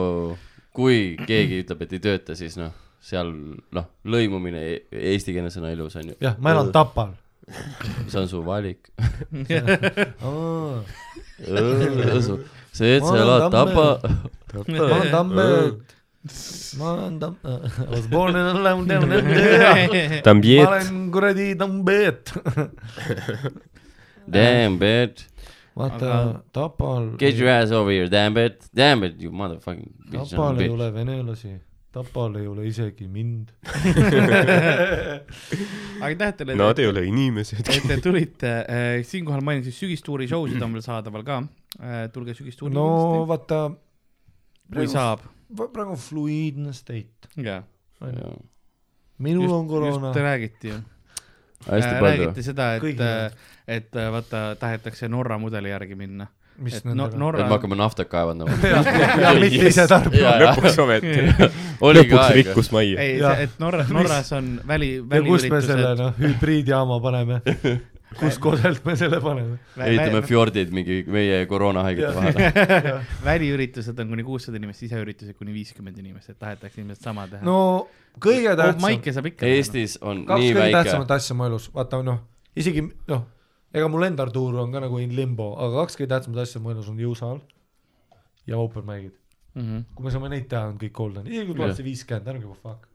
C: kui keegi ütleb , et ei tööta , siis noh , seal noh , lõimumine e- eestikeelne sõna ilus on ju ,
B: jah , ma elan Tapal .
C: see on su
B: (laughs)
C: valik .
B: ma
C: see , et
B: Ma
C: sa
B: olen
C: elad Tapa
B: Tammel. , olen Tammelt . ma olen Tamm- , äh, I Äh. was born in (laughs) Tammelt . ma
E: Tambjet ,
B: olen kuradi Tammelt .
C: damn bitch ,
B: vaata
D: Aga- ,
B: Tapal ,
C: get your ass over here , damn bitch , damn it , you motherfucking bitch ,
B: Tapal ei
C: bitch .
B: ole venelasi . Tapal ei ole isegi mind .
D: aga aitäh teile
E: nad ei , ole
C: (laughs)
E: inimesed . (laughs)
D: et te tulite . siinkohal mainin siis sügistuuri show sid on veel saadaval ka . tulge sügistuuri .
B: no vaata .
D: kui . saab .
B: praegu on fluiidne state .
D: jaa .
B: minul on koroona .
D: just räägiti ju .
B: Äh,
C: hästi palju .
D: Äh, räägiti seda , et
B: Kõigile. ,
D: et äh, vaata , tahetakse Norra mudeli järgi minna .
B: mis
D: et no,
B: nendega ?
C: et me
D: Norra ,
C: hakkame naftat
B: (laughs)
C: kaevandama .
B: ja mitte ise tarbima .
E: lõpuks ometi , (laughs)
C: oli ka
E: lõpuks
C: aega .
E: rikkus majja .
D: ei ,
B: Jah.
D: et Norra , Norras on väli ,
B: ja kus me
D: väliüritused
B: selle noh , hübriidjaama paneme ? kus koselt me selle paneme ?
D: vä-
C: ehitame
D: vä-
C: fjordid mingi meie koroonahaigete
B: Jah.
C: vahele .
B: (laughs)
D: väliüritused on kuni kuussada inimest , siseüritused kuni viiskümmend inimest , et tahetakse ilmselt sama teha .
B: no kõige tähtsam ,
D: maike saab ikka .
C: Eestis on
B: kaks
C: nii
B: kõige
C: väike ,
B: tähtsamat asja mu elus , vaata noh , isegi noh , ega mul endal tuur on ka nagu in limbo , aga kaks kõige tähtsamat asja mu elus on jõusaal ja open mic'id .
D: mm . -hmm.
B: kui me saame neid teha , on kõik golden , isegi kui tuleb see viiskümmend , ärge give a fuck .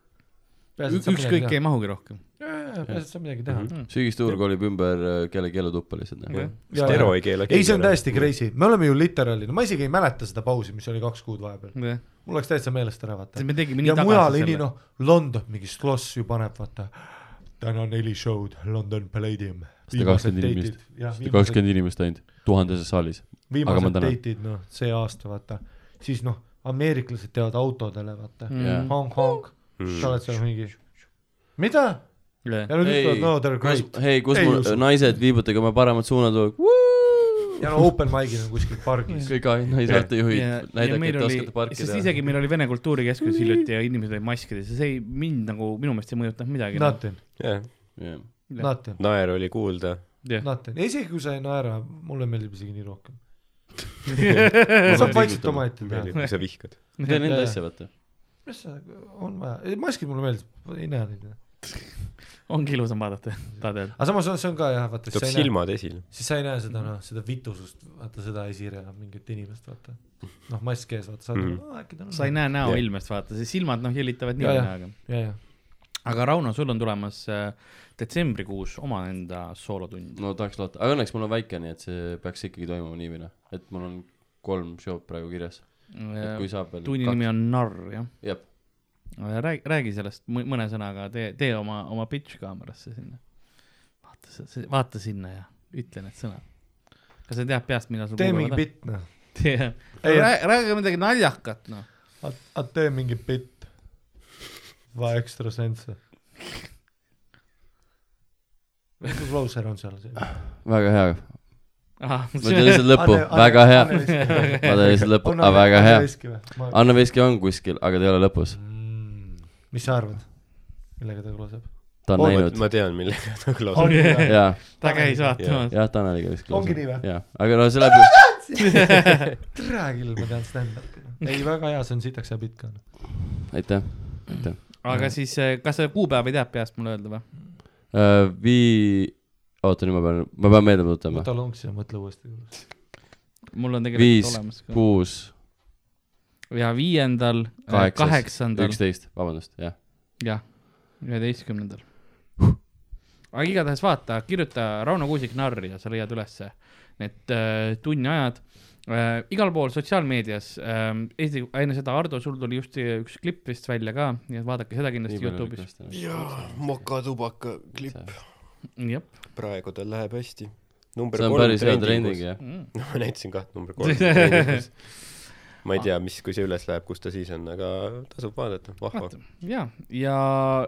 D: ükskõik ei mahugi rohkem .
B: pääsed sa midagi teha .
C: Mhm. sügisturg kolib ümber äh, kellegi elutuppa lihtsalt
D: Jah.
C: nagu .
E: Stero ei keela
B: ei , see on täiesti crazy , me oleme ju literaali , no ma isegi ei mäleta seda pausi , mis oli kaks kuud vahepeal ,
D: me
B: mul läks täitsa meelest ära , vaata .
D: tegime nii
B: ja mujal
D: tagasi
B: ini-
D: selle .
B: noh , London mingi Sloss ju paneb vaata , täna neli show'd London Palladium .
C: Sada kakskümmend inimest. sada
B: viimased
C: kakskümmend inimest ainult , tuhandeses saalis . aga ma
B: viimased
C: tänan.
B: date'id noh , see aasta vaata , siis noh , ameeriklased teevad autodele vaata
D: Mm.
B: mm. , Hong-Kong mm. , sa oled seal mingi , mida ? ja nüüd
C: Ei.
B: ütlevad no they are
C: kus
B: great ,
C: hei , kus
B: Ei
C: mul
B: usu.
C: naised , viibutage oma paremad suunad ,
B: ja no open mic'id on kuskil pargis .
C: kõik ai- naisaartejuhid , näidake , et te oskate
D: sest
C: parkida .
D: isegi meil oli Vene Kultuurikeskus hiljuti ja inimesed olid maskides ja see ei mind nagu minu meelest ei mõjutanud midagi . noh.
B: Nothing ,
D: Jah.
B: nothing ,
E: naer oli kuulda .
B: nothing , isegi kui sa ei naera , mulle meeldib isegi nii
C: (laughs)
B: rohkem . saab vaikselt omaette teha .
E: meeldib , kui sa vihkad .
C: teen enda
B: Jah.
C: asja , vaata .
B: mis see on vaja , maskid mulle meeldib , ei näe neid .
D: ongi ilusam vaadata , tahad öelda ?
B: aga samas on , see on ka jah , vaata , siis sa
E: tuleb
B: ei näe ,
E: silmad esile .
B: siis sa ei näe seda noh , seda vitusust , vaata seda esireal mingit inimest , vaata . noh , mask ees , vaata , saad
E: Mhm.
B: mm. , äkki ta on .
D: sa ei . näe
E: Jah.
D: näoilmest , vaata , see silmad noh jälitavad nii
B: Jah,
D: või
B: jah.
D: naa , aga .
B: ja , ja ,
D: aga Rauno , sul on tulemas äh, detsembrikuus omaenda soolotund .
C: no tahaks loota , aga õnneks mul on väike , nii et see peaks ikkagi toimuma nii või naa , et mul on kolm show'd praegu kirjas , et kui saab veel .
D: tunni Äh, nimi on Narr , jah .
C: jah ,
D: räägi , räägi sellest mõ- mõne sõnaga , tee , tee oma , oma pitch kaamerasse sinna . vaata see , vaata sinna ja ütle need sõnad . kas sa tead peast , mida sul
C: Nagu
B: tee mingi bitt noh ,
D: tee ,
B: Ei,
D: räägi midagi naljakat , noh .
B: aga tee mingi bitt . Va extra sense . mis klauser on seal ?
C: väga hea , ma (laughs) teen
D: see
C: lihtsalt lõppu , väga hea , (laughs) ma teen lihtsalt lõppu , aga väga hea .
B: hea . Mm.
C: Anna Veski on kuskil , aga ta ei ole lõpus .
B: mis sa arvad , millega ta klauseb ?
C: ta on näinud .
E: ma tean , millega (laughs) ta klaus on .
D: (laughs) ta
C: jaa ,
D: käis vaatamas .
C: jah , Tanel oli ka vist .
B: Ongi nii või? ?
C: jah , aga no selle puhul ,
B: tere küll , ma tean stand-up'i . ei , väga hea , noh. see on sitaks ja pikk on .
C: aitäh , aitäh .
D: aga siis , kas sa kuupäeva ei tea peast mulle öelda või ?
C: Äh, Vii- , oota nüüd ma pean , ma pean meelde tuletama .
B: võta lonks ja mõtle uuesti .
D: mul on
C: Viis,
D: tegelikult olemas ka .
C: kuus ,
D: ja viiendal ,
C: Kaheksas,
D: kaheksandal
C: üksteist , vabandust , jah .
D: jah , üheteistkümnendal . aga igatahes vaata , kirjuta Rauno Kuusik narri ja sa leiad ülesse need äh, tunniajad äh, . igal pool sotsiaalmeedias äh, , Eesti , enne seda Ardo , sul tuli just see üks klipp vist välja ka , nii et vaadake seda kindlasti Youtube'is .
E: jaa , mokatubaka klipp .
D: jah ,
E: praegu tal läheb hästi . number
C: see on päris hea trending . jah .
E: (laughs) ma näitasin kaht number kolm .
C: (laughs)
E: ma ei tea , mis , kui see üles läheb , kus ta siis on , aga tasub vaadata , vahva .
D: ja , ja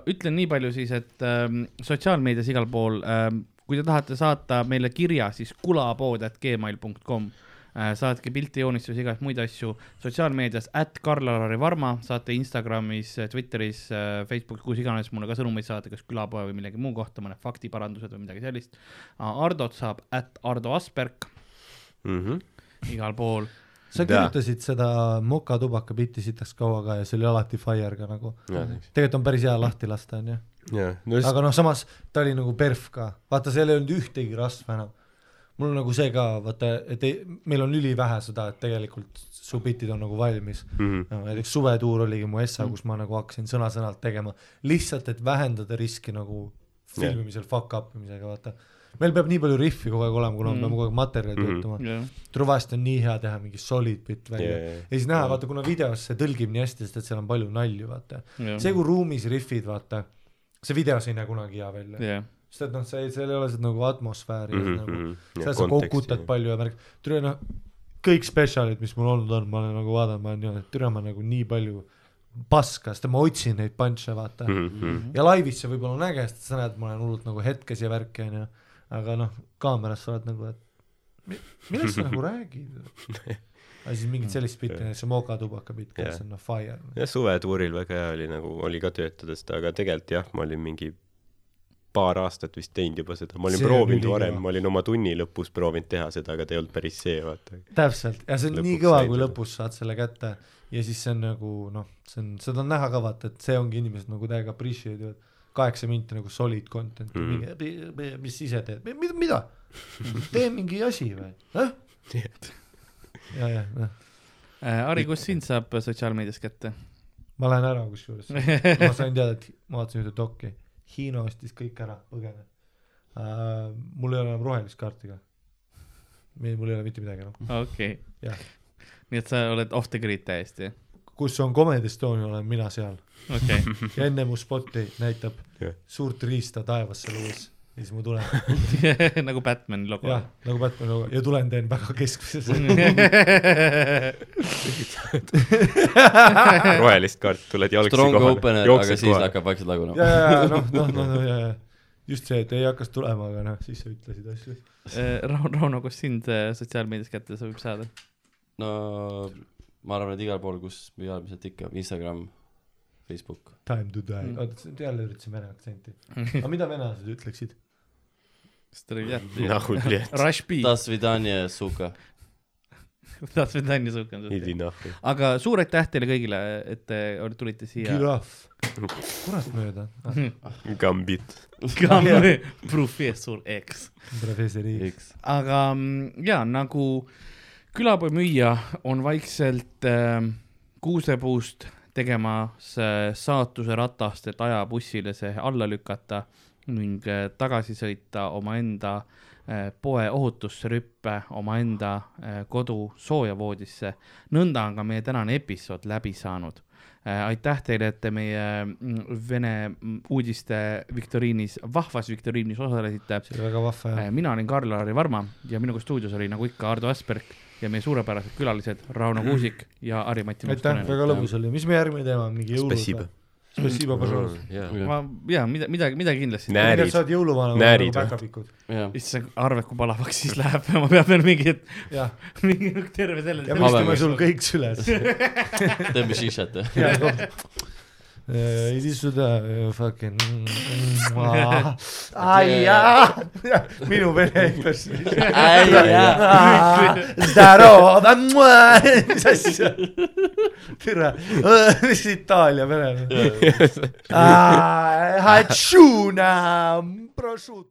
D: ütlen nii palju siis , et ähm, sotsiaalmeedias igal pool ähm, , kui te tahate saata meile kirja , siis kulapood.gmail.com äh, . saatke pilte , joonistusi , igast muid asju sotsiaalmeedias , at Karl-Alari Varma , saate Instagramis , Twitteris äh, , Facebookis , kus iganes mulle ka sõnumeid saata , kas külapoe või millegi muu kohta , mõned faktiparandused või midagi sellist . Ardot saab at Ardo Asperg
E: Mhm.
D: igal pool .
B: sa
E: Jaa.
B: kirjutasid seda Moka tubaka bitti sitaks kaua ka ja see oli alati fire ka nagu . tegelikult on päris hea lahti lasta , onju .
E: jaa , no just ,
B: aga noh , samas ta oli nagu perf ka , vaata , seal ei olnud ühtegi rasva enam . mul on nagu see ka , vaata , et ei, meil on ülivähe seda , et tegelikult su bitid on nagu valmis
E: Mhm.
B: no, . näiteks suvetuur oligi mu essa ,
D: Mm.
B: kus ma nagu hakkasin sõna-sõnalt tegema lihtsalt , et vähendada riski nagu filmimisel fuck up imisega , vaata . meil peab nii palju rihvi kogu aeg olema , kuna me peame kogu aeg materjali töötama mm
D: Mm. Mhm. jah ,
B: -hmm. . Truvast on nii hea teha mingi solid bitt välja
E: Jaa,
B: yeah,
E: jaa, jaa.
B: yeah. ja siis näha , vaata , kuna videos see tõlgib nii hästi , sest et seal on palju nalju , vaata
D: Jah.
B: see , kui ruumis rihvid , vaata , see videos ei näe kunagi hea välja .
D: jah ,
B: sest et noh , see , seal ei ole seda nagu atmosfääri mm ,
E: Mhm,
B: -hmm,
E: mhm.
B: nagu ,
E: Ja
B: seal sa
E: konteksti.
B: kokutad palju ja värk , türa noh , kõik spetsialid , mis mul olnud on , ma olen nagu vaadanud , ma olen niimoodi , et türa ma nagu nii palju paska , sest ma otsin neid punch'e , vaata
E: Mhm,
B: mm . -hmm. ja laivis see võib-olla on äge , sest sa näed , ma olen hullult nagu hetkes ja värki , onju , aga noh , kaameras sa oled nagu , et mi- millest sa
E: (laughs)
B: nagu räägid ? aga siis mingit sellist bitti , see Moka tubaka bitt ,
E: Jah.
B: kes on noh , fire .
E: jah , suvetuuril väga hea oli nagu , oli ka töötada seda , aga tegelikult jah , ma olin mingi paar aastat vist teinud juba seda , ma olin
B: See on
E: proovinud
B: ülikõva.
E: varem , ma olin oma tunni lõpus proovinud teha seda , aga ta ei olnud päris see , vaata .
B: täpselt ja see on nii
E: Lõpuks
B: kõva ,
E: said
B: kui
E: seda.
B: lõpus saad selle kätte ja siis see on nagu noh , see on , seda on näha ka vaata , et see ongi inimesed nagu täiega appreciate ivad kaheksa minti nagu solid content mm. , mingi , mis ise teed , mida , mida , (laughs) tee mingi asi või , noh . (laughs) ja , ja , noh ,
D: Äh, Ari , kus sind saab sotsiaalmeedias kätte ?
B: ma lähen ära kusjuures , ma sain teada , et ma vaatasin ühte dokki , Hiina ostis kõik ära , põgene uh, . mul ei ole enam rohelist kaarti ka , mul ei ole mitte midagi enam ,
D: okei
B: jah ,
D: nii et sa oled off the grid täiesti ,
B: kus on Comedy Estonia , olen mina seal
D: okei okay. .
B: ja enne mu spotti näitab
E: Jah.
B: suurt riista taevasse luues ja siis ma
E: (laughs)
B: tulen ,
D: nagu Batman logo . (laughs)
B: jah , nagu Batman lugu ja tulen teen väga keskmisesse .
E: Mm. rohelist kaarti tuled jalgsi
C: Ah. Strong
E: kohale
C: opener ,, aga
E: jooksed
C: siis
E: kohale .
C: hakkab
B: (laughs)
C: vaikselt
B: ja ,
C: lagunema .
B: ja , ja noh , noh , noh , noh ja , ja just see , et ei hakkas tulema , aga noh , siis sa ütlesid asju .
D: Rauno , Eh, Rauno , kus sind eh, sotsiaalmeedias kätte sa võib saada ?
C: no ma arvan , et igal pool , kus me oleme , sealt ikka Instagram , Facebook .
B: Time to die , oota , sa nüüd jälle üritasid vene aktsenti . aga mida venelased ütleksid ?
D: kas te teate ?
E: nahu pliiat ,
D: Rashbi , (laughs)
C: Das vidanje , suka .
D: tahtsid mind nalja suhkendada .
C: (laughs)
E: idi nahku .
D: aga suur aitäh teile kõigile , et te ol- tulite siia . (laughs)
B: girahv ,
E: (laughs)
B: kurat mööda , Ah,
E: Gambit .
D: professor X .
B: professori ,
C: eks .
D: aga mm, ja nagu külapoemüüja on vaikselt äh, kuusepuust tegemas äh, saatuse ratast , et ajabussile see alla lükata ning äh, tagasi sõita omaenda äh, poe ohutusse rüppe , omaenda äh, kodu sooja voodisse . nõnda on ka meie tänane episood läbi saanud . aitäh teile , et te meie mm, Vene mm, uudiste viktoriinis , vahvas viktoriinis osalesite
B: see oli väga vahva ja
D: Eh, mina olin Karl-Lari Varma ja minuga stuudios oli nagu ikka Ardo Asperg ja meie suurepärased külalised Rauno Kuusik ja Harri-Mati
B: aitäh ,
D: Mustonen .
B: väga lõbus oli , mis meie järgmine teema on , mingi jõulud
E: Spasiba.
B: või ? Spasiba , pažalus .
D: ma ja mida , midagi , midagi kindlasti .
E: Nä- Näärid.
B: sa oled jõuluvana ,
E: Näärid
B: nagu
E: või?
B: päkapikud .
D: (laughs)
C: jah ,
D: issand , arvad , kui palavaks siis läheb , (laughs) ma pean veel mingi ,
B: jah ,
D: mingi terve selle .
B: ja püstime
E: (laughs)
C: Habemaks.
B: sul kõik süles . (laughs)
C: teeme šišat , jah .
B: Jaa, kom- äh, iди сюда äh, , fucking . Eh, minu vene ütles . (laughs) Zdarova , (laughs) mis asja . tere , mis Itaalia venelane . Ah. Hatsuna , prosciutto .